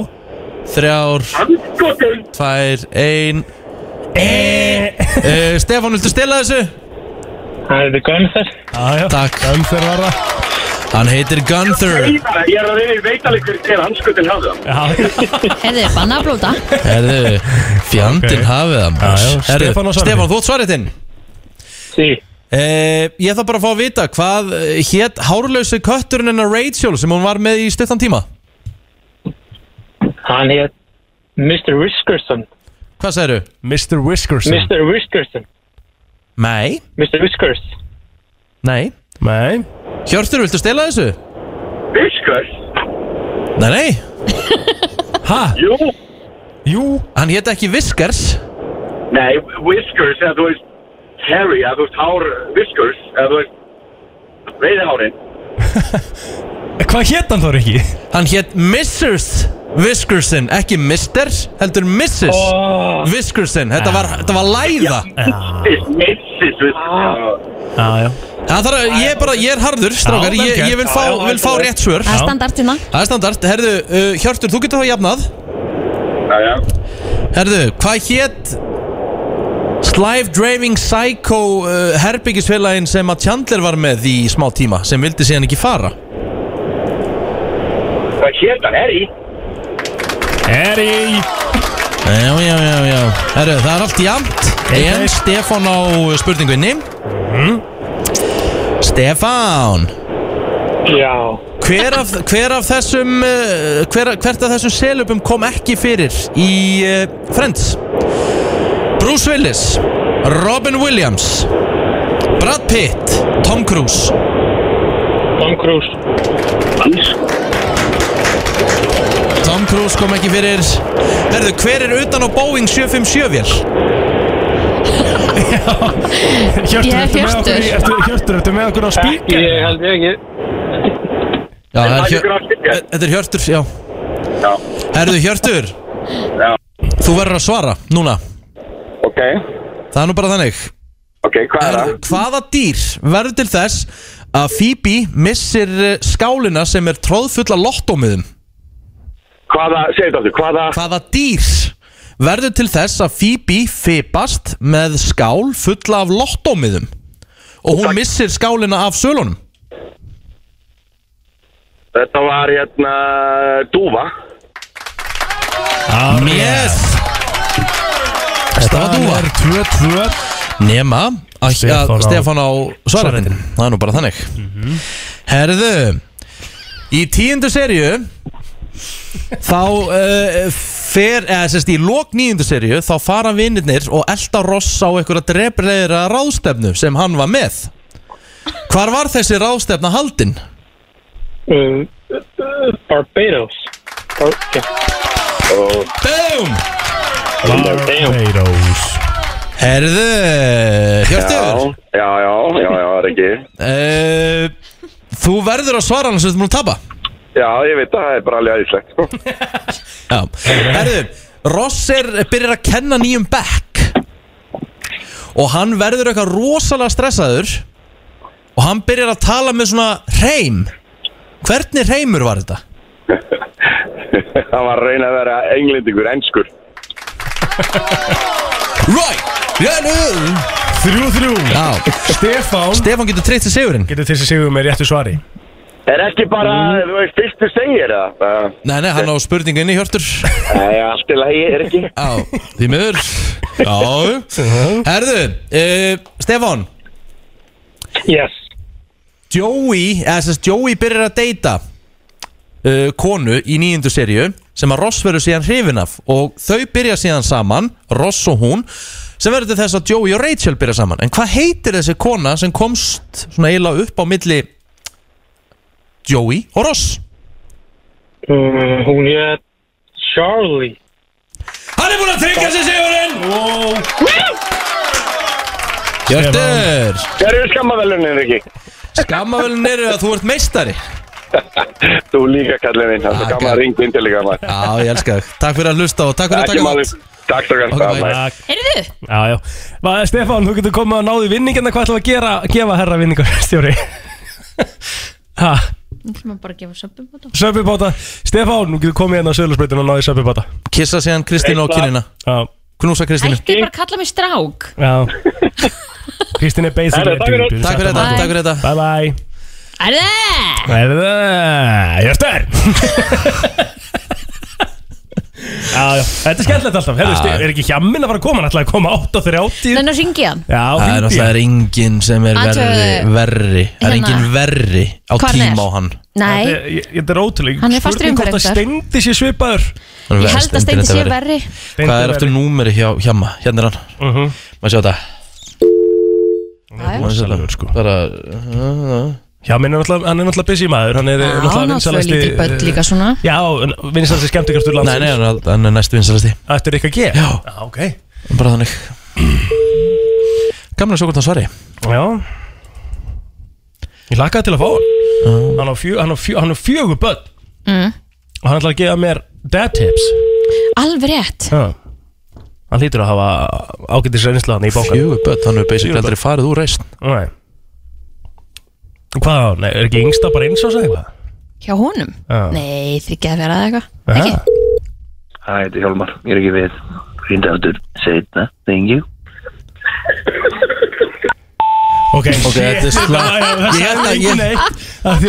Speaker 1: Þrjár,
Speaker 7: Andskotin.
Speaker 1: tvær, ein
Speaker 3: e
Speaker 1: uh, Stefán, viltu stila þessu?
Speaker 8: Það er Gunnþess
Speaker 3: Já, já
Speaker 1: Takk.
Speaker 3: Ömþur var það
Speaker 1: Hann heitir Gunther
Speaker 7: Ég er að reyna, ég veit alveg hver hver andskotin hafði það.
Speaker 3: Já, já
Speaker 2: Herðu, banna að blóta
Speaker 3: [laughs]
Speaker 1: Herðu, fjandinn
Speaker 3: Ok.
Speaker 1: hafið það
Speaker 3: Já, já,
Speaker 1: maður. Herðu,
Speaker 3: Stefán á svarið.
Speaker 1: Stefán, þú átt svarið þinn
Speaker 8: Sí
Speaker 1: Uh, ég þarf bara að fá að vita hvað hétt hárlausi kötturinn hennar Rachel sem hún var með í stuttan tíma
Speaker 8: Hann heit Mr. Whiskerson
Speaker 1: Hvað segirðu?
Speaker 3: Mr. Whiskerson
Speaker 8: Mr. Whiskerson
Speaker 1: Nei,
Speaker 8: Mr. Whiskers
Speaker 1: nei
Speaker 3: Nei
Speaker 1: Hjörtur, viltu stela þessu?
Speaker 7: Fiskars?
Speaker 1: Nei, nei,
Speaker 8: [laughs]
Speaker 3: Ha?
Speaker 7: Jú.
Speaker 3: Jú
Speaker 1: hann hétt ekki Viskers
Speaker 7: Nei, Whiskers, eða þú veist, Harry, eða þú veist, hár Whiskers, eða þú veist, veiðhárin.
Speaker 3: Eh, Hvað hétt hann þór ekki?
Speaker 1: Hann hétt Mrs. Viskerson Ekki Mr. heldur Mrs. Oh. Viskerson Þetta var, þetta var læða
Speaker 7: Mrs. Mrs. Whiskers.
Speaker 3: Já, já
Speaker 1: Það þarf að, ég er bara, ég er harður, strákar
Speaker 3: Já, vel
Speaker 1: Ég, ég vil
Speaker 3: gert.
Speaker 1: fá,
Speaker 3: Já, já,
Speaker 1: vil fá rétt svör
Speaker 2: Það er hérna. standartina
Speaker 1: Það er standart, herðu, uh, Hjörtur, þú getur þá jafnað
Speaker 7: Já, já.
Speaker 1: Herðu, hvað hétt Slive Driving Psycho uh, herbyggisfélagin sem að Chandler var með í smá tíma sem vildi síðan ekki fara
Speaker 7: Hvað hétt hann, Harry?
Speaker 3: Harry
Speaker 1: Já, já, já, já Herðu, það er allt jafnt En
Speaker 3: Hey, hey. Mhm.
Speaker 1: Stefán á spurningunni Stefán
Speaker 8: Já
Speaker 1: Hver af, hver af þessum uh, hver, hvert af þessum selupum kom ekki fyrir í uh, Friends? Bruce Willis Robin Williams Brad Pitt Tom Cruise
Speaker 8: Tom Cruise
Speaker 1: Tom Cruise kom ekki fyrir Herðu, hver er utan á Boeing 757 vél?
Speaker 2: Ég
Speaker 3: Hjörtur,
Speaker 2: er
Speaker 3: ertu með
Speaker 2: Hjörtur.
Speaker 3: okkur í- ertu- Hjörtur, ertu með okkur á spíkir?
Speaker 8: Ég held ég ekki
Speaker 1: Já, það er
Speaker 7: Það er
Speaker 1: hjör, e-
Speaker 7: ykkur allt ekki.
Speaker 1: þetta er Hjörtur, já
Speaker 7: Já.
Speaker 1: Herðu, Hjörtur
Speaker 7: Já.
Speaker 1: Þú verður að svara, núna
Speaker 7: Ok.
Speaker 1: Það er nú bara þannig
Speaker 7: Ok, hvað er það?
Speaker 1: Herðu, hvaða dýr verður til þess að Phoebe missir eh, skálina sem er tróðfull af lottómiðum?
Speaker 7: Hvaða, segðu þetta aftur, hvaða,
Speaker 1: Hvaða dýr verður til þess að Phoebe fipast með skál fulla af lottómiðum og hún missir skálina af sölunum
Speaker 7: Þetta var hérna dúfa
Speaker 3: Ah,
Speaker 1: Yes! Staða dúfa
Speaker 3: er 2-2
Speaker 1: Nema að
Speaker 3: Stefán
Speaker 1: Stefán,
Speaker 3: á- Mhm.
Speaker 1: Stefán á svararinn Það er nú bara þannig Herðu Í tíundu serju Þá uh, fer, eða sérst í lok níundu serju Þá fara vinnirnir og elda Ross á einhverja drefbreyðra ráðstefnu sem hann var með Hvar var þessi ráðstefna haldin?
Speaker 11: um, uh, Barbados Bar já.
Speaker 1: Boom!
Speaker 3: Barbados
Speaker 1: Herðu Eh, Hjörtur
Speaker 7: Já, já, já, já,
Speaker 1: [laughs]
Speaker 7: Rikki
Speaker 1: uh, Þú verður að svara hann sem þú múlum tapa
Speaker 7: Já, ég veit að það er bara alveg aðeinslegt sko.
Speaker 1: Já, herðu Ross er, byrjar að kenna nýjum bekk og hann verður eitthvað rosalega stressaður og hann byrjar að tala með svona reym hvernig reymur var
Speaker 7: [laughs]
Speaker 1: þetta?
Speaker 7: Það var að reyna að vera englendingur, enskur
Speaker 1: Right, yeah, no.
Speaker 3: 3-3
Speaker 1: Já,
Speaker 3: Stefán
Speaker 1: uh, Stefán getur treytt til sigurinn
Speaker 3: Getur þessi sigur með réttu svari
Speaker 7: Er ekki bara, þú veist, fyrstu segir það?
Speaker 1: Mm. Nei, nei, hann á spurningu inni hjörtur Já,
Speaker 7: Nei, allt í lagi,
Speaker 1: [laughs]
Speaker 7: er ekki
Speaker 1: því miður Já, herðu uh, Stefán,
Speaker 11: Yes
Speaker 1: Joey, eða sem sagt Joey byrjar að deyta uh, konu í nýjundu serju sem að Ross verður síðan hrifin af og þau byrja síðan saman, Ross og hún sem verður til þess að Joey og Rachel byrja saman en hvað heitir þessi kona sem komst svona eiginlega upp á milli Joey og Ross
Speaker 11: um, Hún er Charlie
Speaker 1: Hann er búin að tryggja sig sigurinn
Speaker 3: Wow.
Speaker 1: Hjörtur,
Speaker 7: Hver eru skammavelunin, Rikki?
Speaker 1: skammavelin eru að þú ert meistari
Speaker 7: Þú líka, kallið minn, það er
Speaker 1: Ah,
Speaker 7: svo gaman
Speaker 1: gæ-
Speaker 7: að ringa inn til líka maður
Speaker 1: Já, ég elska þig, takk fyrir að hlusta og takk fyrir að
Speaker 7: Ekki
Speaker 1: taka
Speaker 7: máli,
Speaker 1: þátt.
Speaker 7: takk svo
Speaker 1: Ok, bye.
Speaker 7: kannski
Speaker 3: Takk.
Speaker 2: Heyrðu,
Speaker 3: Já, já. Va, Stefán, þú getur komið að náðu vinningina Hvað ætlum við að gera, gefa herra vinningarstjóri? [laughs] ha,
Speaker 2: nú ætlum við bara að gefa söpum á það
Speaker 3: söpubáta Stefán, þú getur komið hérna á söðlarsbreytinu og náðu söpubáta
Speaker 1: Kissa síðan Kristínu á kynina
Speaker 3: Já,
Speaker 1: Knúsa Kristínu
Speaker 2: Ætti bara að kalla mig strák
Speaker 11: [laughs]
Speaker 3: já Kristín er
Speaker 11: Herra,
Speaker 3: basically
Speaker 11: takk fyrir.
Speaker 1: Takk fyrir þetta,
Speaker 2: Bye.
Speaker 1: takk fyrir þetta
Speaker 3: Bye bye
Speaker 2: Erðu,
Speaker 3: Erða, Jörgur Já, já, þetta er skemmtilegt alltaf Herðu, Ste- er ekki hjamminn að fara að koma, hann ætlaði að koma 8 og 30
Speaker 2: þannig að ringi hann
Speaker 3: Já,
Speaker 1: Það er
Speaker 3: hringdu í
Speaker 1: náttúrulega
Speaker 3: hann.
Speaker 1: er enginn sem er
Speaker 2: Athugaðu-
Speaker 1: verri, verri Það er
Speaker 2: Hérna.
Speaker 1: enginn verri á
Speaker 2: Hvar hann er?
Speaker 1: tíma á hann
Speaker 2: Nei,
Speaker 3: Þetta er- ég- Þetta er ótrúlega
Speaker 2: Hann er fastur í
Speaker 3: Spurning hvort
Speaker 2: umferð
Speaker 3: að steindi sé svipaður
Speaker 1: Hann
Speaker 2: ég
Speaker 1: verri,
Speaker 2: held að steindi
Speaker 1: Steindin
Speaker 2: sé
Speaker 1: er
Speaker 2: verri
Speaker 3: Steindi
Speaker 1: Hvað er aftur
Speaker 3: verri.
Speaker 1: númeri hjá hjama? Hérna er hann
Speaker 3: Mhm.
Speaker 1: Má sjá þetta
Speaker 2: Já, já.
Speaker 3: Rosalegur, sko.
Speaker 1: Bara
Speaker 3: Já, minn er náttúrulega, hann er náttúrulega busy maður Hann er eh,
Speaker 2: Já,
Speaker 3: náttúrulega
Speaker 2: ná, svo
Speaker 3: vinsalasti
Speaker 2: lítil börn líka svona
Speaker 3: Já, vinsalasti skemmtikraftur
Speaker 1: Nei, nei,
Speaker 3: landsins
Speaker 1: hann er- hann er næstu vinsalasti
Speaker 3: Þetta er eitthvað að gera
Speaker 1: Já.
Speaker 3: Já, ok
Speaker 1: Bara þannig Gaman að sjá hvort hann svari
Speaker 3: Já Ég lakaði til að fá hann Hann á, fjö, hann á, fjö, hann á fjögur börn
Speaker 2: Mm.
Speaker 3: Og hann ætlaði að gefa mér dad tips
Speaker 2: Alveg rétt
Speaker 3: Já Hann hlýtur að hafa ágætis reynslu hann í bókan
Speaker 1: Fjögur börn, hann hefur basically
Speaker 3: Fjögur
Speaker 1: aldrei farið úr reist
Speaker 3: Nei Hvað á, nei, er ekki yngsta bara eins og segja eitthvað?
Speaker 2: Hjá honum?
Speaker 3: Já.
Speaker 2: Nei, því ekki að vera eða eitthvað
Speaker 3: Aha.
Speaker 2: Ekki?
Speaker 12: Hæ, þetta er Hjálmar, ég er ekki við. Rinda aftur, setna, thank you.
Speaker 3: Ok,
Speaker 1: Ok,
Speaker 3: [laughs]
Speaker 1: þetta er slá Ég held að ég,
Speaker 3: slá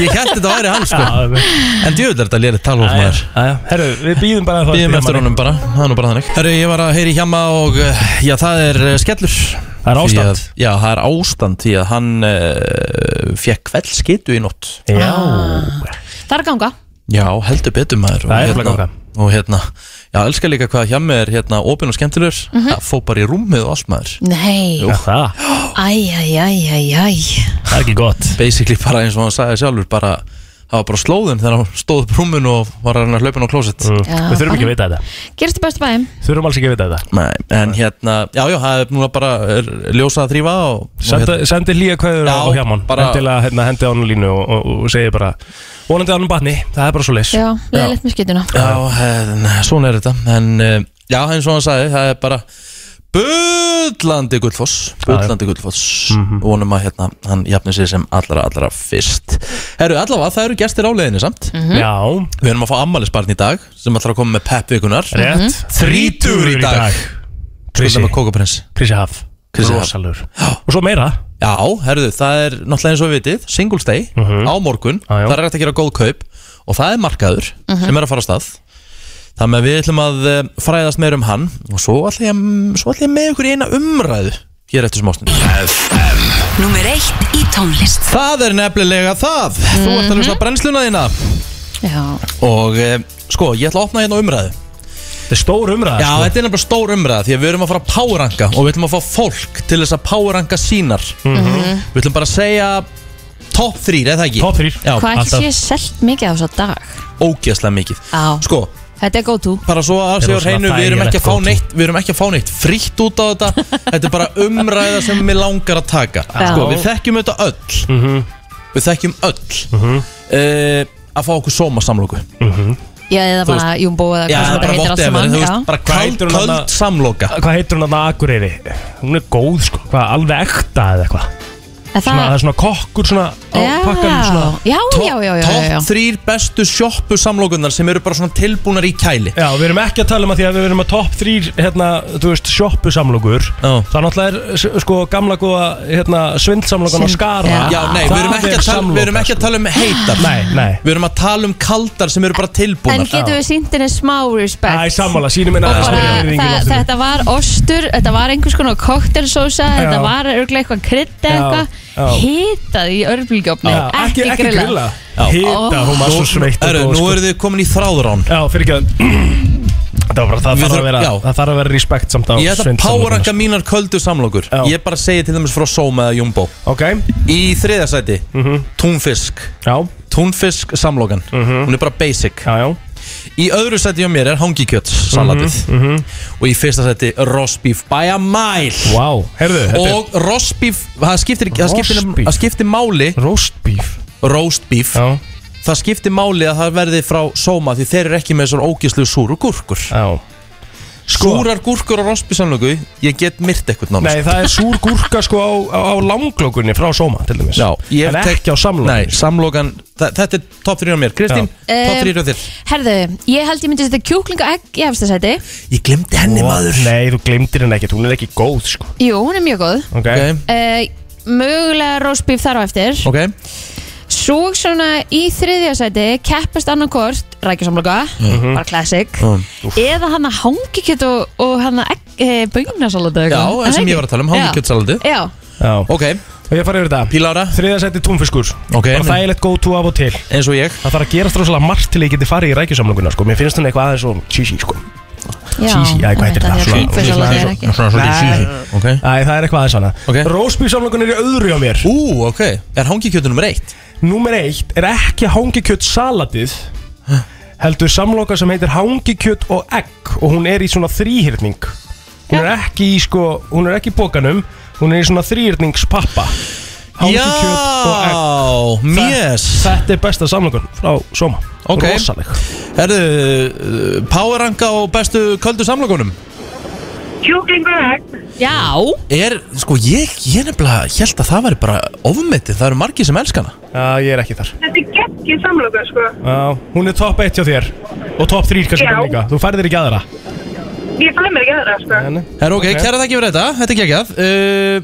Speaker 1: ég held þetta væri hann sko
Speaker 3: Ég
Speaker 1: En djöfull er þetta lérið talvóf maður
Speaker 3: Herru, við býðum bara að
Speaker 1: Býðum eftir honum bara, það er nú bara þannig Herru, ég var að heyri hjama og uh, já, það er uh, skellur Það
Speaker 3: er ástand.
Speaker 1: að, Já, það er ástand því að hann uh, fekk kveldskitu í nótt
Speaker 3: Já
Speaker 2: Það er að Ah. ganga
Speaker 1: Já, heldur betur maður
Speaker 3: Það er
Speaker 1: og,
Speaker 3: nefnilega
Speaker 1: hérna, og hérna, já, elska líka hvað hjami er hérna opinn og skemmtilegur Það fó bara í rúmið og allt maður
Speaker 2: Nei,
Speaker 3: Já, Það,
Speaker 2: æj, æj, æj, æj, æj
Speaker 3: það er ekki gott
Speaker 1: Basically bara eins og hann sagði sjálfur bara Það var bara slóðin þegar hann stóð upp rúminu og var hann að hlaupa á klósett
Speaker 2: Já,
Speaker 3: Mm. Við þurfum ekki
Speaker 2: bara-
Speaker 3: að vita þetta
Speaker 2: Gerist þið bestu bæðum?
Speaker 3: Þurfum alls ekki að vita þetta
Speaker 1: Nei, en hérna, já, já, það er núna bara er, ljósa að þrýfa og, og
Speaker 3: Senda,
Speaker 1: hérna,
Speaker 3: Sendi hlýja kveður
Speaker 1: Já,
Speaker 3: á hjáman
Speaker 1: bara-
Speaker 3: Endilega hérna, hendi á hann línu og, og, og segi bara Vonandi á hann batni, það er bara svo leys
Speaker 2: Já, leiðilegt með skytuna
Speaker 1: Hérna, eh, Já, en, svona er þetta En eh, já, eins og hann sagði, það er bara Bullandi gullfoss Bullandi gullfoss Vonum að hérna hann jafnir sér sem allra allra fyrst Herru, allavega það eru gestir á leiðinni samt
Speaker 3: Já,
Speaker 1: Við erum að fá ammælisbarn í dag Sem ætlar að koma með peppvikunar
Speaker 3: rétt
Speaker 1: Þrítugur í dag Skulda
Speaker 3: Krissi,
Speaker 1: með kókaprins
Speaker 3: Krissi Haf
Speaker 1: Krissi Haf.
Speaker 3: Rosalur Og svo meira
Speaker 1: Já, herruðu, það er náttúrulega eins og við vitið Singles Day á morgun
Speaker 3: Mhm. Já, já.
Speaker 1: Það er hægt að gera góð kaup Og það er markaður
Speaker 13: Mhm.
Speaker 1: sem er að fara á stað Þannig að við ætlum að eh, fræðast meir um hann Og svo ætlum ég, að- svo ætlum ég með ykkur í eina umræðu Hér eftir smástund
Speaker 13: Númer eitt í tónlist
Speaker 1: Það er nefnilega það Þú ert að hlusta á brennsluna þína
Speaker 2: Já,
Speaker 1: Og eh, sko, ég ætla að opna hérna umræðu
Speaker 3: Þetta er stór umræða
Speaker 1: Já, þetta
Speaker 3: sko.
Speaker 1: er nefnilega stór umræða Því að við erum að fara að powerranka Og við ætlum að fá fólk til þess að powerranka sínar Við ætlum bara að segja Top 3, eða ekki?
Speaker 3: Top 3
Speaker 1: Já,
Speaker 2: hvað
Speaker 3: alltaf.
Speaker 2: ekki sé selt mikið á þess dag
Speaker 1: ógeðslega mikið
Speaker 2: Á,
Speaker 1: Sko,
Speaker 2: þetta er góð tú
Speaker 1: bara svo að
Speaker 3: Þetta
Speaker 1: segja
Speaker 3: er
Speaker 1: á hreinu
Speaker 3: svona
Speaker 1: Við erum ekki að fá
Speaker 3: þægilegt
Speaker 1: neitt Við erum ekki að fá neitt frítt út á þetta Þetta er bara umræða sem mér langar að taka Sko, við þekkjum þetta öll
Speaker 3: Mhm.
Speaker 1: Við þekkjum öll eh, Að fá okkur sómasamlóku
Speaker 3: Mhm.
Speaker 2: Já, eða
Speaker 1: Þú
Speaker 2: bara jumbo eða
Speaker 1: Já,
Speaker 2: hvað sem þetta heitir allt
Speaker 1: bara whatever,
Speaker 2: saman já.
Speaker 1: þú veist, bara
Speaker 3: Hvað heitir
Speaker 1: köld,
Speaker 3: hún annað?
Speaker 1: köld samloka
Speaker 3: Hvað heitir hún að Akureyri? Hún er góð sko, hvað, alveg ekta eða eitthvað
Speaker 2: En
Speaker 3: Svona, það
Speaker 2: það-
Speaker 3: er svona kokkur svona á pakkanum svona
Speaker 2: Já, já, já, já, já, já.
Speaker 1: Top 3 bestu sjoppu samlokunar sem eru bara svona tilbúnar í kæli
Speaker 3: Já, við erum ekki að tala um að því að við erum að topp þrýr hérna, þú veist, sjoppusamlokur
Speaker 1: Já.
Speaker 3: Það er náttúrulega er s- sko gamla góða hérna, svindsamlokan að
Speaker 2: Svind-
Speaker 3: skara
Speaker 2: Já.
Speaker 1: Já, nei, við erum
Speaker 3: Það
Speaker 1: ekki
Speaker 3: er
Speaker 1: að tala- við erum
Speaker 3: samloka,
Speaker 1: ekki að tala um heitar
Speaker 3: sko. Nei, nei
Speaker 1: Við erum að tala um kaldar sem eru bara
Speaker 2: En
Speaker 1: tilbúnar
Speaker 2: getum við sínt henni smá respect
Speaker 3: Æ, sammála, sínum minna
Speaker 2: Og bara, það, þetta var ostur, þetta var einhvers konar koktelsósa, þetta var örglega eitthvað krydd
Speaker 3: Já,
Speaker 2: eitthvað,
Speaker 3: já.
Speaker 2: hitað í örbulgjófni,
Speaker 3: Ekki, ekki grilla Hita,
Speaker 2: Ó.
Speaker 3: hún var svo sveitt
Speaker 1: Herru, nú eru þið komin í þráðrán
Speaker 3: Já, fyrir ekki að Það var bara, það
Speaker 1: Við
Speaker 3: þarf að
Speaker 1: þurfum-
Speaker 3: vera
Speaker 1: já.
Speaker 3: Það þarf að vera respekt samt á
Speaker 1: Ég ætla að
Speaker 3: svindsamlokunum, sko.
Speaker 1: powerranka mínar köldu samlokur
Speaker 3: Já.
Speaker 1: Ég bara segi til dæmis frá Soma eða Jumbo
Speaker 3: sko. Ok, Mhm.
Speaker 1: Í þriðja sæti, túnfisk
Speaker 3: já, Mhm.
Speaker 1: Túnfisk samlokan, hún er bara basic
Speaker 3: já, já
Speaker 1: Í öðru sæti hjá mér er hangikjöt salatið
Speaker 3: Mhm,
Speaker 1: Og í fyrsta sæti rostbíf by a mile
Speaker 3: Vá, heyrðu, þetta er
Speaker 1: Og rostbíf, það skiptir, ekki- það skiptir,
Speaker 3: Roast beef.
Speaker 1: það skiptir máli
Speaker 3: roast beef
Speaker 1: Rostbíf,
Speaker 3: Já,
Speaker 1: það skiptir máli að það verði frá Soma Því þeir eru ekki með svona ógislu súru gúrkur
Speaker 3: já
Speaker 1: Súrar gúrkur og rostbíf samloku, ég get myrt eitthvað nánast
Speaker 3: Sko. Nei, það er súr gúrka sko á, á, á langlókunni frá sóma til dæmis
Speaker 1: Já, ég
Speaker 3: En
Speaker 1: tek-
Speaker 3: ekki á
Speaker 1: Nei,
Speaker 3: samlókunni
Speaker 1: samlokan, þa- þetta er top 3 á mér Kristín, top
Speaker 2: Um,
Speaker 1: 3 á þér
Speaker 2: Herðu, ég held ég myndi setja kjúklinga egg í efsta sæti
Speaker 1: Ég glemdi henni
Speaker 3: Nei, þú glemdir henni ekkert, hún er ekki góð sko
Speaker 2: Jú, hún er mjög góð
Speaker 3: Ok,
Speaker 1: Ok,
Speaker 2: uh, Mögulega rósbíf þar á eftir
Speaker 1: ok,
Speaker 2: Svo svona í þriðja sæti keppast annarkort rækjusamloka bara classic
Speaker 1: Mm.
Speaker 2: eða hann að hangikjöt og, og hann að e, böngnarsalata
Speaker 1: já, en sem ég var að tala um Hangikjötsalandi
Speaker 2: Já,
Speaker 3: já, og
Speaker 1: Ok,
Speaker 3: ég farið yfir þetta
Speaker 1: Pílára,
Speaker 3: Þriða seti túnfiskur
Speaker 1: Ok,
Speaker 3: Bara
Speaker 1: en-
Speaker 3: þægilegt góð tú af og til
Speaker 1: eins og ég
Speaker 3: Það þarf að gerast rosalega margt til ég geti farið í rækjusamlókunna sko Mér finnst hún eitthvað aðeins og cheesy sko
Speaker 2: já
Speaker 3: Sí, sí, æ, hvað heitir það? Svona-
Speaker 2: Böngnarsalata er ekki
Speaker 1: Svona
Speaker 3: svolítið cheesy.
Speaker 1: Ok
Speaker 3: Æ, það er eitthvað aðeins hana
Speaker 1: Ok.
Speaker 3: Rósbífsamlókunni er í öðru á mér
Speaker 1: Ú, ok, er hangikjötunum reitt?
Speaker 3: Númer eitt er ekki hangikjött salatið heldur samloka sem heitir hangikjött og egg og hún er í svona þrýhyrning hún er ekki í sko hún er ekki í bókanum, hún er í svona þrýhyrningspappa hangikjött og egg
Speaker 1: Já, mjess
Speaker 3: Þetta er besta samlokan frá Soma
Speaker 1: Ok.
Speaker 3: Rosaleg
Speaker 1: Herðu, uh, powerranka á bestu köldu samlokunum
Speaker 2: Já,
Speaker 1: Er, sko, ég, ég nefnilega held að það væri bara ofmetið Það eru margir sem elskana
Speaker 3: Já, ég er ekki þar
Speaker 11: Þetta er geggið samloka, sko.
Speaker 3: Já, hún er topp 1 hjá þér og topp 3 kannski
Speaker 11: Já.
Speaker 3: bara líka Þú færðir ekki aðra
Speaker 11: Ég fæði mér ekki aðra, sko.
Speaker 1: Herru, ok,
Speaker 3: Ok.
Speaker 1: kæra þakki fyrir þetta, þetta er geggjað uh,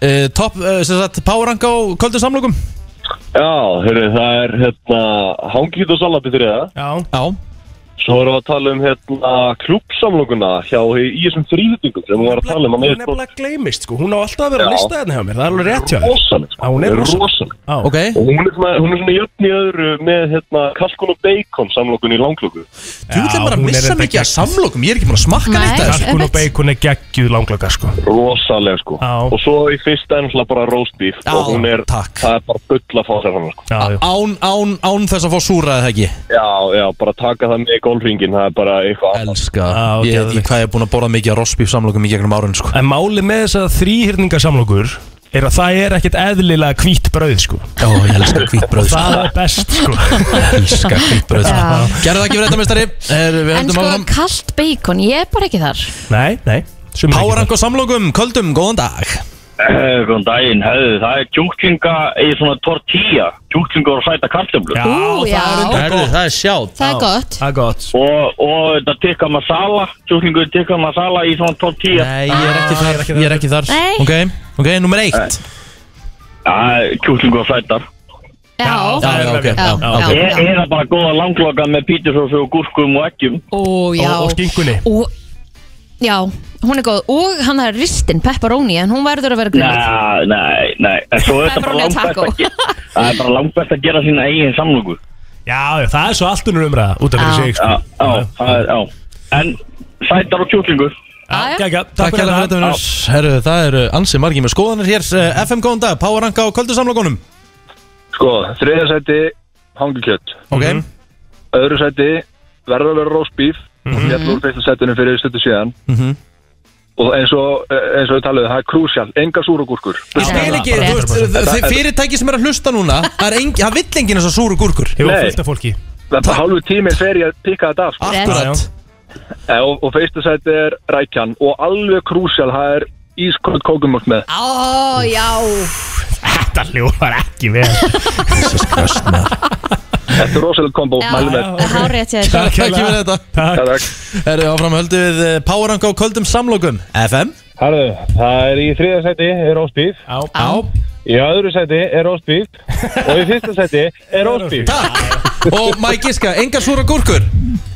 Speaker 1: uh, Top, uh, sem sagt, powerranka á köldu samlokum
Speaker 8: Já, hörru, það er hérna hangikjöt og salati fyrir það.
Speaker 3: Já
Speaker 1: Já,
Speaker 8: Svo erum við að tala um hérna klúbsamlokuna hjá í í þessum þrýðutingum sem við varum að tala um að
Speaker 3: Hún er
Speaker 8: með
Speaker 3: nefnilega gleymist sko Hún á alltaf að vera að
Speaker 8: Já.
Speaker 3: lista hérna hjá mér Það er alveg rétt hjá þér
Speaker 8: rosaleg. sko.
Speaker 3: Já, hún er rosaleg.
Speaker 8: rosaleg.
Speaker 3: Já.
Speaker 1: ok
Speaker 8: Og hún er svona, hún er svona jöfn í öðru með hérna kalkun og bacon samlokun í langloku.
Speaker 1: Þú vil bara
Speaker 3: hún er
Speaker 1: missa
Speaker 3: enda
Speaker 1: mikið að
Speaker 3: geggjuð.
Speaker 1: samlokum, ég er ekki búin að smakka
Speaker 2: Nei.
Speaker 1: neitt að þessu
Speaker 3: Kalkun og
Speaker 2: Einmitt.
Speaker 3: bacon er geggjuð langlöka sko
Speaker 8: Rosaleg sko.
Speaker 3: Já.
Speaker 8: Og svo í fyrsta er náttúrulega bara roast beef
Speaker 1: Já,
Speaker 8: og hún er,
Speaker 1: takk.
Speaker 8: það er bara bull að fá sér hann sko.
Speaker 3: Já, já
Speaker 1: Án, án, án þess að fá súra eða ekki
Speaker 8: Já, já, bara taka það með í golfringin, það er bara eitthvað annað.
Speaker 1: Elska,
Speaker 3: Já,
Speaker 1: ég veit ekki
Speaker 3: geðveikt.
Speaker 1: hvað ég er búin að borða mikið að rostbíf samlokum í gegnum árun sko.
Speaker 3: En málið með þess að þrýhyrningasamlokur er að það er ekkert eðlilega hvítt brauð sko
Speaker 1: Ó, ég elska hvítbröð sko.
Speaker 3: Það er best
Speaker 1: [laughs]
Speaker 3: sko
Speaker 1: Elska hvítbröð sko.
Speaker 2: Já.
Speaker 1: Gerðu það ekki fyrir þetta, mistari er, Við
Speaker 2: en
Speaker 1: höldum
Speaker 2: sko
Speaker 1: áfram
Speaker 2: kalt bacon, ég er bara ekki þar
Speaker 3: Nei, nei
Speaker 1: Párank og samlokum, köldum, góðan dag
Speaker 14: Eh, Góðan daginn, hefðu, það er kjúklinga í svona tortilla, kjúklinga og sæta kartöflur.
Speaker 2: Já, Ú, það er já. enda
Speaker 1: Herðu, það er sjátt.
Speaker 2: Það er gott.
Speaker 3: Það er gott.
Speaker 14: Og, og þetta tikka masala, kjúklingu tikka masala í svona tortilla.
Speaker 1: Nei, ég er ekki þar, ég er ekki þar
Speaker 2: Nei.
Speaker 1: Ok, ok, nummer eitt
Speaker 14: Já, kjúklingu og sætar.
Speaker 2: Já,
Speaker 1: Já, já, ok, já, já, ok.
Speaker 14: Er, er það bara góða langloka með pítisósu og gúrkum og eggjum?
Speaker 2: Ó, já.
Speaker 14: Og- og skinkunni.
Speaker 2: Og, já, hún er góð Og hann er ristin, pepperoni En hún verður að vera grunni
Speaker 14: Nei, nei, nei, en svo er þetta bara
Speaker 2: Pepperoni
Speaker 14: langbæst
Speaker 2: taco.
Speaker 14: að gera, það er bara langbæst að gera sína eigin samlöku.
Speaker 3: Já, já, það er svo allt unnur umræða út af fyrir sig sko.
Speaker 14: Já, já, það er, já. En sætar og kjúklingur.
Speaker 3: Já, já, já,
Speaker 1: Takk hérna fyrir þetta minnur Herru, það eru ansið margir með skoðanir hér Eh, FM góðan dag, Páranka og köldum samlokunum
Speaker 15: Sko, þriðja sæti hangikjött
Speaker 1: Ok
Speaker 15: Öðru sæti verður að vera rósbíf mm -hmm. Ég úr fyrsta sætinu fyrir stundu síðan
Speaker 1: Mhm.
Speaker 15: Og eins og, eins og við talaðu, það er krúsjál Enga súrugúrkur
Speaker 1: Ég skil ekki, þú veist, þið fyrirtæki sem er að hlusta núna Það er engin, það vill enginn þessar súru gúrkur
Speaker 15: Hefur Nei. fullt af
Speaker 3: fólki
Speaker 15: Það er bara hálfu tíminn fer ég að píka þetta af sko.
Speaker 1: Akkurat.
Speaker 15: Eh, Og, og fyrsta sæti er rækjan Og alveg krúsjál, það er ísköld kókumöld með
Speaker 2: Ó, já
Speaker 3: Þetta hljófar ekki vel
Speaker 15: Þetta er rosalega kombo,
Speaker 2: Já,
Speaker 15: mælum við
Speaker 2: Hárétt ég
Speaker 1: Takk fyrir þetta
Speaker 3: Takk
Speaker 1: Herru, áfram höldum við eh, Páranka og köldum samlokum FM
Speaker 16: Harðu, það er í þriða sæti er roastbeef
Speaker 3: Já,
Speaker 1: já
Speaker 16: Í öðru sæti er roastbeef Og í fyrsta sæti er roastbeef
Speaker 1: Takk Og maður giska, engar súra gúrkur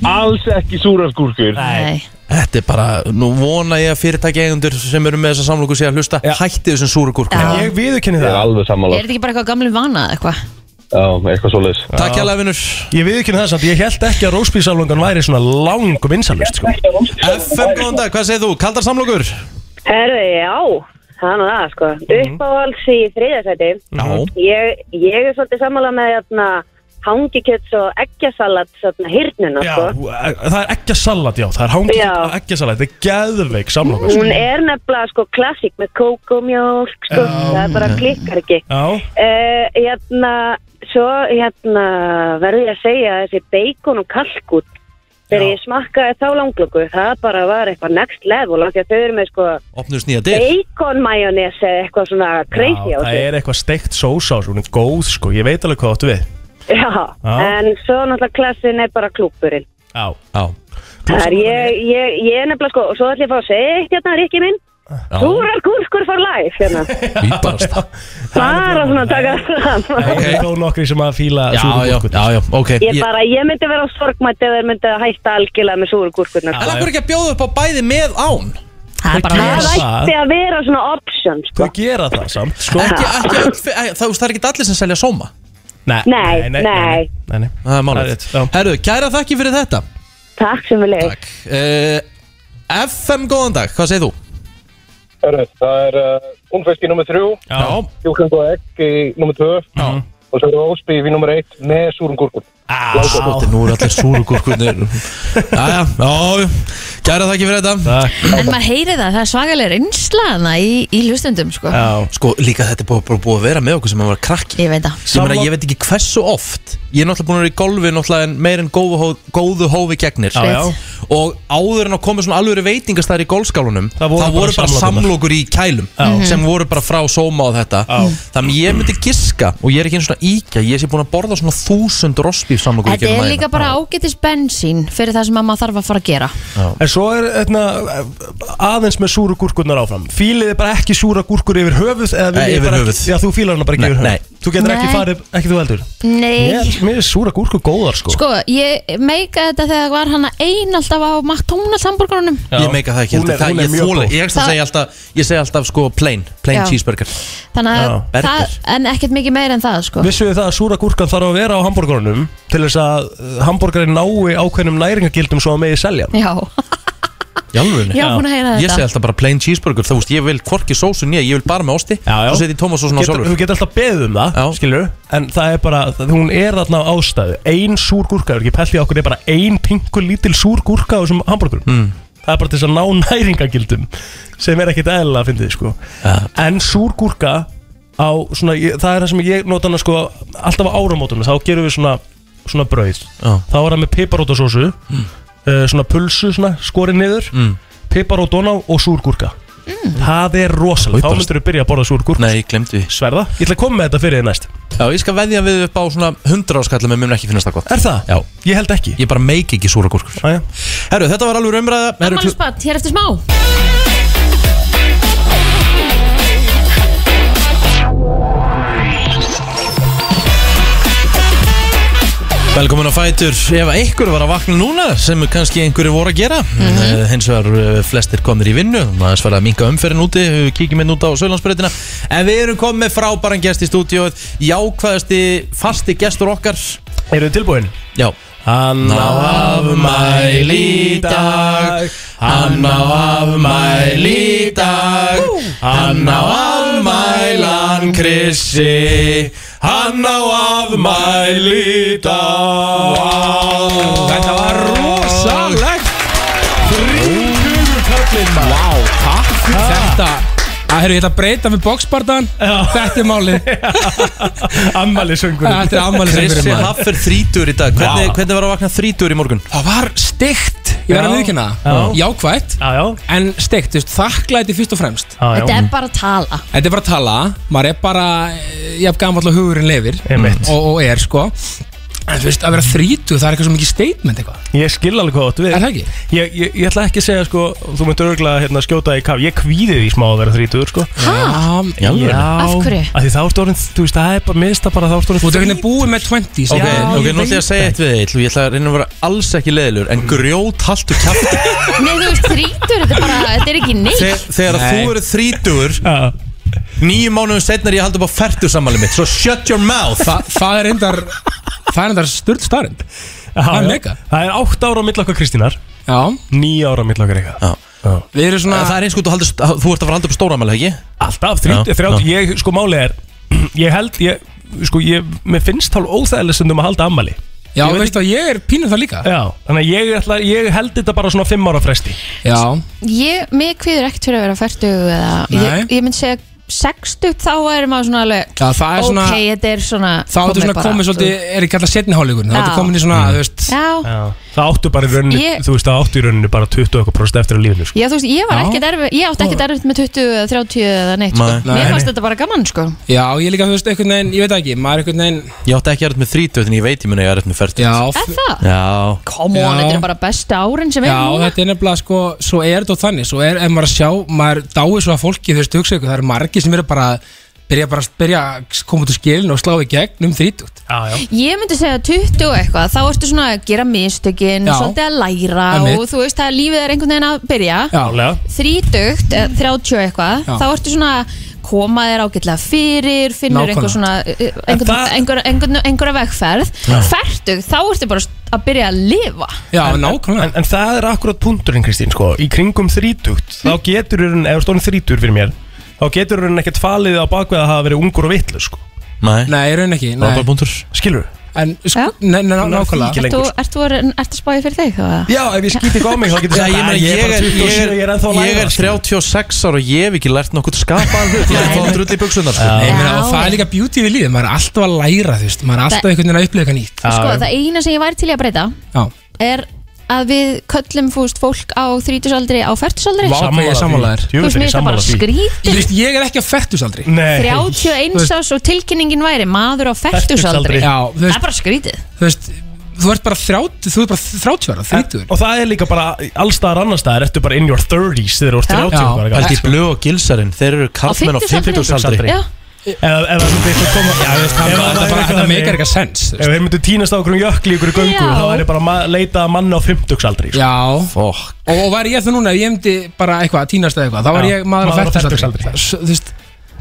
Speaker 16: Alls ekki súra gúrkur
Speaker 1: Nei Þetta er bara, nú vona ég að fyrirtæki eigendur sem eru með þessar samlokur sé að hlusta Hætti þessum súra gúrkur
Speaker 3: Ég viðurkenni
Speaker 16: það Ég er alveg
Speaker 2: Er
Speaker 16: sammála
Speaker 2: þetta ekki bara eitthvað gamlu vana eða eitthvað?
Speaker 16: Já, eitthvað svoleiðis
Speaker 1: Takk hérlega vinnur
Speaker 3: Ég viðurkenni það samt, ég held ekki að rósbísalungan væri svona lang og vinsalust sko.
Speaker 1: FM, góðan dag, hvað segir þú? Kaldar samlokur?
Speaker 17: Herðu, já, það er nú það, sko.
Speaker 3: Mhm.
Speaker 17: Uppáhalds í þriðasæti.
Speaker 1: Já.
Speaker 17: Ég, ég er svolítið sammála með jatna, hangikjöts og eggjasalat svona hirnuna,
Speaker 3: Já,
Speaker 17: sko.
Speaker 3: e- það er ekki salat, já, það er hangi
Speaker 17: Já.
Speaker 3: ekki salat, þetta er geðveik samlokur
Speaker 17: Hún er nefnilega, sko, klassík með kókomjólk, sko. það er bara klikkar ekki.
Speaker 3: Já,
Speaker 17: Uh, hérna, svo, hérna, verður ég að segja þessi bacon og kalkút. Þegar ég smakkaði þá langlöku, það bara var eitthvað next level, af því að þau eru með, sko,
Speaker 1: Opnust nýja dyr
Speaker 17: bacon majónis eða eitthvað svona crazy á
Speaker 3: það
Speaker 17: því.
Speaker 3: er eitthvað steikt sósa, hún er góð sko, ég veit alveg hvað áttu við
Speaker 17: Já,
Speaker 3: Já.
Speaker 17: en svo náttúrulega klassin er bara klúpurinn.
Speaker 3: Já,
Speaker 1: já
Speaker 17: Það er ég, ég, ég er nefnilega sko, og svo ætlum ég að fá að segja eitt hérna, Rikki minn. Súrar gúrskur for life, hérna.
Speaker 1: Íbarasta
Speaker 17: Bara svona að taka það fram.
Speaker 3: Það er þó nokkri sem að fíla
Speaker 1: Já, já, já, já, ok
Speaker 17: Ég bara, ég myndi vera á sorgmætt ef þeir myndi að hætta algjörlega með súrar gúrskurnar.
Speaker 1: En af hverju ekki að bjóða upp á bæði með án?
Speaker 2: Það
Speaker 17: bara Það ætti að vera svona option, sko.
Speaker 3: Hvað gera það samt, sko
Speaker 1: Ekki,
Speaker 17: [laughs]
Speaker 1: ekki, öll- það, það er ekki allir sem selja sóma
Speaker 3: Nei,
Speaker 17: Nei, nei.
Speaker 3: nei, nei.
Speaker 1: Það er málið Herru, kæra þakki fyrir þetta
Speaker 17: Takk sem við leik.
Speaker 1: uh, FM, góðan dag, hvað segir þú?
Speaker 16: Herru, það er uh, únfisk í nummer þrjú
Speaker 1: Já.
Speaker 16: Kjúkling og egg í nummer tvö Já. Og svo er roastbeef í nummer eitt með súrum gúrkur
Speaker 1: Svolítið, nú eru allir
Speaker 3: [laughs]
Speaker 1: súrugurkunir Jæja, já, kæra þakki fyrir þetta
Speaker 3: Takk
Speaker 2: En maður heyri það, það er svagalega reynslaðna í, í hlustendum sko.
Speaker 3: Já.
Speaker 1: Sko, líka þetta er búið, bara búið að vera með okkur sem að vera krakki
Speaker 2: Ég veit það
Speaker 1: Ég, meina, ég veit ekki hversu oft Ég er náttúrulega búin að vera í golfi náttúrulega en meir en góðu, hó, góðu hófi gegnir
Speaker 3: Já, já.
Speaker 1: Og áður en að koma svona alvöru veitingastæðir í golfskálunum Það
Speaker 3: voru
Speaker 1: voru,
Speaker 3: bara
Speaker 1: bara,
Speaker 3: samlokurnar.
Speaker 1: samlokur í kælum
Speaker 2: Mhm.
Speaker 3: Já.
Speaker 1: Sem voru bara frá sóma á þetta já. Þannig ég myndi giska Og ég er ekki einu svona íkja Ég sé búin að borða svona þúsund rossbíf samlokur í
Speaker 2: Þetta
Speaker 1: gegnum
Speaker 2: er
Speaker 1: ævina.
Speaker 2: líka bara ágætis bensín fyrir það sem að maður þarf að fara að gera
Speaker 3: En svo er etna, aðeins með súru gúrkurnar áfram Fílið er bara ekki súra gúrkur yfir höfuð eða viljið
Speaker 1: Nei, yfir
Speaker 3: bara,
Speaker 1: höfuð.
Speaker 3: Já, þú fílar hana bara ekki
Speaker 1: Nei,
Speaker 3: yfir höfuð
Speaker 1: nei.
Speaker 3: Þú getur ekki
Speaker 2: Nei.
Speaker 3: farið, ekki þú heldur
Speaker 2: Nei,
Speaker 3: Mér, mér er súra gúrkur góðar sko,
Speaker 2: sko, ég meika þetta þegar var hana ein alltaf á McDonalds hambúrgarunum
Speaker 1: Ég meika það ekki,
Speaker 3: Hún
Speaker 1: heldur,
Speaker 3: er- hún
Speaker 1: það,
Speaker 3: er
Speaker 1: ég
Speaker 3: mjög
Speaker 1: þóla
Speaker 3: góð.
Speaker 1: Ég ætla að
Speaker 2: Það-
Speaker 1: segja alltaf, ég segja alltaf sko plain, plain
Speaker 2: Já.
Speaker 1: cheeseburger
Speaker 2: Þannig að
Speaker 3: Já.
Speaker 2: það, en ekkert mikið meir en það sko
Speaker 3: Vissuðu það að súra gúrkan þarf að vera á hambúrgarunum Til þess að uh, hambúrgarin nái ákveðnum næringagildum svo að megi selja hann.
Speaker 2: Já,
Speaker 1: Jálfurinn
Speaker 2: Ég var búin að heyra
Speaker 1: Ég
Speaker 2: þetta.
Speaker 1: segja alltaf bara plain cheeseburger, þú veist, ég vil hvorki sósu nýja, ég vil bara með osti já, já. Svo seti Thomas sósuna
Speaker 3: Getur-
Speaker 1: sjálfur
Speaker 3: Þú getur alltaf beðið um það, já. skilur En það er bara, það, hún er þarna á ástæðu Ein súr gúrka, er ekki pælt í okkur Er bara ein pinkur lítil súr gúrka á þessum hambúrgurum
Speaker 1: Hmm.
Speaker 3: mm. Það er bara til þess að ná næringagildum Sem er ekkit eðla að fyndið, sko En súr gúrka á, svona, ég, Það er það sem ég nota hana, sko Alltaf á áramótunum, þá gerum við svona Svona brauð,
Speaker 1: Já.
Speaker 3: eh, þá er það með piparótasósu mm. Svona pulsu, svona, skori niður pipar og doná og súrgúrka Það er rosalega, þá myndur við byrja að borða súrgúrk
Speaker 1: Nei, ég glemdi því
Speaker 3: Sverða, ég ætla að koma með þetta fyrir þið næst
Speaker 1: Já, ég skal veðja við upp á svona 100 áskalla Mér mun ekki finnast það gott
Speaker 3: Er það?
Speaker 1: Já
Speaker 3: Ég held ekki Ah,
Speaker 1: Ég bara meik ekki súra gúrkur
Speaker 3: Æja
Speaker 1: Herru, þetta var alveg umræða
Speaker 2: [laughs]
Speaker 1: Herru, kl-
Speaker 2: Afmælisbarn, hér eftir smá
Speaker 1: Velkomin á Fætur, ef einhver var að vakna núna sem kannski einhverju voru að gera mm hins vegar eh, flestir komnir í vinnu það er svar að minka umferðin úti, eh, kíkjum inn út á Sölandsbreytina, en við erum komið með frábæran gest í stúdíóið, jákvæðasti fasti gestur okkar
Speaker 3: Eru þið tilbúin?
Speaker 1: Já
Speaker 3: Hann á
Speaker 1: afmæli í dag Hann á afmæli í dag Hann á afmælan Krissi Hann á afmæli í dag Þetta var rosalegt
Speaker 3: Þrýtugur kallinn
Speaker 6: Vá, takk fyrir þetta Að, herru, ég ætla að breyta fyrir boxbardan Þetta er málið
Speaker 3: Ammali söngur
Speaker 6: Þetta er ammali söngur
Speaker 1: Krissi Haffer þrítur í dag Hvernig,
Speaker 6: Vá.
Speaker 1: hvernig var að vakna þrítur í morgun?
Speaker 6: Það var stygt Ég verði að viðkynna
Speaker 1: Já.
Speaker 6: það Jákvætt
Speaker 3: já.
Speaker 6: En stygt, þú veist, þakklæti fyrst og fremst
Speaker 2: Þetta er bara að tala
Speaker 6: Þetta er bara að tala Maður er bara eh, Jafn gamall og hugurinn lifir
Speaker 3: Einmitt.
Speaker 6: og, og er, sko En þú veist, að vera þrítu Það er eitthvað svo mikið statement eitthvað
Speaker 3: Ég skil alveg hvað þú átt við Er það ekki? Ég, ég, ég ætla ekki að segja sko Þú myndur örgulega hérna, skjóta í kaf Ég kvíði því smá að vera þrítugur sko
Speaker 6: Ha?
Speaker 3: Já,
Speaker 6: Í alvöru? Af hverju?
Speaker 3: Af Því þá ertu orðin, þú veist, það er bara mista bara þá ertu orðin
Speaker 6: Þú ert einhvern veginn búið með 20
Speaker 1: Ok, ok, nú ætla ég að segja eitt við þig Illu, Ég ætla að reyna að vera alls ekki leiðilur En grjót haltu kjátt
Speaker 2: Nei, þú veist, þrítur, þetta er bara, þetta er ekki
Speaker 1: Þegar,
Speaker 2: neitt
Speaker 1: þegar
Speaker 6: Nei.
Speaker 1: þú eru þrítugur Nýju mánuðum setna er ég að halda upp á færtur sammæli mitt Svo shut your mouth
Speaker 6: Þa, Það er endar Það er endar sturt starrend Það er mega
Speaker 3: Það er 8 ára á milli okkar Kristínar
Speaker 6: Já
Speaker 3: 9 ára á milli okkar eitthvað Já
Speaker 6: Við erum svona
Speaker 1: Það er eins og þú, haldur, þú ert að fara að halda upp stóra mæli, ekki?
Speaker 3: Alltaf, 30, 30, ég, sko málið er [clears throat] Ég held, ég, sko, ég, mér finnst hálf óþægileg stundum að halda ammali
Speaker 6: Já, veistu að ég er pínur það líka
Speaker 3: Já, þannig að ég, ætla, ég held þetta bara svona 5 ára fresti
Speaker 6: Já
Speaker 2: Ég, mig kvíður ekkert fyrir að vera færtug eða, ég,
Speaker 6: Nei.
Speaker 2: ég myndi segja 60 þá er maður svona alveg
Speaker 6: Já, það er svona-
Speaker 2: ok, þetta er svona
Speaker 6: Þá ertu svona
Speaker 2: bara-
Speaker 6: komið svolítið, er ekki alltaf setni hálfleikur Þá ertu
Speaker 2: Já.
Speaker 6: komin í svona, þú veist
Speaker 2: Já,
Speaker 3: Mm. Það áttu bara í rauninu,
Speaker 2: Ég-
Speaker 3: þú veist, það áttu í rauninu bara 20 okkar prost eftir að lífinu sko.
Speaker 2: Já, þú veist, ég var
Speaker 3: Já.
Speaker 2: ekkert erfið, ég átti ekkert erfið með 20 eða 30 eða neitt, sko.
Speaker 1: Nei. Nei.
Speaker 2: Mér fannst þetta bara gaman, sko.
Speaker 6: Já, ég líka, þú veist, einhvern veginn, ég veit það ekki Maður er einhvern veginn
Speaker 1: Ég átti ekki að vera upp með þrítugur En ég veit ég mun að ég er upp með færtur
Speaker 2: Er það?
Speaker 1: Já
Speaker 2: Come on, þetta er bara bestu árin sem
Speaker 6: Já,
Speaker 2: er núna.
Speaker 6: þetta er nefnilega, sko, svo er þetta og þannig Svo er, ef maður er að sjá, maður dáið svo að fólki Þú veist, hugsa ykkur, það eru margir sem eru bara Byrja bara, byrja að koma út úr skilin og slá í gegn um þrítútt
Speaker 3: Já, já
Speaker 2: Ég myndi segja 20 og eitthvað, þá ertu svona að gera mistökin,
Speaker 6: Já.
Speaker 2: svolítið að læra
Speaker 6: Einmitt.
Speaker 2: og þú veist að lífið er einhvern veginn að byrja.
Speaker 3: Klálega
Speaker 2: Þrítugt, eða 30 eitthvað,
Speaker 6: Mm. Já.
Speaker 2: þá ertu svona að koma þér ágætlega fyrir, finnur
Speaker 6: Nákvæmlega.
Speaker 2: einhver svona, eh, einhvern- einhver- einhvern- einhverja vegferð.
Speaker 3: Já.
Speaker 2: Fertug, þá ertu bara að byrja að lifa.
Speaker 6: Já,
Speaker 3: en, nákvæmlega en, en það er akkurat punkturinn Kristín sko. Í kringum þrítugt
Speaker 6: Hm.
Speaker 3: Þá getur hún, ef stóðin þrítur fyrir mér Þá getur hún ekkert falið á bakveð að hafa verið ungur og vitlu sko.
Speaker 1: Nei,
Speaker 6: nei, raun ekki
Speaker 3: Það var
Speaker 6: nei.
Speaker 1: bara punktur
Speaker 3: Skilur
Speaker 6: En, sko, nei, nei, ná- nákvæmlega
Speaker 2: Ert þú- ert þú að- ert að spáði fyrir þig? eða?
Speaker 3: Já, ef ég skýti ekki á mig þá getur
Speaker 1: Já, ég, meina, ég, er, ég, er,
Speaker 3: ég er ennþá að
Speaker 1: ég er
Speaker 3: læra sko.
Speaker 1: 36 ára og ég hef ekki lært nokkuð skapaðan hlut Ég er ennþá að drull í buksunar sko.
Speaker 6: Ég meina, og það er líka beauty við lífið, maður er alltaf að læra þú veist, maður er alltaf
Speaker 2: Það-
Speaker 6: einhvern veginn að upplega eitthvað nýtt
Speaker 2: Sko, það eina sem ég væri til í að breyta
Speaker 6: Já.
Speaker 2: er að við köllum fúst fólk á þrítusaldri á færtusaldri
Speaker 6: Vá, hvað ég er sammálaðir
Speaker 2: Þú veist, mér er það bara skrít
Speaker 6: Þú veist, ég er ekki á fettusaldri
Speaker 3: Nei
Speaker 2: 31 árs og tilkynningin væri maður á færtusaldri
Speaker 6: Já, þú
Speaker 2: Það er
Speaker 6: veist,
Speaker 2: bara skrítið
Speaker 6: þú veist Þú ert bara 30, þú ert bara 30 ára, 30
Speaker 3: Og það er líka bara allstaðar annarstaðar Ertu bara in your 30s þegar þú ert
Speaker 6: Já.
Speaker 3: 30
Speaker 6: Já.
Speaker 3: ára gamall,
Speaker 1: Pældi í
Speaker 3: sko.
Speaker 1: blöð og gilsarinn Þeir eru karlmenn á 50 aldri
Speaker 2: Já.
Speaker 3: Eða ef það myndir koma Já, ég veist,
Speaker 6: það- þetta bara- þetta meikar eitthvað sens
Speaker 3: Ef þeir myndu tínast á okkur um jökli ykkur í göngu
Speaker 6: Já.
Speaker 3: þá væri bara að leita að manna á sko. 50 aldri
Speaker 6: Já
Speaker 1: Fokk
Speaker 6: Og og væri ég það núna, ef ég myndi bara eitthvað, týnast eða eitthvað Þá var
Speaker 3: Já,
Speaker 6: ég maður á
Speaker 3: maður á
Speaker 6: fettusaldri
Speaker 3: fertugsaldri.
Speaker 6: Þú veist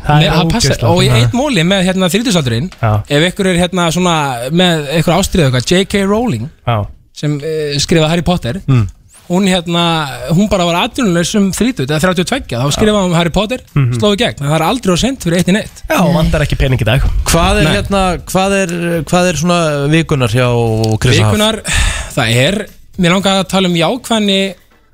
Speaker 3: Það
Speaker 6: Nei,
Speaker 3: er
Speaker 6: það passar,
Speaker 3: ógeðslegt.
Speaker 6: og í
Speaker 3: Já.
Speaker 6: eitt móli með hérna þrítusaldurinn Ef ykkur er hérna svona með ykkur ástriðu eitthvað, J.K. Rowling
Speaker 3: Já.
Speaker 6: sem uh, skrifaði Harry Potter
Speaker 3: Mm.
Speaker 6: hún hérna, hún bara var atvinnulegs um 30 eða 32, þá skrifaði hún Harry Potter mm
Speaker 3: Mhm.
Speaker 6: slóði gegn, en það er aldrei og sent fyrir eitt í neitt
Speaker 3: Já, vandar ekki pening í dag
Speaker 1: Hvað er,
Speaker 6: Nei.
Speaker 1: hérna, hvað, er, hvað er svona vikunar hjá Chris Haf?
Speaker 6: Vikunar, það er mér langar að tala um jákvæðni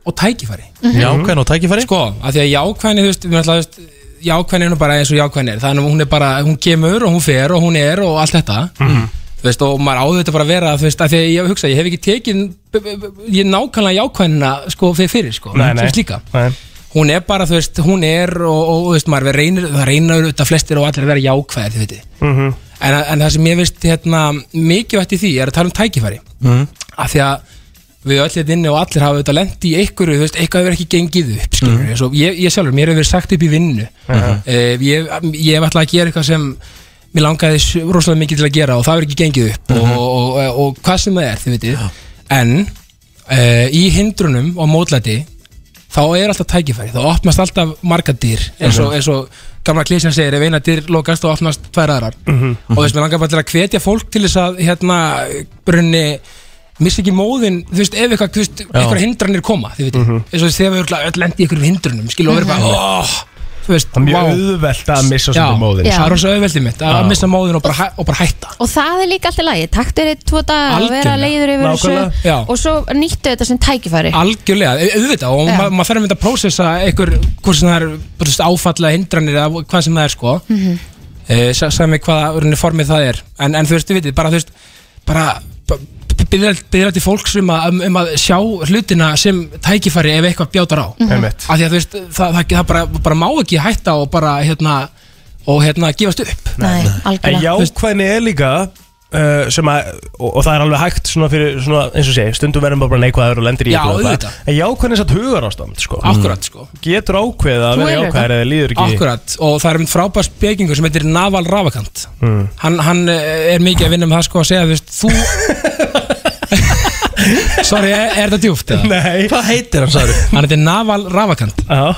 Speaker 6: og tækifæri
Speaker 1: Mhm. Jákvæðni og tækifæri?
Speaker 6: Sko, af því að jákvæðni, þú veist, við ætla, þú veist
Speaker 3: Mhm.
Speaker 6: jákvæðni er nú bara eins og jákvæðni er þannig að hún er bara, hún kemur og hún fer og hún er og allt þetta þú veist, og maður áður þetta bara að vera þú veist, að því að ég hugsa, ég hef ekki tekin b- b- b- ég nákvæmlega jákvæðina sko, fyrir fyrir, sko,
Speaker 3: Nei,
Speaker 6: Þú
Speaker 3: nei.
Speaker 6: veist, líka
Speaker 3: Nei.
Speaker 6: hún er bara, þú veist, hún er og, og þú veist, maður reynir, það reynir auðvitað flestir og allir að vera jákvæðir, þið veitir
Speaker 3: Mhm.
Speaker 6: en, en það sem ég veist hérna, mikilvægt í því er að tala um tækifæri
Speaker 3: Mhm.
Speaker 6: af því að við öll hérna inni og allir hafa auðvitað lent í einhverju, þú veist, eitthvað hefur ekki gengið upp skilur,
Speaker 3: Mhm.
Speaker 6: mm. ég, ég sjálfur, mér hefur verið sagt upp í vinnu
Speaker 3: Mhm.
Speaker 6: Eh, ég, ég hef alltaf að gera eitthvað sem mér langaði s- rosalega mikið til að gera og það hefur ekki gengið upp
Speaker 3: Mhm.
Speaker 6: og, og, og, og hvað sem það er, þið veitir en uh, í hindrunum og mótlæti þá er alltaf tækifæri, þá opnast alltaf marga dyr eins og,
Speaker 3: Mhm.
Speaker 6: eins og gamla klísjan segir, ef eina dyr lokast þá opnast tvær aðrar
Speaker 3: Mhm.
Speaker 6: og þess með langar bara til að hvetja fólk til þess að hérna, brunni missa ekki móðin, þú veist, ef eitthvað þú veist, eitthvað hindranir koma, þið veitir eins og þegar við örugglega öll lendi í einhverjum hindrunum skilur og verið bara,
Speaker 3: Mhm.
Speaker 6: oh, þú veist,
Speaker 3: Það er mjög
Speaker 6: vá.
Speaker 3: auðvelt að missa
Speaker 6: Já,
Speaker 3: svona móðin
Speaker 6: Já, það er svo auðveldið mitt að
Speaker 3: Já.
Speaker 6: missa móðin og bara, hæ- og bara hætta
Speaker 2: og það er líka alltaf lagi, taktu þér eitt tvo daga og vera
Speaker 6: Algjörlega.
Speaker 2: leiður yfir
Speaker 6: Nákvæmlega. Já.
Speaker 2: þessu og svo nýttu þetta sem tækifæri
Speaker 6: Algjörlega, au- auðvitað og
Speaker 2: Já.
Speaker 6: ma maður þarf að mynda að prósessa einhver, hvort sem það er bara, þú veist, áfalla hindranir eða hvað sem það er sko mm
Speaker 2: Mhm.
Speaker 6: sami hvaða rauninni formið það er en, en þú veist, þú veitir, bara þú veist bara byrjar til fólks um að, um, um að sjá hlutina sem tækifæri ef eitthvað bjátar á
Speaker 3: Mhm. Einmitt.
Speaker 6: af því að þú veist, það, það, það bara, bara má ekki hætta og bara hérna og hérna gefast upp
Speaker 2: Nei,
Speaker 3: En jákvæðni er líka uh, sem að, og, og það er alveg hægt svona fyrir, svona, eins og segi, stundum verðum bara neikvæður og lendir í
Speaker 6: Já,
Speaker 3: eitthvað og eitthvað.
Speaker 6: auðvitað.
Speaker 3: En jákvæðni er satt hugar ástand sko.
Speaker 6: Akkurat, sko.
Speaker 3: Getur ákveðið að vera jákvæður eða líður ekki
Speaker 6: Akkurat, og það er mynd frábær spekingur sem heitir Naval Ravakant mm. hann, hann eh, er mikið að vinna með það sko að segja þú veist, þú Sorry, er, er það djúft? eða?
Speaker 3: Nei
Speaker 1: Hvað heitir hann, sagði?
Speaker 6: Hann heitir Naval Ravakant
Speaker 3: Já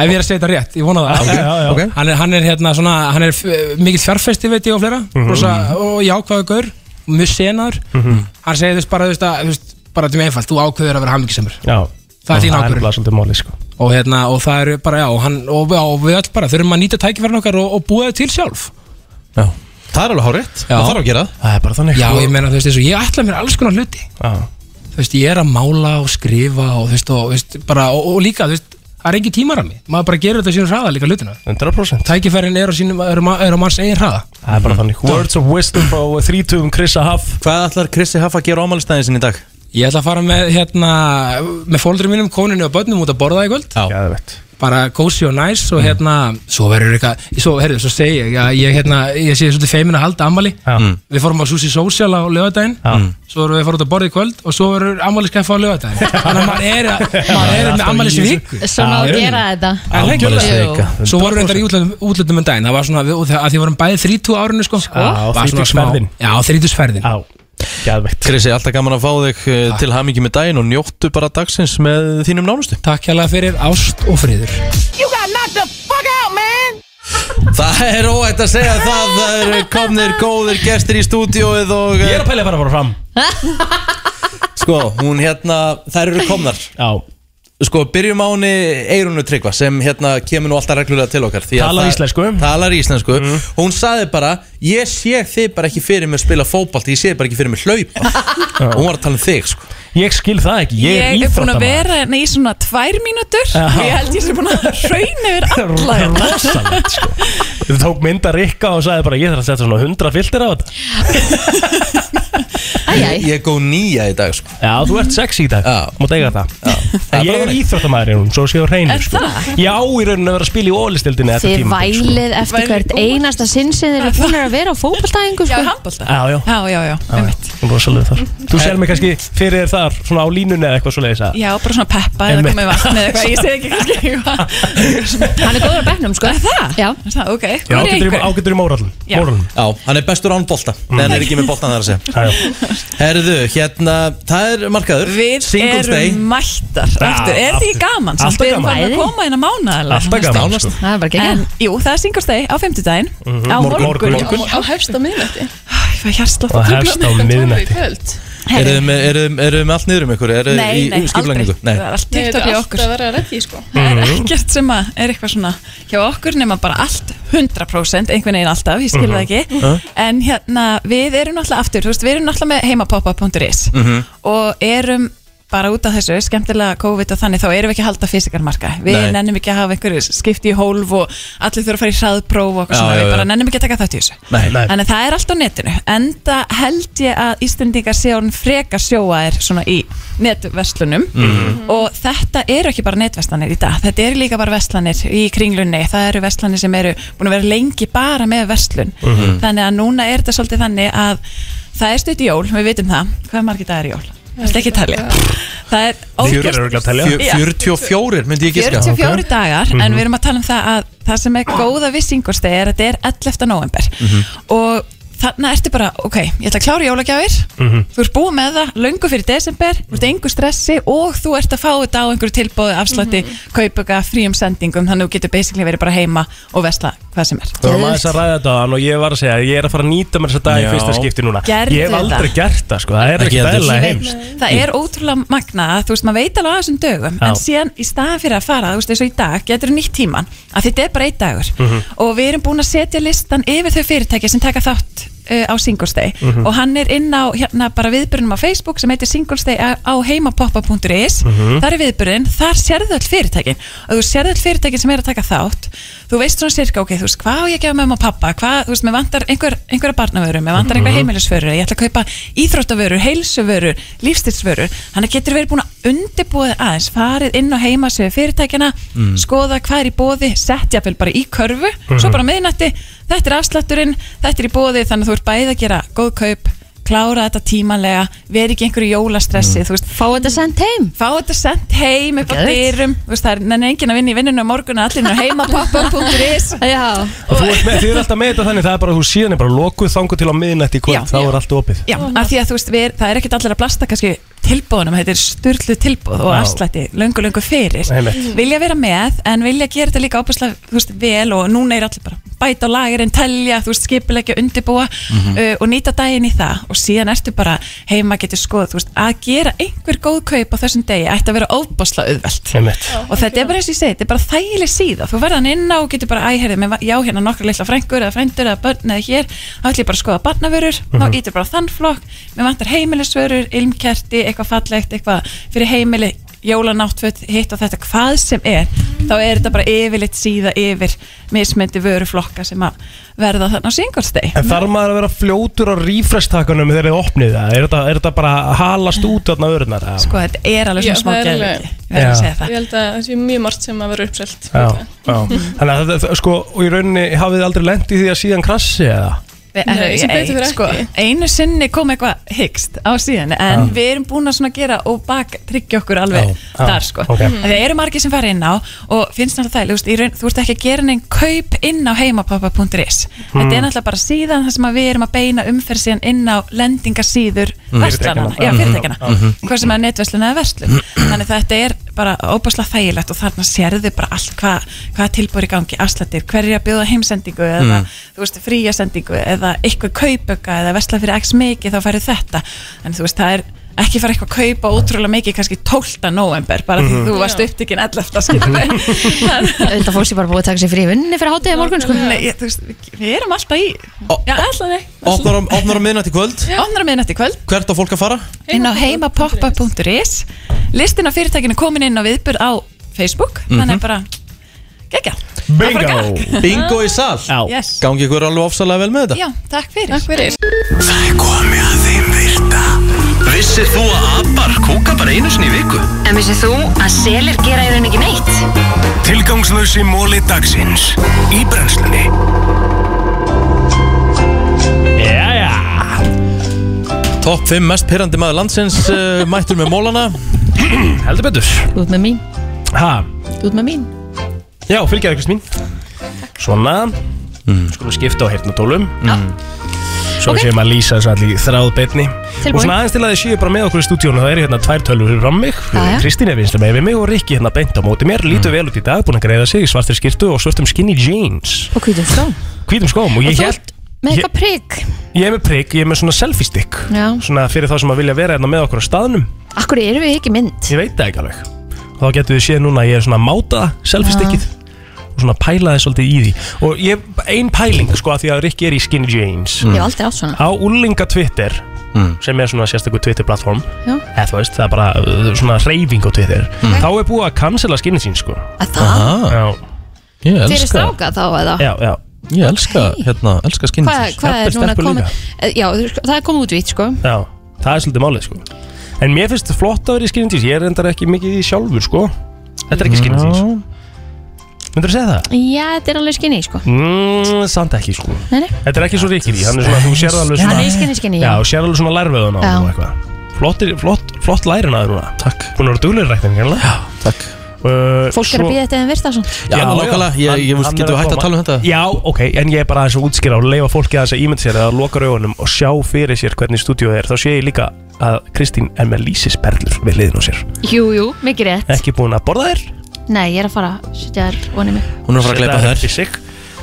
Speaker 6: Ef ég er að segja þetta rétt, ég vona það
Speaker 1: Já, já, já. Ok.
Speaker 6: Hann, er, hann er hérna svona, hann er eh, mikill fjárfesti veit ég og fleira
Speaker 1: Mhm.
Speaker 6: Rosa, og jákvæðu gaur, mjög senaður
Speaker 3: Mhm.
Speaker 6: Hann segir þú veist bara, þú veist, að, þú veist, bara til mig einfalt, þú ákveður að vera hammingisemur
Speaker 3: Já
Speaker 6: Það er þín
Speaker 3: Það er
Speaker 6: ákvörðun.
Speaker 3: nefnilega svolítið máli sko.
Speaker 6: og hérna og það eru bara já og, hann, og, já, og við öll bara þurfum að nýta tækifærin okkar og, og búa þau til sjálf
Speaker 1: Það er alveg hárétt, það þarf að gera sko-
Speaker 3: Það er bara þannig sko.
Speaker 6: já ég meina þú veist eins og ég ætla mér alls konar hluti
Speaker 3: Já.
Speaker 6: þú veist ég er að mála og skrifa og þú veist og, þú veist, bara, og, og líka þú veist það er engin tímarami maður bara gerur þetta á sínum hraða líka hlutina
Speaker 3: 100%
Speaker 6: tækifærin er á sínum er, er, er á manns eigin hraða
Speaker 3: Það er bara
Speaker 1: Mhm.
Speaker 3: þannig Words of wisdom frá
Speaker 1: um
Speaker 3: þrítugum Krissa Haff
Speaker 1: Hvað ætlar Krissi Haff að gera ámælistæðin sinni í dag?
Speaker 6: ég ætla að fara með hérna með fólkdur mínum koninu og börnum út að borða í kvöld
Speaker 3: Gæðvett
Speaker 6: bara kósi og næs og hérna svo verður eitthvað, svo, herðu, svo segi ég að ég, hérna, ég sé svolítið feimin að halda ammali
Speaker 3: Mm.
Speaker 6: við fórum á Susi Social á lögadaginn svo erum við fórum út að borða í kvöld og svo verður ammaliskaffa á lögadaginn
Speaker 3: [laughs]
Speaker 6: þannig að maður er, hérna að- maður er með ammalisvík
Speaker 2: Svona að gera þetta
Speaker 6: En það ekki
Speaker 2: Jú.
Speaker 6: alveg. Svo vorum við reyndar í útlöndum, útlöndum en daginn Það var svona, við- og það- að því vorum bæði 30 árinu sko, sko?
Speaker 1: á þrítugsferðin.
Speaker 6: Já, 30 sverðin
Speaker 3: Já, gæðvegt
Speaker 1: Krissi, alltaf gaman að fá þig eh, til hamingi með daginn og njóttu bara dagsins með þínum nánustu
Speaker 6: Takk hérlega fyrir ást og friður
Speaker 18: You got knocked the fuck out, man!
Speaker 1: Það er óætt að segja það, það eru komnir góðir gestir í stúdíóið og Ég
Speaker 3: er að pæla bara að fara fram
Speaker 1: [laughs] Sko, hún hérna, þær eru komnar
Speaker 3: Já
Speaker 1: Sko, byrjum áni Eirunu Tryggva sem hérna kemur nú alltaf reglulega til okkar því að
Speaker 3: Talar
Speaker 1: það-
Speaker 3: íslensku. Mm.
Speaker 1: Talar íslensku Hún saði bara, ég sé þið bara ekki fyrir mig að spila fótbalt Ég sé þið bara ekki fyrir mig hlaupa
Speaker 3: [laughs]
Speaker 1: Hún var að tala um þig, sko
Speaker 3: Ég skil það ekki,
Speaker 10: Ég er, búin að vera hérna í svona tvær mínútur
Speaker 3: Já.
Speaker 10: og ég held ég sé búin að hrauna yfir alla hérna.
Speaker 3: Rosalegt sko [laughs] Þú tók mynda Rikka og sagði bara ég þarf að setja svona 100 filter á þetta
Speaker 1: Ég, ég er góð nýja í dag, sko
Speaker 3: Já, þú ert sexy í dag, mátt eiga það En ég er íþróttamæður hún, svo séu
Speaker 2: Er
Speaker 3: reynir sko.
Speaker 2: það?
Speaker 3: Já, í rauninu að vera að spila í ólistildinni þetta
Speaker 2: Þið
Speaker 3: tímabil, sko.
Speaker 2: vælið eftir hvert einasta sinn sem þið eru búin að vera á sko. fótballtæðingu Já,
Speaker 10: handballtæðingu
Speaker 3: Já, já,
Speaker 10: Já, já, já,
Speaker 3: já, já rosalega þar Þú sér mig kannski fyrir þér þar, svona á línunni eða eitthvað svo leiðis að
Speaker 10: Já, bara svona peppa eða
Speaker 3: Einmitt.
Speaker 10: komið vatn eða eitthvað, ég segi ekki kannski eitthvað
Speaker 2: Hann er góður á bekknum, sko
Speaker 10: Það?
Speaker 2: Já
Speaker 10: Er Það, ok,
Speaker 1: Já,
Speaker 10: Hvor er
Speaker 1: ágætur í- Mm.
Speaker 10: einhver?
Speaker 3: ágætur í mórallin
Speaker 10: Já.
Speaker 1: Mórallin. Já, hann er bestur án bolta Nei, hann er ekki með boltan þar að segja Herðu, hérna, það er markaður
Speaker 10: Við
Speaker 1: Singles
Speaker 10: erum
Speaker 1: Day
Speaker 10: mættar
Speaker 1: Já,
Speaker 10: aftur, er það ekki
Speaker 1: aftur.
Speaker 10: gaman? samt?
Speaker 1: Alltaf
Speaker 10: Við erum
Speaker 1: gaman.
Speaker 10: farin að
Speaker 1: Bæði.
Speaker 10: koma inn að mána
Speaker 1: Alltaf gaman, sko.
Speaker 2: Það er bara geggjað.
Speaker 10: En, jú, það er singastegi á fimmtudaginn
Speaker 3: Mhm.
Speaker 10: Á
Speaker 3: Morgun.
Speaker 10: morgun,
Speaker 3: Morgun.
Speaker 10: Á hefst á miðnætti Ég fæ hjartslátt
Speaker 3: Og hefst á miðnætti
Speaker 10: kvöld
Speaker 1: Eru þið með, eru, eru með allt niður um ykkur? Eru þið
Speaker 10: Nei,
Speaker 1: í
Speaker 10: nei,
Speaker 1: skipulagningu?
Speaker 10: aldrei. Það er allt TikTok
Speaker 19: Nei,
Speaker 10: hjá
Speaker 19: þetta er
Speaker 10: okkur
Speaker 19: alltaf að vera reddi, sko.
Speaker 10: Það er
Speaker 1: Mhm.
Speaker 10: ekkert sem að er eitthvað svona hjá okkur nema bara allt 100% einhvern veginn alltaf, ég skil það
Speaker 19: Mhm.
Speaker 10: ekki
Speaker 19: Mhm.
Speaker 10: En hérna, við erum náttúrulega aftur, þú veist, við erum náttúrulega með heimapoppa.is
Speaker 19: Mhm.
Speaker 10: og erum bara út af þessu, skemmtilega COVID og þannig, þá erum við ekki að halda fysikarmarka við
Speaker 1: Nei.
Speaker 10: nennum ekki að hafa einhverju skipti í hólf og allir þurfa að fara í hraðpróf og
Speaker 1: Já,
Speaker 10: eitthvað svona,
Speaker 1: já,
Speaker 10: við
Speaker 1: já.
Speaker 10: bara nennum ekki að taka þátt í þessu
Speaker 1: Nei, nei.
Speaker 10: Þannig að það er allt á netinu Enda held ég að Íslendingar sé hún freka sjóaðir svona í netverslunum
Speaker 19: Mhm.
Speaker 10: Mm. og þetta eru ekki bara netverslanir í dag þetta eru líka bara verslanir í kringlunni það eru verslanir sem eru búin að vera lengi bara með verslun
Speaker 19: Mhm.
Speaker 10: þannig að núna er þetta svolítið þannig að það er stutt í jól, við vitum það hvað margir dagar í jól? Það er ekki að talja Það er ógeðslega- Já.
Speaker 1: 44 myndi ég giska
Speaker 10: 44 dagar, en
Speaker 1: Mhm.
Speaker 10: við erum að tala um það að það sem er góða við singulstegi er að þetta er 11. november og þarna ertu bara, ok, ég ætla að klára jólagjafir
Speaker 19: Mhm.
Speaker 10: þú ert búið með það löngu fyrir desember, þú ert engu stressi og þú ert að fá þetta á einhverju tilbóðu afslætti, kaupuga, fríum sendingum þannig að þú getur basically verið bara heima og vesla hvað sem er
Speaker 3: Það var maður að ræða þetta á hann og ég var að segja Ég er að fara að nýta mér þessa dag í
Speaker 1: Já.
Speaker 3: fyrsta skipti núna
Speaker 10: Gerðu
Speaker 3: Ég hef aldrei
Speaker 10: það.
Speaker 3: gert það sko, það er
Speaker 1: Ekki
Speaker 3: ekki
Speaker 1: heldur.
Speaker 3: dæla
Speaker 1: Ég veit
Speaker 3: heimst
Speaker 10: Það er ótrúlega magnað að þú veist, maður veit alveg á þessum dögum
Speaker 3: Já.
Speaker 10: en síðan í staðan fyrir að fara, þú veist, eins og í dag getur nýtt tíman, að þetta er bara einn dagur
Speaker 19: Mhm.
Speaker 10: og við erum búin að setja listan yfir þau fyrirtæki sem taka þátt uh, á Singles Day
Speaker 19: Mhm.
Speaker 10: og hann er inn á hérna bara viðbyrunum á Facebook sem heitir Singles Day á, á heimapoppa.is
Speaker 19: Mhm.
Speaker 10: þar er viðbyrun, þar sérðu öll fyrirtækin og þú sérðu öll fyrirtækin sem er að taka þátt þú veist svona sirka, ok, þú veist, hvað á ég að gefa mamma og pappa, hvað, þú veist, mér vantar einhver, einhverja barnavöru, mér vantar einhverja
Speaker 19: Mhm.
Speaker 10: heimilisvöru ég ætla að kaupa íþróttavöru, heilsuvöru lífstilsvöru, þannig getur verið búin að undirbúið aðeins, farið inn á heimasöðu fyrirtækina,
Speaker 19: Mm.
Speaker 10: skoða hvað er í bóði, sett jafnvel bara í körfu svo
Speaker 19: Mhm.
Speaker 10: bara miðnætti, þetta er afslætturinn þetta er í bóði, þannig að þú ert bæði að gera góð kaup, klára þetta tímanlega veri ekki í einhverju jólastressi þú veist, fá þetta sendt heim fá þetta sendt heim upp á
Speaker 2: Geðveikt.
Speaker 10: dyrum þú veist, það er nenni enginn að vinna í vinnunum á morgun allir eru heima [laughs] poppa.is
Speaker 2: Já
Speaker 3: Og þú ert með, þið er alltaf með þetta þannig, það er bara, þú síðan er bara lokuð þangu til á miðnætt í kvöld, þá er allt opið
Speaker 10: Já, af því að þú veist, við, er- það er ekkert allir að blasta kannski tilbúðunum, þetta er styrlu tilbúð og
Speaker 3: Já.
Speaker 10: afslætti, löngu, löngu fyrir
Speaker 3: Einmitt.
Speaker 10: vilja vera með, en vilja gera þetta líka ábærslega, þú veist, vel og núna er allir bara bæta á lagirinn, telja, þú veist, skipulegja undirbúa
Speaker 19: Mhm.
Speaker 10: uh, og nýta daginn í það og síðan ertu bara heima getur skoð, þú veist, að gera einhver góð kaup á þessum degi ætti að vera ábærslega auðvelt
Speaker 3: Einmitt.
Speaker 10: og þetta er bara eins og ég segi, þetta er bara þægileg síða þú verðan inn á og getur bara, æ, herði, mér, va- já, hérna nokkra litla frængur eða frændur eða börn eða hér þá ætlum ég bara að skoða barnavörur,
Speaker 19: Mhm.
Speaker 10: þá ítur bara á þann flokk mér vantar heimilisvörur, ilmkerti eitthvað fallegt, eitthvað fyrir heimili jólanáttföt, hitt og þetta hvað sem er, þá er þetta bara yfirleitt síða yfir mismyndi vöruflokka sem að verða þannig á singolsteg
Speaker 3: En þarf maður að vera fljótur á refresh-takunum þegar þið opnið það? Er þetta, er þetta bara að halast út þarna öðrunar?
Speaker 10: sko, þetta er alveg
Speaker 19: Já,
Speaker 10: svona smá
Speaker 19: það er
Speaker 10: geðviki,
Speaker 19: alveg-
Speaker 10: verður að segja það
Speaker 19: Ég held að það sé mjög margt sem að vera uppselt
Speaker 3: Já, já. Þannig að þetta, sko, og í rauninni hafið þið aldrei lent í því að síðan krassi eða?
Speaker 10: Við-
Speaker 19: Nei,
Speaker 10: herru,
Speaker 19: sem
Speaker 10: ég-
Speaker 19: betur fer
Speaker 10: sko,
Speaker 19: ekki.
Speaker 10: Einu sinni kom eitthvað hyggst á síðan En
Speaker 19: Já.
Speaker 10: við erum búin að svona gera og baktryggja okkur alveg
Speaker 19: Já, já,
Speaker 10: þar sko
Speaker 19: ok.
Speaker 10: Af því Það eru margir sem fara inn á Og finnst náttúrulega það, þú veist, í raun- þú ert ekki að gera neinn kaup inn á heimapappa.is Þetta er
Speaker 19: Mm.
Speaker 10: náttúrulega bara síðan það sem að við erum að beina umferð síðan inn á lendingasíður
Speaker 19: Mm.
Speaker 10: verslana,
Speaker 19: Fyrirtækjanna.
Speaker 10: já fyrirtækjana
Speaker 19: Mhm.
Speaker 10: Hvað sem að netverslun eða verslun
Speaker 19: Hmm.
Speaker 10: Þannig þetta er bara óbáslega þægilegt og þarna sérðu bara allt hvað hva tilbúri gangi, afslættir, hverju að bjóða heimsendingu eða
Speaker 19: Mm.
Speaker 10: þú veist, fría sendingu eða eitthvað kaupöka eða vesla fyrir x mikið þá færðu þetta en þú veist, það er ekki fara eitthvað að kaupa ótrúlega mikið kannski 12. november bara því
Speaker 19: Mhm.
Speaker 10: þú varst upptikinn 11. skipið
Speaker 2: Þetta fólk sé bara búið að taka sér frí í vinnunni fyrir hátíði morgun sko.
Speaker 10: Nei, ég- þú veist, við- við erum alltaf í Já, alltaf nei
Speaker 1: Opnar á- Opnar á miðnætt í kvöld
Speaker 10: Opnar að miðnætti kvöld
Speaker 1: Hvert á fólk að fara?
Speaker 10: inn á heimapoppa.is listin á fyrirtækinu komin inn á viðbyrð á Facebook,
Speaker 1: Mhm.
Speaker 10: þannig að bara geggja,
Speaker 1: Bingo Bingo í sal
Speaker 10: Yes.
Speaker 1: Gangi ykkur alveg ofsalega vel með þetta
Speaker 10: já, takk fyrir Takk fyrir
Speaker 4: Það er komið að þeim virta Vissir þú að abar kúka bara einu sinni í viku?
Speaker 13: En vissið þú að selir gera í raun ekki neitt?
Speaker 4: Tilgangslösi móli dagsins Í brennslunni
Speaker 3: Jæja
Speaker 1: Topp 5 mest pyrrandi maður landsins uh, Mættur með mólana
Speaker 3: Heldur betur
Speaker 2: Þú ert með mín,
Speaker 3: Ha,
Speaker 2: þú ert með mín
Speaker 3: já, fylgjaði Krist mín Svona
Speaker 2: Mm.
Speaker 3: Skulum skipta á heyrnatólum mm. Svo okay. séum að lýsa þessu allir þráðbeinni
Speaker 2: Tilbúin.
Speaker 3: Og svona aðeins til að þið séu bara með okkur í stúdíónu Það eru hérna tvær tölvur fyrir fram mig
Speaker 2: Já, Mm. já.
Speaker 3: Kristín er vinstum með við mig og Rikki hérna beint á móti mér Lítu vel út í dag, búin að greiða sig í svartir skirtu og svartum skinny jeans
Speaker 2: Og hvítum skóm
Speaker 3: Hvítum skóm og
Speaker 2: Og
Speaker 3: ég
Speaker 2: þú
Speaker 3: held
Speaker 2: Með
Speaker 3: Ég-
Speaker 2: eitthvað prigg
Speaker 3: Ég er með prigg, ég er með svona selfie stick
Speaker 2: Já.
Speaker 3: Svona fyrir þá sem að vilja vera hérna með okkur á staðnum
Speaker 2: Akkur erum við ekki mynd
Speaker 3: Ég veit það ekki alveg Og þá getur við séð núna að ég er svona að máta selfie stickið Og svona pæla þess svolítið í því Og ég, ein pæling sko að því að Rikki er í skinny jeans
Speaker 2: Ég hef Mm. aldrei átt svona Mm.
Speaker 3: Á úlinga Twitter sem er svona sérstakur Twitter-plattform
Speaker 2: Já. Mm.
Speaker 3: eða þú veist, það er bara uh, svona reyfing á Twitter þá er búið að cancela skinni sín sko
Speaker 2: Að
Speaker 3: það? Já Ég
Speaker 2: Fyrir stráka þá eða
Speaker 3: Já, já
Speaker 1: Ég elska, hérna, elska skinni
Speaker 2: Hvað hvað er núna komið Eh, Já, þú- það er komið út vít sko
Speaker 3: Já, það er svolítið málið sko En mér finnst flott að vera í skinni síns Ég er endar ekki mikið í því sjálfur sko Þetta er ekki skinni síns Myndur þú segja það?
Speaker 2: Já, þetta er alveg skinni sko
Speaker 3: Mm, samt ekki sko
Speaker 2: Nei, nei.
Speaker 3: Þetta er ekki svo ríkir í, hann er svona, þú sér alveg
Speaker 2: Já,
Speaker 3: svona
Speaker 2: hann er í skinni, skinni, já.
Speaker 3: Já, þú sér alveg svona lærveðun á
Speaker 2: Já.
Speaker 3: hann og eitthvað Flott, flott, flott lærin að þér núna Takk Búin að vera duglegur ræktin, kannlega Já, takk uh,
Speaker 2: Fólk er að býða þetta en virta svona
Speaker 1: Já, nákvæmlega. Ég-
Speaker 3: Hann-
Speaker 1: ég veist,
Speaker 3: hann
Speaker 1: getum
Speaker 3: er
Speaker 1: við hætt að
Speaker 3: koma.
Speaker 1: tala um þetta?
Speaker 3: Já, ok, en ég er bara aðeins að útskýra og leifa fólki aðeins að ímynda sér eða loka raugunum og sjá fyrir sér hvernig stúdíóð er þá sé ég líka að Kristín er með lýsisperlur við hliðin á sér
Speaker 2: Jú, jú, mikið rétt
Speaker 3: Ekki búin að borða Eh, þér
Speaker 2: Nei, ég er að fara að setja þér vonið mig
Speaker 3: Hún er að fara að gleypa þær í sig.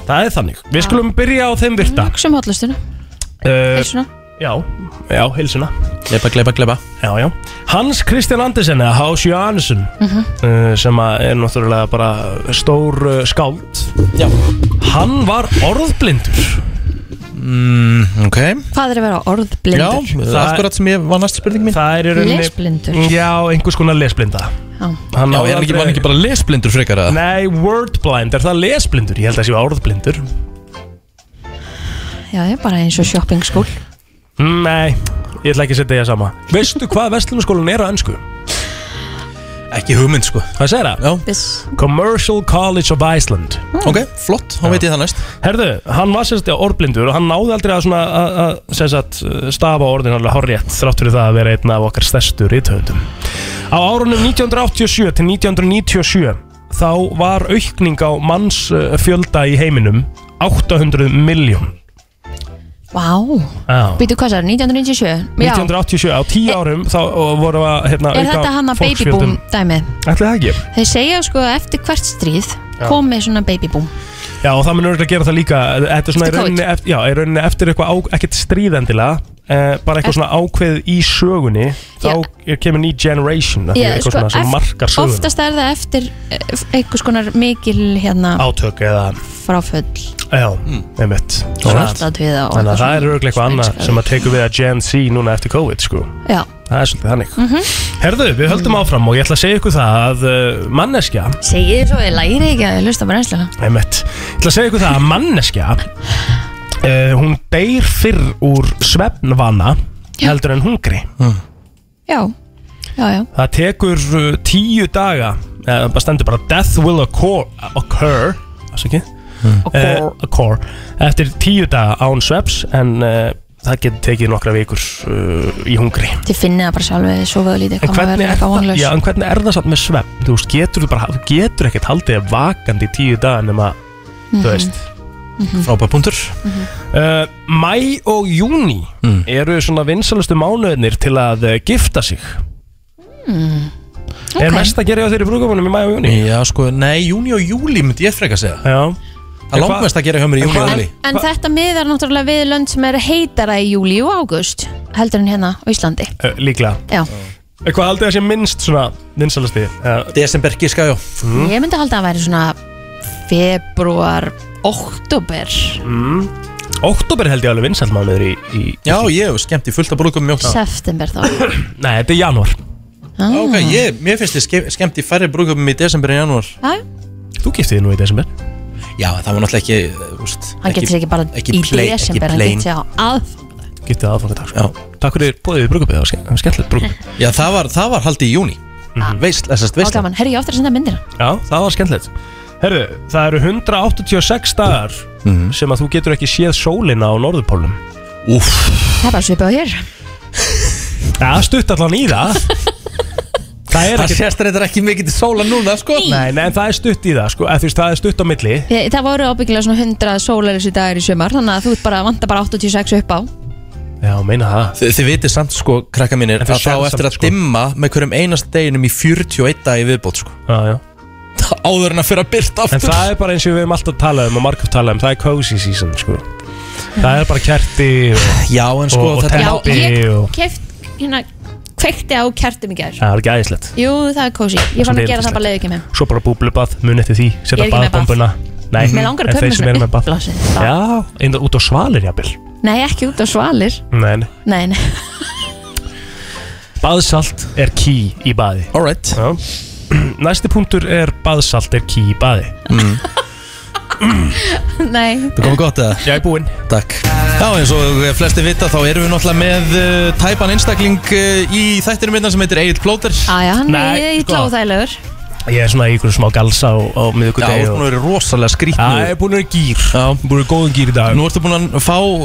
Speaker 3: Það er þannig Við skulum byrja á þeim virta
Speaker 2: Hugsa um hotlustuna,
Speaker 3: uh,
Speaker 2: heilsuna
Speaker 3: Já, já, hilsuna Gleipa, gleipa, gleipa Já, já Hans Kristján Andersen eða H.C. Andersen
Speaker 2: Mhm.
Speaker 3: uh, sem að er náttúrulega bara stór uh, skáld Já Hann var orðblindur
Speaker 1: mm, Ok
Speaker 2: Hvað er að vera orðblindur?
Speaker 1: Já, það akkurat sem ég var næst spurning mín
Speaker 3: Það er í rauninni-
Speaker 2: Lesblindur.
Speaker 3: Já, einhvers konar lesblinda
Speaker 2: Já.
Speaker 3: Hann
Speaker 1: Já,
Speaker 3: á
Speaker 1: er hann ekki, var hann ekki bara lesblindur frekar að
Speaker 3: Nei, wordblind, er það lesblindur? Ég held að það sé orðblindur
Speaker 2: Já, ég er bara eins og shopping school
Speaker 3: Nei, ég ætla ekki að setja ég sama Veistu hvað Vestlunarskólan er á ennsku? Ekki hugmynd sko Hvað segir það?
Speaker 2: Já
Speaker 3: Commercial College of Iceland Ok, flott,
Speaker 1: þá veit ég
Speaker 3: það næst Herðu, hann var sérst orðblindur og hann náði aldrei að svona að- að sem sagt, stafa orðin alveg horrétt þrátt fyrir það að vera einn af okkar stærstu rithöfundum Á árunum 1987 til 1997 þá var aukning á mannsfjölda í heiminum 800 miljón
Speaker 2: Vá, býtu hvað það er, 1997 Já, Eh,
Speaker 3: 1987 á 10 árum þá voru að hérna,
Speaker 2: er þetta hann að baby boom dæmið?
Speaker 3: Ætli það ekki
Speaker 2: Þeir segja sko að eftir hvert stríð
Speaker 3: Já.
Speaker 2: komið svona baby boom
Speaker 3: Já og það mun örgulega gera það líka Þetta er svona í
Speaker 2: Eftir
Speaker 3: rauninni, eftir, já, í rauninni eftir eitthvað á, ekkert stríðendilega eh, bara eitthvað svona ákveð í sögunni þá kemur ný generation af því
Speaker 2: Já,
Speaker 3: eitthvað svona sem
Speaker 2: sko, eft-
Speaker 3: markar sögun
Speaker 2: Oftast er það eftir eh, einhvers konar mikil hérna
Speaker 3: átök eða Hmm.
Speaker 2: fráföll
Speaker 3: Já, einmitt Þannig að-
Speaker 2: Svartadauða og eitthvað
Speaker 3: Þannig að það er
Speaker 2: svona
Speaker 3: örgulega eitthvað annað
Speaker 2: spænska.
Speaker 3: sem að tekur við að Gen Z núna eftir COVID sko
Speaker 2: Já,
Speaker 3: Það er svolítið þannig
Speaker 2: mhm
Speaker 3: Herðu, við höldum
Speaker 2: Mm.
Speaker 3: áfram og ég ætla að segja ykkur það að uh, manneskja
Speaker 2: Segið þið svo, ég læri ekki að lusta bara einsluna
Speaker 3: Einmitt. Ég ætla að segja ykkur það að manneskja uh, hún deyr fyrr úr svefnvana heldur en hungri
Speaker 2: Já, já, já
Speaker 3: það tekur uh, tíu daga eða bara stendur bara death will occur, occur afsakið, eh, occur eftir tíu daga án svefns en uh, það getur tekið nokkra vikur uh, í hungri
Speaker 2: Þið finnið það bara sjálfið, sofaðu lítið
Speaker 3: En
Speaker 2: hvað maður
Speaker 3: hvernig,
Speaker 2: verður
Speaker 3: er
Speaker 2: eitthvað
Speaker 3: það,
Speaker 2: vonlaus.
Speaker 3: já, en hvernig er það samt með svefn? Þú veist, getur þú bara, þú getur ekkert haldið þér vakandi í tíu daga nema,
Speaker 2: Mhm.
Speaker 3: þú veist,
Speaker 2: Mhm.
Speaker 3: frábæð punktur. Uh, Mæ og júni
Speaker 1: Mm.
Speaker 3: eru svona vinsalustu mánuðinir til að uh, gifta sig.
Speaker 2: Mm.
Speaker 3: Er mest að gera hjá þeirri brúkamunum í mæ og júni?
Speaker 1: Mhm. Já, sko, nei, júni og júli myndi ég frekar segja
Speaker 3: Já
Speaker 1: Það
Speaker 3: En
Speaker 1: er
Speaker 3: hvað-
Speaker 1: langmest að gera hjá mér í
Speaker 3: en
Speaker 1: júni og
Speaker 3: hvað-
Speaker 1: júli
Speaker 2: En þetta miðar náttúrulega við lönd sem er heitara í júli og águst heldur en hérna á Íslandi
Speaker 3: Uh, líklega.
Speaker 2: Já,
Speaker 3: Eh, Hvað haldið það sé minnst svona vinsalusti? Uh,
Speaker 1: Desember gíska, já.
Speaker 3: Mm.
Speaker 2: ég myndi halda að væri svona februar, oktober
Speaker 3: Mm. Oktober held ég alveg vinsalt mánuður í, í
Speaker 1: Já, ég hef skemmt í fullt að brúkum mjók
Speaker 2: september þá
Speaker 3: Nei, þetta er janúar
Speaker 2: Ah.
Speaker 1: Ok, ég, mér finnst ég ske- skemmt í færri brúkum í desember en janúar
Speaker 2: Já,
Speaker 3: Þú giftið þig nú í desember
Speaker 1: Já, það var náttúrulega ekki, uh, úst,
Speaker 2: hann getur sér ekki bara
Speaker 1: ekki
Speaker 2: í
Speaker 1: plain- ekki
Speaker 2: desember, hann
Speaker 1: plain.
Speaker 2: getur sér á að
Speaker 3: Giftið aðfangadag sko. Takk fyrir bóðið í brúkupið, það var skemmtilegt Mm. brúkup
Speaker 1: [laughs] Já, það var, það var haldið í júni
Speaker 2: Ah.
Speaker 1: Veist, þessast
Speaker 2: á
Speaker 1: veist
Speaker 2: gaman, herri ég á eftir að senda myndina
Speaker 3: Já, það var skemmtilegt Herðu, það eru 186 dagar
Speaker 1: Mm.
Speaker 3: sem að þú getur ekki séð sólina á norðurpólum Úff
Speaker 2: Það er bara svipið á hér
Speaker 3: Það stutt allan í
Speaker 1: [laughs]
Speaker 3: það Það er
Speaker 1: Það
Speaker 3: ekki
Speaker 1: sést reyndar ekki mikið til sóla núna, sko
Speaker 3: Nei, nei, en það er stutt í það, sko eða, þú veist, Það er stutt á milli
Speaker 2: Ég- Það voru ábyggilega svona 100 sólarleysi dagar í sömar þannig að þú ert bara að vanta bara 86 upp á
Speaker 3: Já, meina það
Speaker 1: Þi, Þið vitið samt, sko, krakka mínir
Speaker 3: En þið
Speaker 1: að þá
Speaker 3: sérð samt,
Speaker 1: eftir að
Speaker 3: sko.
Speaker 1: dimma með hverjum einast deginum í 41 dag í viðbót, sko
Speaker 3: Já, já
Speaker 1: Áður en að fyrir að byrta
Speaker 3: En
Speaker 1: aftur
Speaker 3: það er bara eins og við hefum alltaf talað um og margum talað um, það er cozy season, sko Það er bara kerti og,
Speaker 1: Já, en sko,
Speaker 3: og, og
Speaker 1: þetta er-
Speaker 2: Já,
Speaker 3: teppi
Speaker 2: ég
Speaker 3: og
Speaker 2: keft, hérna, kveikti á kertum í gær
Speaker 3: Já, Það er ekki æðislegt
Speaker 2: Jú, það er kósi, ég fann að
Speaker 3: Svolítið
Speaker 2: gera
Speaker 3: yndislegt.
Speaker 2: það bara leiði ekki með
Speaker 3: Svo bara búblubað, mun eftir því,
Speaker 2: Ég
Speaker 3: setja
Speaker 2: er ekki með bath.
Speaker 3: baðbombuna Nei,
Speaker 2: Mig langar að
Speaker 3: en
Speaker 2: kaupa
Speaker 3: þeir
Speaker 2: mér
Speaker 3: sem
Speaker 2: svona
Speaker 3: eru með bath
Speaker 2: uppblásið bath.
Speaker 3: Já, einnig út á svalir, jafnvel
Speaker 2: Nei, ekki út á svalir
Speaker 3: Nei, nei
Speaker 2: Nei, [laughs] nei
Speaker 3: Baðsalt er ký í baði
Speaker 1: Alright
Speaker 3: [clears throat] Næsti punktur er baðsalt er ký í baði mm.
Speaker 2: Nei
Speaker 1: Það komið gott eða?
Speaker 3: Ég er búinn
Speaker 1: Takk Já eins og flesti vita þá erum við náttúrulega með uh, tæpan einstakling uh, í þættinu minna sem heitir Egil Plóter
Speaker 2: Æja, hann er
Speaker 1: Nei, sko.
Speaker 2: ítla og þægilegur
Speaker 3: Ég er svona í ykkur smá galsa á, á miðugudegi
Speaker 1: Já, þú ert búin að vera rosalega skrítnur.
Speaker 3: Já, ég er búin að vera í gýr Já, búin að vera í góðum gýr í dag
Speaker 1: Nú ertu búin að fá uh,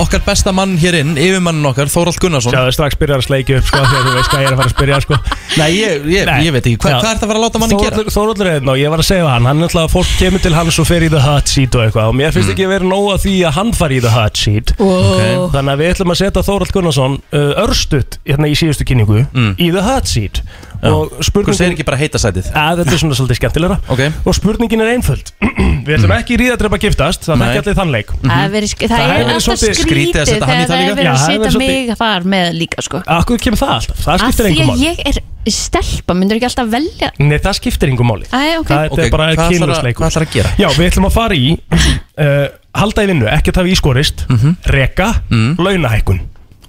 Speaker 1: okkar besta mann hér inn, yfirmannin okkar, Þórald Gunnarsson
Speaker 3: Sjáðu, strax byrjar að sleikja upp, sko, þegar þú veist hvað ég er að fara að spyrja, sko
Speaker 1: Nei, ég, ég, ég veit ekki, hvað, hvað ertu að fara að láta manni gera?
Speaker 3: Þóróldur, Þóróldur er þetta og ég var að segja hann Hann er alltaf að fólk kemur til hans og fer í the hot seat og eitthvað Og mér finnst
Speaker 1: Mm.
Speaker 3: ekki verið nóg að því að hann fari í the hot seat
Speaker 1: Ó.
Speaker 3: Þannig að við ætlum að setja Þóróld Gunnarsson uh, örstutt hérna í síðustu kynningu Í the hot seat Og
Speaker 1: Hvað Mm. segir
Speaker 3: spurningin
Speaker 1: ekki bara heita sætið?
Speaker 3: að þetta er svona svolítið skemmtilegra
Speaker 1: okay.
Speaker 3: og spurningin er einföld [clears throat] við ætlum ekki í ríðadrepa giftast það er
Speaker 1: Mm. Nei.
Speaker 3: ekki allir þannleik
Speaker 2: Það er verið- það
Speaker 3: Mhm. hefur
Speaker 2: er
Speaker 3: verið
Speaker 2: alltaf
Speaker 3: svolítið
Speaker 2: skrítið
Speaker 3: skrítið að setja
Speaker 2: þegar
Speaker 3: hann í
Speaker 2: það er
Speaker 3: það líka.
Speaker 2: verið
Speaker 3: Já,
Speaker 2: að
Speaker 3: það hefur
Speaker 2: setja
Speaker 3: verið svolítið-
Speaker 2: mig þar með líka sko
Speaker 3: Akkur kemur það alltaf, það
Speaker 2: Af
Speaker 3: skiptir
Speaker 2: því
Speaker 3: engum
Speaker 2: að
Speaker 3: máli
Speaker 2: ég er stelpa, myndur ekki alltaf velja
Speaker 3: Nei, það skiptir engum máli
Speaker 2: Æ, ok.
Speaker 3: Það
Speaker 1: Ok,
Speaker 3: er bara
Speaker 1: hvað ætlarðu-
Speaker 3: kynlustleikur
Speaker 1: hvað ætlarðu að gera?
Speaker 3: Já, við ætlum að
Speaker 1: [clears throat]
Speaker 3: fara í uh, Halda í vinnu, ekkert hafi ískorist
Speaker 1: Mhm.
Speaker 3: Reka, launahækkun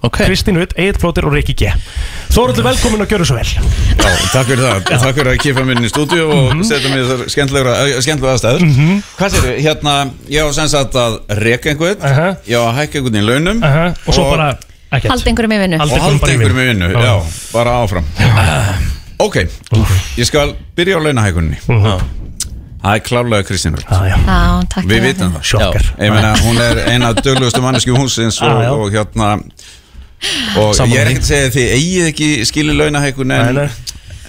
Speaker 1: okay.
Speaker 3: Kristín Rutt, Egil Flóter og Riki G Þóruldur velkomin að gjöra svo vel
Speaker 20: Já, takk fyrir það, takk fyrir að kipa mér inn í stúdíu og setja mér þessar skemmtilegra, eh, skemmtilega aðstæður
Speaker 3: Mhm.
Speaker 20: Hvað sér, hérna, ég á sem sagt að reka einhvern, ég á að hækka einhvern í launum
Speaker 3: Og svo bara, ekkert
Speaker 2: Halda einhverjum í vinnu
Speaker 20: og halda einhverjum í vinnu, já, bara áfram
Speaker 3: Ah.
Speaker 20: Ok, ég skal byrja á launahækunni
Speaker 3: Mhm.
Speaker 20: Það er klálega Kristín Rutt
Speaker 2: Já, takk
Speaker 20: Við
Speaker 2: fyrir
Speaker 20: vitum það
Speaker 3: Sjokkar
Speaker 20: Ég meina, hún er eina döglegustu mannesku húsins og,
Speaker 3: Já, já.
Speaker 20: og hérna Og
Speaker 3: Sammála
Speaker 20: ég er
Speaker 3: því.
Speaker 20: ekkert að segja að þið eigið ekki skilu launahækun en,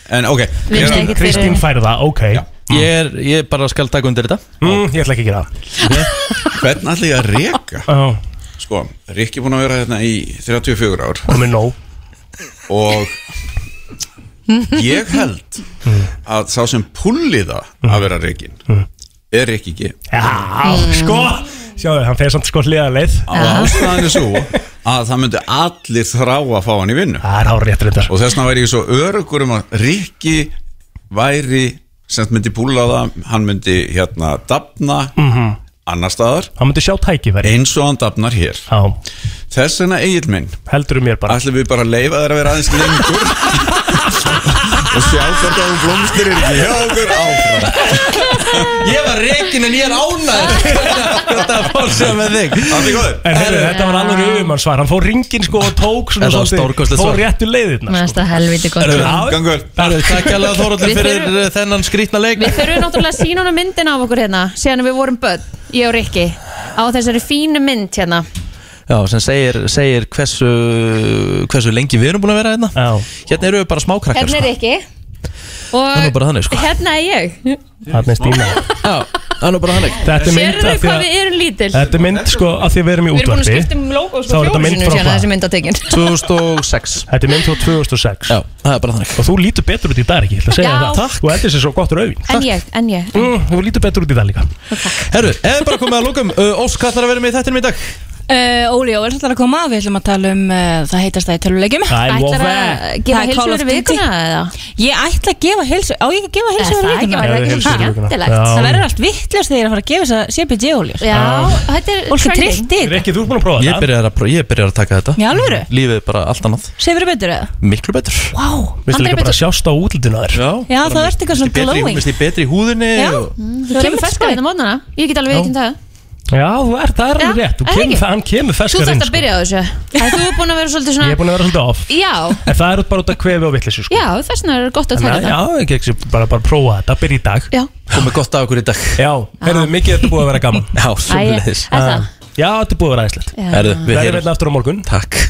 Speaker 20: en ok Hérna-
Speaker 3: Kristín, Kristín fær það, ok
Speaker 1: Ég, er, ég bara skal taka undir þetta
Speaker 3: mm, Ég ætla ekki að gera
Speaker 20: Hvern ætla ég að reka?
Speaker 3: Oh.
Speaker 20: Sko, Rikki er búin að vera hérna í 34 ár
Speaker 3: Og með nóg
Speaker 20: Og ég held
Speaker 3: Mm.
Speaker 20: að sá sem pulli það að vera Rikkin er Rikki G
Speaker 3: Já,
Speaker 2: Mm.
Speaker 3: sko Sjáðu, hann fer samt sko hliða leið
Speaker 20: og ástæðan er svo að það myndi allir þrá að fá hann í vinnu
Speaker 3: Það er hár rétt reyndar
Speaker 20: og þess vegna væri ég svo örugur um að Rikki væri sem myndi púla það, hann myndi hérna dafna
Speaker 3: Mhm.
Speaker 20: annar staðar
Speaker 3: hann myndi sjá tækifæri
Speaker 20: eins og hann dafnar hér
Speaker 3: Já.
Speaker 20: þess vegna eigin minn
Speaker 3: heldur um mér bara
Speaker 20: ætlum við bara að leifa þér að vera aðeins lengur og sjá hvort að hún blómstir er ekki hjá okkur áfram
Speaker 1: Ég var rekin en ég er ánæður Þetta er fórsöð með þig
Speaker 20: Allir góður
Speaker 3: En heyrðu, þetta var alveg yfirmannsvar Hann fór ringin sko og tók svona
Speaker 1: Þetta var stórkostlegt
Speaker 3: Fór
Speaker 1: svar.
Speaker 3: réttu leiðirna
Speaker 2: Mér finnst það helviti gott
Speaker 1: Herru,
Speaker 20: Gangur
Speaker 1: Takk alveg Þóraldur
Speaker 2: Við
Speaker 1: fyrir
Speaker 2: þurfum-
Speaker 1: uh, þennan skrítna leik
Speaker 2: Við þurfum náttúrulega að sína hana myndin af okkur hérna síðan við vorum börn, ég og Rikki á þessari fínu mynd hérna
Speaker 1: Já, sem segir, segir hversu, hversu lengi við erum búin að vera hérna
Speaker 3: Já.
Speaker 1: Hérna eru við bara smákrakkar
Speaker 3: sko.
Speaker 2: Hérna er Rikki
Speaker 1: Það er nú
Speaker 2: og
Speaker 1: bara þannig sko
Speaker 2: hérna er ég
Speaker 3: Þarna er Stína
Speaker 1: Já, það er nú bara þannig
Speaker 3: Þetta er mynd
Speaker 2: Sérðu
Speaker 3: af því
Speaker 2: hvað
Speaker 3: að
Speaker 2: við erum lítil
Speaker 3: Þetta er mynd sko að því að við erum í
Speaker 2: Við erum búin að
Speaker 3: útvarpi
Speaker 2: skipta um logo
Speaker 3: Þá
Speaker 2: sko
Speaker 3: er þetta mynd
Speaker 2: fjóðsinu
Speaker 3: frá
Speaker 2: síðan
Speaker 3: hvað?
Speaker 2: að þessi mynd á tekin
Speaker 1: 2006
Speaker 3: Þetta er mynd frá 2006
Speaker 1: Já, það er bara þannig
Speaker 3: Og þú lítur betur út í dag ekki, ég ætla að segja
Speaker 2: Já.
Speaker 3: þér það
Speaker 2: Takk.
Speaker 3: Og þetta er sér svo gott rauðin
Speaker 2: En ég, en ég
Speaker 3: mm, Þú lítur betur út í dag líka
Speaker 1: Herru, eða bara komið að lókum Ósk, hvað þarf að vera með í þættinum í dag?
Speaker 21: Uh, Óli og Óli ætlar að koma, við ætlum að tala um uh, það heitast það í tölulegjum
Speaker 1: Það er Ætlarðu að
Speaker 2: vofa. gefa heilsu fyrir vikuna, eða?
Speaker 21: Ég ætla að gefa heilsu, á ég að gefa heilsu
Speaker 2: Er
Speaker 21: fyrir
Speaker 2: það ekki
Speaker 21: vikuna?
Speaker 2: bara Gefðu heilsu fyrir vikuna. skemmtilegt? Já.
Speaker 21: Það verður allt vittlust þegar ég er að fara að gefa þess að CPG Óli
Speaker 2: Já, þetta er
Speaker 21: Fólk er
Speaker 2: trending.
Speaker 21: trillt í þetta
Speaker 3: Rikki, þú ert búin að prófa
Speaker 1: Ég byrjar að, pró- ég byrjar að taka þetta
Speaker 21: Í alvöru?
Speaker 1: Lífið er bara allt annað
Speaker 21: Sefur betur eða?
Speaker 1: Miklu betur
Speaker 21: Vá,
Speaker 3: Vistu líka bara að sjást á útlitinu þér
Speaker 1: Já,
Speaker 21: Já, þá ertu eitthvað svona glowing
Speaker 1: Mér stið betri í húðinni
Speaker 21: Já.
Speaker 1: og-
Speaker 2: Mm, Þú kemur ferska hérna mótnana Ég get alveg veikin það
Speaker 3: Já, þú ert, það er alveg
Speaker 2: Já,
Speaker 3: rétt Þú
Speaker 2: er það
Speaker 3: kemur,
Speaker 2: ekki?
Speaker 3: það- hann kemur
Speaker 2: Þú
Speaker 3: ferskar inn
Speaker 2: þarft að
Speaker 3: sko.
Speaker 2: byrja á
Speaker 3: [laughs]
Speaker 2: þessu Það þú er búin að vera svolítið
Speaker 3: Ég er
Speaker 2: svona
Speaker 3: búin að vera svolítið off
Speaker 2: Já,
Speaker 3: En það er bara út að kvefi og vitleysu sko
Speaker 2: já, þess vegna er gott að hérna. taka
Speaker 3: Þannig að,
Speaker 2: það
Speaker 3: já, ekki, ekki, bara, bara prófa þetta, byrja í dag
Speaker 2: Já.
Speaker 1: Komið gott af okkur í dag
Speaker 3: Já, heyrðu, mikið þetta er búið að vera gaman
Speaker 1: [laughs]
Speaker 3: Ah.
Speaker 1: Já, sömuleiðis.
Speaker 2: er það?
Speaker 3: Já, þetta er búið að vera æðislegt
Speaker 1: Herðu, við
Speaker 3: Verðum
Speaker 1: heyrum.
Speaker 3: hérna aftur á morgun
Speaker 1: Takk